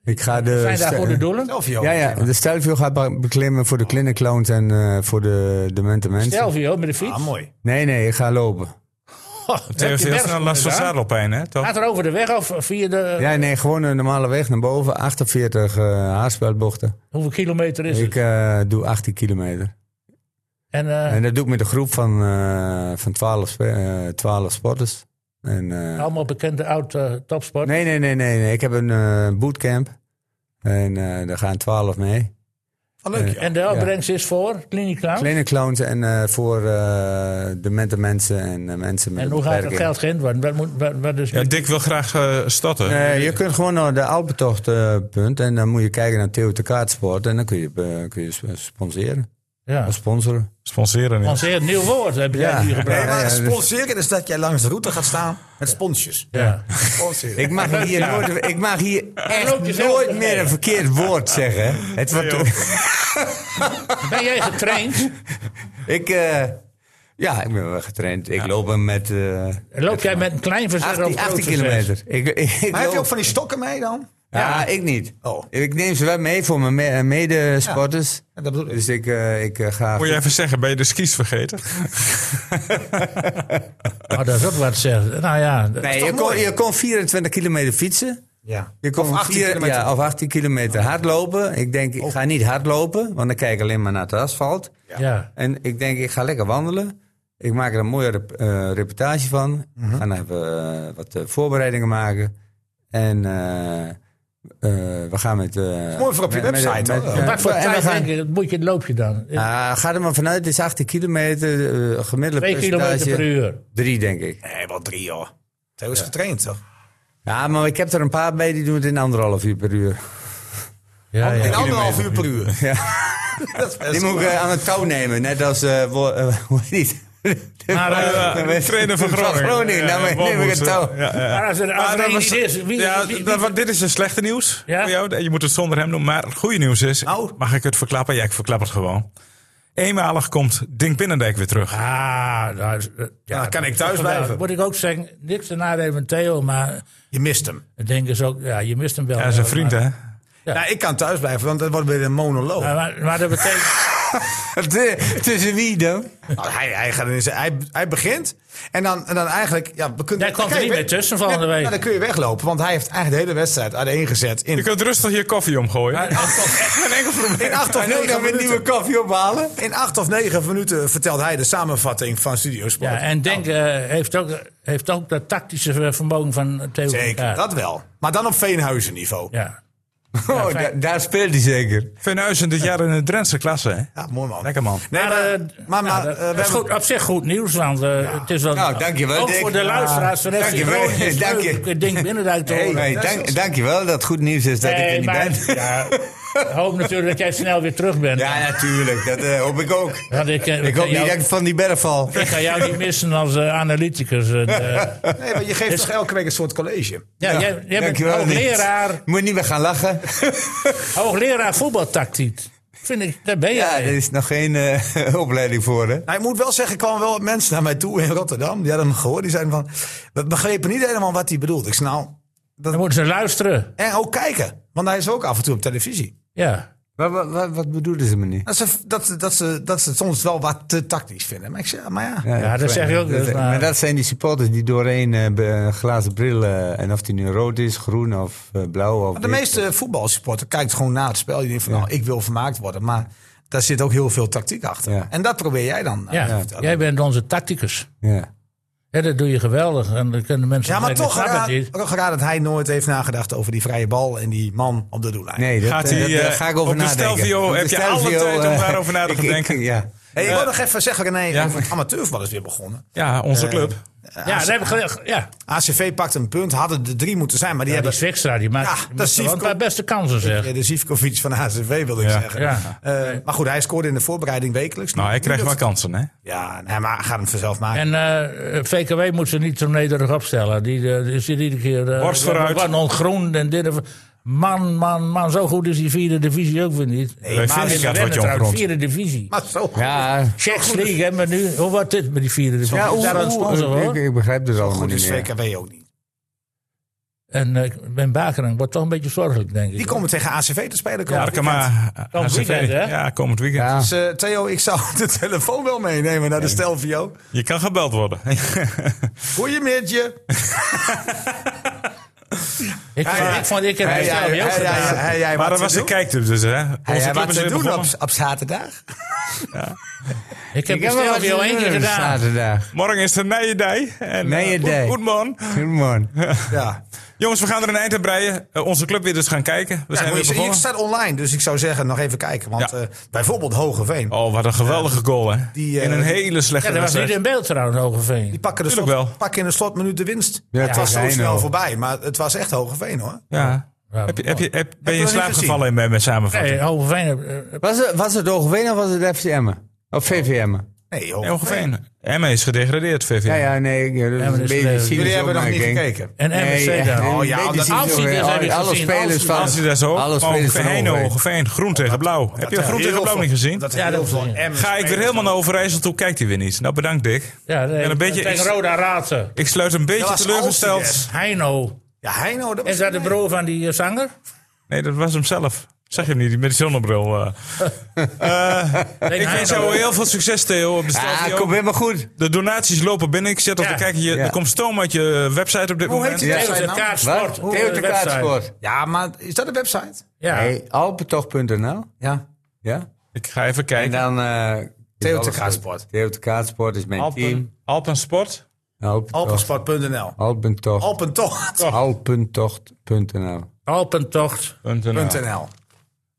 S4: Ik ga de
S3: Zijn daar
S4: sta-
S3: goede doelen?
S1: Delvio.
S4: Ja, ja, de Stelvio gaat be- beklimmen voor de clinicloont en eh, voor de demente mensen.
S3: Stelvio met de fiets.
S1: Ah, mooi.
S4: Nee, nee, ik ga lopen.
S2: Theo heeft heel snel last van zadelpijn, hè? Toch?
S3: Gaat er over de weg of via de...
S4: Ja, nee, gewoon een normale weg naar boven. 48 eh haarspeldbochten.
S3: Hoeveel kilometer is
S4: Ik
S3: het?
S4: eh, doe 18 kilometer.
S3: En, eh,
S4: En dat doe ik met een groep van, eh, van 12, spe- eh, 12 sporters. En, eh,
S3: allemaal bekende eh, oud-topsport.
S4: nee, nee, nee, nee, nee. Ik heb een eh, bootcamp. En eh, daar gaan 12 mee.
S1: Wat leuk, joh.
S3: En de opbrengst is voor Klinica.
S4: Kleine clowns en eh, voor eh demente mensen en eh, mensen met
S3: en hoe gaat het
S4: beperking.
S3: geld geïnd worden? Wat moet, wat, wat is
S2: Ja, Dick wil graag eh starten.
S4: Nee, je kunt gewoon naar de Alpentocht eh, punt en dan moet je kijken naar Theo de Kaartsport en dan kun je, eh, kun je sp- sponsoren.
S3: ja.
S4: Of Sponsoren.
S2: Sponsoren.
S3: Dat
S2: niet.
S3: is een heel nieuw woord, heb jij
S4: Ja.
S3: nu gebruikt.
S1: Nee, maar
S4: ja,
S1: het
S4: dus-
S1: sponsoren is dat jij langs de route gaat staan met sponsjes.
S3: Ja.
S1: Sponsoren.
S4: Ik mag hier, nooit, ik mag hier
S3: loop
S4: echt
S3: jezelf
S4: nooit
S3: erheen.
S4: meer een verkeerd woord zeggen. Het wordt,
S3: Ben jij getraind?
S4: ik, eh, ja, ik ben wel getraind. Ik loop hem met eh,
S3: Loop jij met een klein verzet of
S4: 18,
S3: groot
S4: 18
S3: verzet?
S4: kilometer. Ik, ik, ik
S1: Maar heb je
S4: loop-
S1: ook van die stokken mee dan?
S4: Ja, ik niet.
S1: Oh.
S4: Ik neem ze wel mee voor mijn me- eh, medesporters.
S1: Ja, dat bedoel ik.
S4: Dus ik, eh, ik eh, ga...
S2: Moet je even zeggen, ben je de skis vergeten?
S3: Oh, dat is ook wat zeggen. Nou ja, d-
S4: nee, je kon, je kon 24 kilometer fietsen.
S1: Ja.
S4: Je kon
S1: Of 18
S4: vier-
S1: kilometer. Oh.
S4: Ja, of 18 kilometer hardlopen. Ik denk, ik ga niet hardlopen, want dan kijk ik alleen maar naar het asfalt.
S3: ja.
S4: En ik denk, ik ga lekker wandelen. Ik maak er een mooie rep- eh, reportage van.
S1: Mhm.
S4: We gaan even eh, wat eh, voorbereidingen maken. En eh, eh, we gaan met... eh,
S1: mooi voor op je
S4: met- met-
S1: website,
S4: met-
S1: hoor.
S4: ja,
S3: Wat voor
S4: en we
S3: tijd
S4: gaan-
S3: denk je, dat moet je, loop je dan?
S4: Ah, ga er maar vanuit, het is 18 kilometer, eh, gemiddelde
S3: Twee
S4: percentage.
S3: kilometer per uur.
S4: Drie, denk ik.
S1: Nee, wel drie joh. Theo is getraind toch?
S4: Ja, maar ik heb er een paar bij, die doen het in anderhalf uur per uur.
S3: Ja,
S1: In
S3: ja.
S1: anderhalf uur per uur. dat is best
S4: Die moet ik eh, aan het touw nemen, net als, eh, wo- eh, hoe heet die?
S3: Maar, eh,
S2: Ja, de trainer van
S4: Van
S2: Groningen.
S4: Groningen, nou,
S2: Ja,
S4: neem ik
S2: Walmoes,
S4: het Ah, touw.
S2: Ja, ja.
S3: maar als er, als
S2: Maar
S3: er
S2: dat
S3: één
S2: was-
S3: niet is, wie,
S2: ja,
S3: wie- wie-
S2: dat- want dit is een slechte nieuws
S3: Ja?
S2: voor jou. Je moet het zonder hem doen. Maar het goede nieuws is,
S1: Nou.
S2: mag ik het verklappen? Ja, ik verklap het gewoon. Eenmalig komt Dink Binnendijk weer terug.
S3: Ah, nou, is- ja,
S1: dan kan
S3: dat
S1: ik
S3: is
S1: thuis
S3: toch
S1: blijven.
S3: wel- Moet ik ook zeggen, niks te nadelen van Theo, maar
S1: Je mist hem.
S3: ik denk is ook, ja, je mist hem wel. Eh,
S2: Ja, zijn vriend,
S3: Maar-
S2: hè?
S1: Nou, ik kan thuis blijven, want dat wordt weer een monoloog.
S3: Maar, maar, maar dat betekent.
S1: De-
S4: Tussen wie dan?
S1: nou, hij, hij, gaat in zijn, hij, hij begint. En dan, en dan eigenlijk... Ja, we kunnen,
S3: Daar komt er
S1: kijk,
S3: niet
S1: we-
S3: meer tussen volgende
S1: Ja,
S3: week.
S1: nou, dan kun je weglopen. Want hij heeft eigenlijk de hele wedstrijd uiteengezet.
S2: Je
S1: In,
S2: kunt rustig je koffie omgooien.
S1: in acht of negen minuten.
S4: koffie ophalen.
S1: In acht of negen minuten vertelt hij de samenvatting van Studiosport.
S3: Ja, en Denk eh, heeft, ook, heeft ook dat tactische eh, vermogen van Theo van
S1: Zeker,
S3: Kaat.
S1: dat wel. Maar dan op Veenhuizen niveau.
S3: Ja. Nou,
S4: Oh, da- daar speelt hij
S3: Oh,
S4: zeker.
S2: Venhuizen dit jaar in de Drentse klasse, hè?
S1: Ja, mooi man.
S2: Lekker man.
S1: Nee, maar,
S3: eh,
S1: maar, maar, eh,
S3: ja, dat,
S1: we
S3: dat is
S1: hebben-
S3: goed, op zich goed nieuws, want eh, het is wel...
S4: Nou, dankjewel,
S3: Ook
S4: Dick.
S3: voor de luisteraars van
S4: Ja,
S3: FC
S4: dankjewel.
S3: Groningen is
S4: Dank je.
S3: leuk het ding binnenduik te
S4: Hey,
S3: horen.
S4: hey, dank, dankjewel dat het goed nieuws is dat ik er
S3: Nee,
S4: niet
S3: maar-
S4: ben.
S3: ja, ik hoop natuurlijk dat jij snel weer terug bent.
S4: Ja, natuurlijk. Dat eh, hoop ik ook.
S3: Want ik, eh,
S4: Ik hoop
S3: kan
S4: niet
S3: jou,
S4: dat ik van die berg val.
S3: ik ga jou niet missen als eh, analyticus. En, eh,
S1: nee, maar je geeft toch elke week een soort college.
S3: ja, jij, jij bent
S4: Dankjewel.
S3: hoogleraar,
S4: Niet. Moet niet meer gaan lachen.
S3: hoogleraar voetbaltactiek. Vind ik, daar ben
S4: Ja,
S3: jij.
S4: er is nog geen eh, opleiding voor, hè?
S1: Nou, ik moet wel zeggen, er kwamen wel wat mensen naar mij toe in Rotterdam. Die hadden hem gehoord. Die zeiden van, we begrepen niet helemaal wat hij bedoelt. Ik zei nou,
S3: Dan moeten ze luisteren.
S1: en ook kijken. Want hij is ook af en toe op televisie.
S3: Ja.
S4: Wat, wat, wat, wat bedoelen ze me nu?
S1: Dat ze, dat, ze- dat, ze, dat ze het soms wel wat te tactisch vinden. Maar ik zeg, maar ja.
S3: Ja, dat zeg je ook
S4: Dat,
S3: dus, maar-
S4: maar... dat zijn die supporters die doorheen eh, be- een glazen bril... eh, en of die nu rood is, groen of eh, blauw of...
S1: Maar de
S4: wit.
S1: meeste voetbalsupporter kijkt gewoon na het spel. Je denkt van, nou, ik wil vermaakt worden. Maar daar zit ook heel veel tactiek achter.
S4: Ja.
S1: En dat probeer jij dan. eh,
S3: Ja,
S1: te vertellen.
S3: jij bent onze tacticus.
S4: Ja.
S3: Ja, dat doe je geweldig. En dan kunnen mensen
S1: Ja, maar
S3: zeggen,
S1: toch
S3: ik snap het
S1: raar,
S3: niet.
S1: toch raar dat hij nooit heeft nagedacht over die vrije bal en die man op de doellijn.
S4: Nee, dat,
S2: Gaat
S4: eh,
S2: die,
S4: dat, eh,
S2: eh,
S4: ga ik over
S2: op de
S4: nadenken.
S2: Stelvio
S4: Op de
S2: heb je alle
S4: Stelvio,
S2: tijd om
S4: eh,
S2: daarover na te
S4: ik- ik-
S2: denken.
S4: Ja.
S1: Hey, ik wil nog even zeggen, René,
S2: Ja.
S1: over het amateurvoetbal is weer begonnen.
S2: Ja, onze club.
S3: Ja, dat heb ik gele- ja.
S1: ACV pakt een punt, hadden er drie moeten zijn, maar die
S3: ja, die
S1: hebben...
S3: Zwikstra, die maakt
S1: Ja,
S3: die
S1: dat
S3: maakt
S1: is
S3: wel een paar
S1: Sivkovic.
S3: beste kansen, zeg.
S1: eh, De Zivkovic van de ACV wilde ik
S2: Ja.
S1: zeggen.
S3: Ja.
S1: Eh, maar goed, hij scoorde in de voorbereiding wekelijks.
S2: Nou, hij krijgt
S1: Nu
S2: wel
S1: dat-
S2: kansen, hè?
S1: Ja, nee, maar hij gaat hem vanzelf maken.
S3: En eh, VKW moet ze niet zo nederig opstellen. Die eh, is hier iedere keer... eh,
S2: Borst vooruit.
S3: Wat een groen en dit en v- Man, man, man, zo goed is die vierde divisie ook weer niet. Nee,
S2: maar Vincennes wordt je
S3: trouwens,
S2: ongerond.
S3: vierde divisie.
S1: Maar zo.
S4: Ja,
S3: Checks League hebben we nu. Hoe wordt dit met die vierde divisie?
S4: ja oeh,
S3: Daar een
S4: oeh,
S3: sponsor, hoor.
S4: ik, ik begrijp dit allemaal
S1: Goed
S4: niet
S1: is
S4: meer.
S1: VKW ook niet.
S3: En eh, Ben Bakering wordt toch een beetje zorgelijk, denk ik.
S1: Die komen tegen ACV te spelen.
S2: Ja,
S1: komend weekend.
S2: Arkema,
S3: Komend
S2: HCV.
S3: weekend, hè?
S2: Ja, komend weekend.
S4: Ja.
S1: Dus, eh, Theo, ik zou de telefoon wel meenemen naar de Stelvio.
S2: Je kan gebeld worden.
S1: Goeiemiddag.
S3: Ik, vond- ik vond, ik heb
S1: Hey,
S3: het zelf
S1: jij-
S3: ook
S1: hey,
S3: gedaan.
S1: jij- hey, jij, wat
S2: maar dat
S1: te
S2: was de
S1: doen?
S2: kijktip dus, hè? Onze
S1: Hey, jij,
S2: club
S1: wat
S2: is
S1: te
S2: weer
S1: doen op,
S2: begonnen.
S1: op zaterdag?
S3: Ik heb
S4: Ik heb
S3: het
S4: wel
S3: zelf
S4: wat
S3: al één keer gedaan.
S4: Zaterdag.
S2: Morgen is het Nijedij. En, eh,
S4: Nijedij.
S2: goed- Goed man.
S4: Goedemorgen.
S1: Ja.
S2: Jongens, we gaan er een eind aan breien. Eh, onze club weer dus gaan kijken. We
S1: Ja,
S2: zijn
S1: maar
S2: weer
S1: je, je
S2: begonnen.
S1: staat online, dus ik zou zeggen nog even kijken. Want
S2: Ja.
S1: eh, bijvoorbeeld Hogeveen,
S2: Oh, wat een geweldige goal, hè?
S1: Die, eh,
S2: in een hele
S3: Ja,
S2: slechte
S3: dat was
S2: wedstrijd.
S3: niet in beeld trouwens,
S1: die
S3: Hogeveen.
S1: pakken, de slot,
S2: Tuurlijk wel.
S1: pakken in de slotminuut de winst.
S4: Ja,
S1: het was zo
S4: Hogeveen
S1: snel
S4: wel.
S1: voorbij, maar het was echt Hogeveen hoor.
S2: Ja.
S3: Ja,
S2: Heb je, heb je, heb, ben je
S1: je
S2: in
S1: dat
S2: slaap
S1: niet gezien?
S2: gevallen in mijn, mijn samenvatting?
S3: Nee, Hogeveen... eh, eh,
S4: Was het, was het Ogeveen of was het FCM'en? Of VVM'en?
S1: Nee,
S2: Nee,
S1: Hogeveen.
S2: Ongeveer. Emmen is gedegradeerd, VV.
S4: Ja, ja, nee. Ik, dat is
S3: maar
S4: een
S3: dus,
S4: beetje
S3: eh,
S4: een cynische
S1: Jullie hebben nog niet
S4: opmerking.
S1: gekeken.
S3: En
S4: Nee,
S3: MSC daar.
S4: echt,
S1: Oh,
S4: een
S1: ja,
S4: beetje
S1: omdat-
S4: cynische
S3: Als hij dus
S4: opmerking.
S3: heb ik
S4: Alle
S3: gezien, als
S4: spelers
S3: hij-
S4: van...
S2: Als hij daar zo...
S4: Alle
S2: Oh,
S4: spelers van
S2: Heino,
S4: Ongeveer.
S2: Ongeveer. Groen tegen blauw. Heb je groen tegen blauw niet gezien?
S1: Dat
S3: Ja,
S1: heel
S3: dat
S1: veel
S3: gezien.
S1: Emmers
S2: Ga ik weer
S1: spelers-
S2: helemaal naar Overijssel toe, kijkt hij weer niet. Nou, bedankt Dick.
S3: Ja, nee,
S2: En een beetje-
S3: tegen Roda Raadse.
S2: Ik sluit een beetje
S1: Dat was
S2: teleurgesteld.
S1: Alcides.
S3: Heino.
S1: Ja, Heino. Dat was
S3: Is dat de broer van die eh, zanger?
S2: Nee, dat was hem zelf. Zag je hem niet, die met die zonnebril. eh.
S3: Denk
S2: ik
S3: Heino.
S2: wens jou heel veel succes, Theo, op de
S4: Ah,
S2: Stelvio.
S4: komt helemaal goed.
S2: De donaties lopen binnen. Ik zet op
S3: Ja.
S2: de kijker. Je,
S4: Ja.
S2: Er komt stoom uit je website op dit
S1: Hoe
S2: moment.
S1: heet die?
S3: Theo de
S1: Ja.
S3: Kaartsport.
S4: Wat?
S3: Sport.
S4: Theo de kaartsport.
S1: Ja, maar is dat een website?
S3: Ja.
S4: Hey, alpentocht.nl.
S1: Ja.
S4: Ja.
S2: Ik ga even
S4: En
S2: kijken.
S4: dan... eh,
S1: Theo
S4: is
S1: de
S4: alles
S1: Kaartsport.
S4: goed. Theo de kaartsport is mijn team.
S2: Alpen, Alpen Sport.
S4: Alpentocht.
S1: Alpensport.nl.
S2: Oh.
S4: Alpentocht.
S1: Alpentocht.nl.
S4: Alpentocht.nl.
S3: Alpentocht.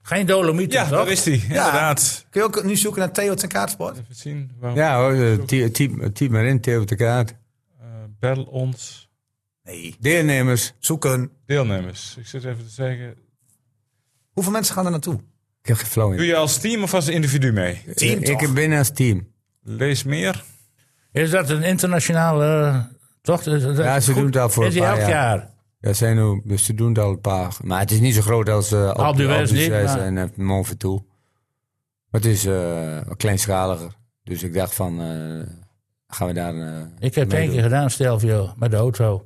S3: Geen Dolomieten,
S2: Ja,
S3: toch?
S2: daar is die. Inderdaad.
S1: Kun je ook nu zoeken naar Theo de Kaartsport?
S2: Even zien. Waarom
S4: Ja hoor, eh, typ, typ, typ maar in, Theo de kaart.
S2: eh, bel ons
S1: Nee.
S4: Deelnemers.
S1: Zoeken.
S2: deelnemers. Ik zit even te zeggen.
S1: Hoeveel mensen gaan er naartoe?
S4: Ik heb geen flauw
S2: Doe
S4: idee.
S2: je als team of als individu mee?
S1: Team
S4: Ik
S1: toch?
S4: heb binnen als team.
S2: Lees meer.
S3: Is dat een internationale... eh, Toch? Is dat-
S4: Ja, ze
S3: goed?
S4: doen het al voor
S3: Is
S4: een
S3: die
S4: paar
S3: elk
S4: jaar.
S3: jaar?
S4: Ja, zijn nu, dus ze doen het al een paar. Maar het is niet zo groot als eh
S3: Alpe d'Huez
S4: Alpe
S3: niet,
S4: d'Huez
S3: maar-
S4: en eh, Mont Ventoux. Maar het is eh, wat kleinschaliger. Dus ik dacht van, eh, gaan we daar... eh,
S3: Ik heb het één
S4: meedoen?
S3: keer gedaan, Stelvio, met de auto.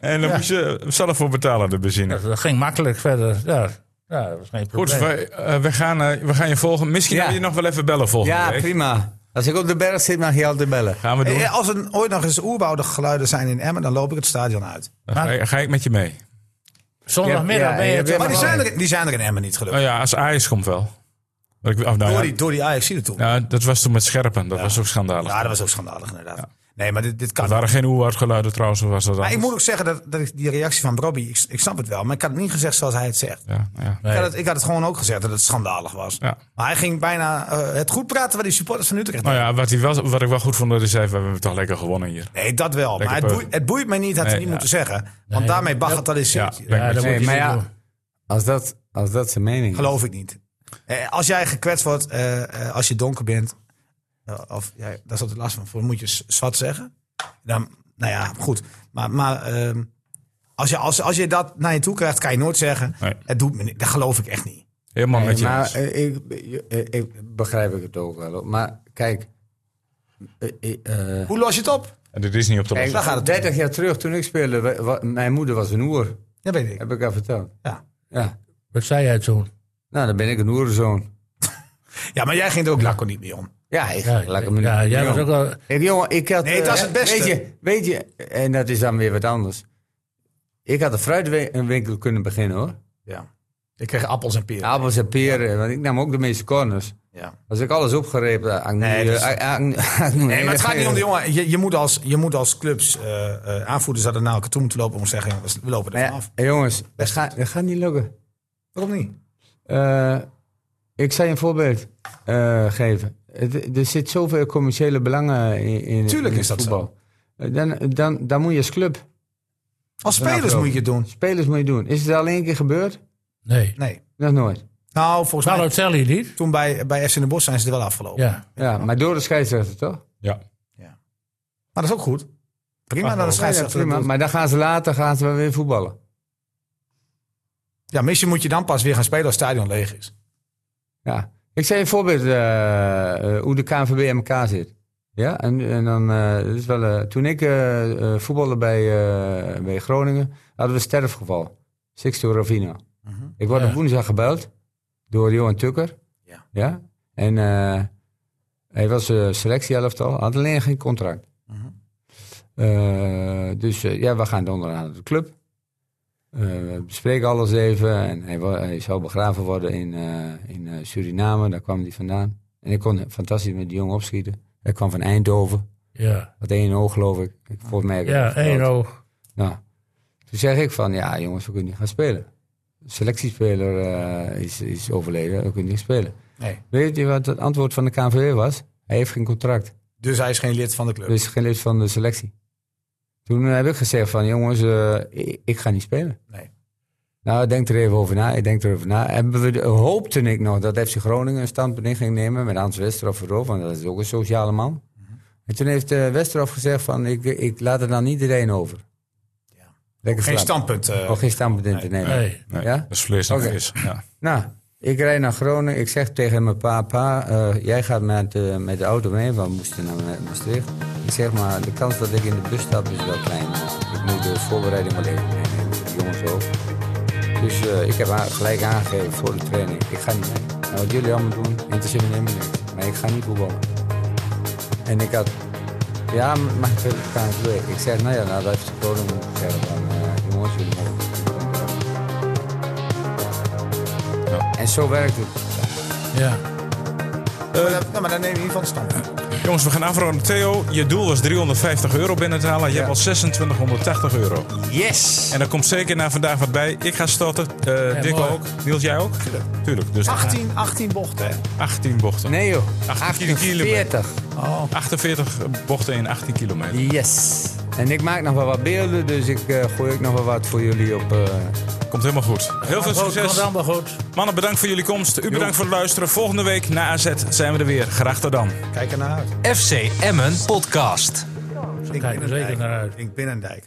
S2: En dan moet je zelf voor betalen, de benzine.
S3: Dat, dat ging makkelijk verder. Ja. Ja, dat was geen
S2: Goed,
S3: probleem.
S2: we, eh, we, gaan, eh, we gaan je volgen. Misschien
S4: Ja.
S2: wil je nog wel even bellen volgende
S4: Ja,
S2: week.
S4: prima. Als ik op de berg zit, mag je altijd bellen.
S2: Gaan we doen.
S1: Eh, Als er ooit nog eens oerbouwde geluiden zijn in Emmen, dan loop ik het stadion uit.
S2: Dan ga, ik- ga ik met je mee.
S3: Zondagmiddag
S4: Ja,
S3: ben
S4: ja,
S3: je
S4: ja,
S3: toch-
S1: Maar die
S4: maar-
S1: zijn er, die zijn er in Emmen niet
S2: Nou
S1: gelukkig.
S2: ja, als Ajax komt wel. Dat ik, of nou,
S1: Door
S2: ja,
S1: die, door die Ajax toen. Ja,
S2: nou, dat was toen met Scherpen. Dat was ook schandalig.
S1: dat was ook schandalig inderdaad. Nee, maar dit, dit
S2: Er
S1: kan
S2: waren geen oerwoudgeluiden trouwens. of Was dat
S1: Maar ik
S2: anders?
S1: moet ook zeggen dat, dat ik die reactie van Brobby, ik, ik snap het wel, maar ik had het niet gezegd zoals hij het zegt.
S2: Ja, ja.
S1: Ik, had het, ik had het gewoon ook gezegd dat het schandalig was.
S2: Ja.
S1: Maar hij ging bijna eh, het goed praten waar die supporters van Utrecht
S2: Nou ja, wat, hij wel, wat ik wel goed vond, dat hij zei, we hebben toch lekker gewonnen hier.
S1: Nee, dat wel.
S2: Lekker
S1: maar het
S2: peuter.
S1: boeit, het boeit mij niet, had hij
S2: Nee,
S1: niet
S2: ja.
S1: moeten zeggen. Want daarmee bagatelliseert
S2: Ja,
S1: je.
S2: ben ik
S3: Ja,
S2: met
S3: dat
S2: je.
S3: moet je
S4: maar
S3: niet
S4: ja,
S3: doen.
S4: Als dat, als dat zijn mening is.
S1: Geloof ik niet. Eh, als jij gekwetst wordt eh, eh, als je donker bent, eh, of jij, daar is altijd last van, voor, moet je z- zwart zeggen. Dan, nou ja, goed. Maar, maar ehm, als, je, als, als je dat naar je toe krijgt, kan je nooit zeggen,
S2: Nee.
S1: het doet me niet. Dat geloof ik echt niet.
S2: Helemaal met
S4: Nee,
S2: je.
S4: maar
S2: eens.
S4: eh, ik, eh, ik begrijp ik het ook wel. hoor. Maar kijk, eh, eh, eh,
S1: Hoe los je het op?
S2: En dit is niet op de
S4: kijk,
S2: losse.
S1: daar gaat het
S4: 30 jaar terug toen ik speelde, wa- wa- mijn moeder was een oer.
S1: Dat weet ik.
S4: Heb ik al verteld.
S1: Ja.
S4: Ja.
S3: Wat zei jij toen?
S4: Nou, dan ben ik een oerenzoon.
S1: ja, maar jij ging er ook laconiek niet mee om.
S4: Ja, ik,
S3: Ja,
S4: laat ik me
S3: ja,
S4: niet-
S3: jij was
S4: jongen.
S3: ook wel...
S4: Ik, jongen, ik had...
S1: Nee, dat is
S4: eh,
S1: het beste.
S4: Weet je, weet je, en dat is dan weer wat anders. Ik had een fruitwinkel kunnen beginnen hoor.
S1: Ja. Ik kreeg appels en peren.
S4: Appels en peren, want ik nam ook de meeste corners.
S1: Ja.
S4: Als ik alles opgerepen had,
S1: Nee, dat is- Nee, maar het gaat niet om de jongen. Je, je, moet, als, je moet als clubs eh, eh, aanvoerders dat er naar elkaar toe moeten lopen om te zeggen, jongens, we lopen er
S4: Maar ja, eh,
S1: vanaf.
S4: jongens, dat gaat, dat gaat niet lukken.
S1: Waarom niet?
S4: Eh, ik zal je een voorbeeld eh, geven. Het- er zit zoveel commerciële belangen in, in,
S1: Tuurlijk
S4: in
S1: is
S4: het
S1: dat zo.
S4: voetbal. Eh, Dan, dan, dan moet je als club,
S1: Als spelers moet je het doen.
S4: spelers moet je doen. Is het al één keer gebeurd?
S3: Nee.
S1: Nee.
S4: Nog nooit.
S1: Nou, volgens mij,
S3: Balotelli niet?
S1: toen bij, bij FC Den Bosch zijn ze er wel afgelopen.
S3: Ja.
S4: Ja, maar door de scheidsrechter toch?
S2: Ja.
S1: Maar dat is ook goed. Prima, dan
S4: Ja,
S1: scheidsrechter.
S4: prima.
S1: dat doet.
S4: Maar dan gaan ze later gaan ze wel weer voetballen.
S1: Ja, misschien moet je dan pas weer gaan spelen als het stadion leeg is.
S4: Ja. Ik zei een voorbeeld eh, eh, hoe de KNVB in elkaar zit. Ja, en, en dan, eh, dit is wel, eh, toen ik eh, eh, voetbalde bij, eh, bij Groningen, hadden we een sterfgeval. Sixto Ravina.
S1: Mhm.
S4: Ik word
S3: Ja.
S4: op woensdag gebeld door Johan Tukker.
S1: Ja.
S4: ja? En eh, hij was eh selectieelftal, had alleen geen contract.
S3: Mhm.
S4: Eh, dus eh, ja, we gaan donderdag naar de club. Eh, we bespreken alles even. En hij, wa- hij zou begraven worden in, eh, in eh, Suriname, daar kwam hij vandaan. En ik kon fantastisch met die jongen opschieten. Hij kwam van Eindhoven,
S3: Ja.
S4: had één oog geloof ik. ik volgens mij heb ik
S3: Ja,
S4: het verteld.
S3: één oog.
S4: Nou, toen zeg ik van, ja jongens, we kunnen niet gaan spelen. De selectiespeler eh, is, is overleden, we kunnen niet spelen.
S1: Nee.
S4: Weet je wat het antwoord van de KNVB was? Hij heeft geen contract,
S1: Dus hij is geen lid van de club.
S4: dus geen lid van de selectie. Toen eh, heb ik gezegd van, jongens, eh, ik, ik ga niet spelen.
S1: Nee.
S4: Nou, denk er even over na, ik denk erover na. Hebben we de- hoopte ik nog dat FC Groningen een standpunt in ging nemen met Hans Westerhof erop, want dat is ook een sociale man. En toen heeft eh, Westerhof gezegd van, ik, ik laat er dan iedereen over. Lekker
S1: Geen
S4: flap.
S1: standpunt. eh,
S4: Oh, geen standpunt in te nemen.
S3: Nee.
S2: Nee,
S4: Ja?
S2: Dat is vlees en
S4: Oké.
S2: vis. Ja.
S4: Nou, ik rijd naar Groningen. Ik zeg tegen mijn pa, pa, eh, jij gaat met, eh, met de auto mee. Want we moesten naar Me- Maastricht. Ik zeg maar, de kans dat ik in de bus stap is wel klein. maar Ik moet de voorbereiding wel even nemen. voor de Jongens ook. Dus eh, ik heb haar gelijk aangegeven voor de training. Ik ga niet mee. Nou, wat jullie allemaal doen, interesseert me helemaal niks. Maar ik ga niet voetballen. En ik had ja, maar ik wil het gaan doen. Ik zeg, nou ja, nou, dat heeft de koning moeten zeggen. Van, eh, jongens, jullie mogen. En zo werkt het.
S3: Ja.
S1: maar dat- nou, maar dan neem je in ieder geval een standpunt.
S2: Jongens, we gaan afronden. Theo, je doel was 350 euro binnen te halen. Je hebt al 2680 euro.
S1: Yes!
S2: En er komt zeker na vandaag wat bij. Ik ga starten. Eh Dick
S3: mooi.
S2: ook. Niels, jij ook? Tuurlijk. Dus
S1: 18, 18 bochten. hè?
S2: 18 bochten.
S4: Nee joh,
S2: 18 kilometer.
S4: 40.
S2: 48 bochten in 18 kilometer.
S4: Yes. En ik maak nog wel wat beelden, dus ik eh, gooi ook nog wel wat voor jullie op. eh,
S2: Komt helemaal goed. Heel veel
S3: Goed, Komt
S2: succes.
S3: allemaal goed.
S2: Mannen, bedankt voor jullie komst. U bedankt voor het luisteren. Volgende week na AZ zijn we er weer. Graag tot dan.
S1: Kijk er naar uit.
S5: FC Emmen Podcast.
S1: Denk
S3: Kijk er zeker naar uit.
S1: Denk Binnendijk.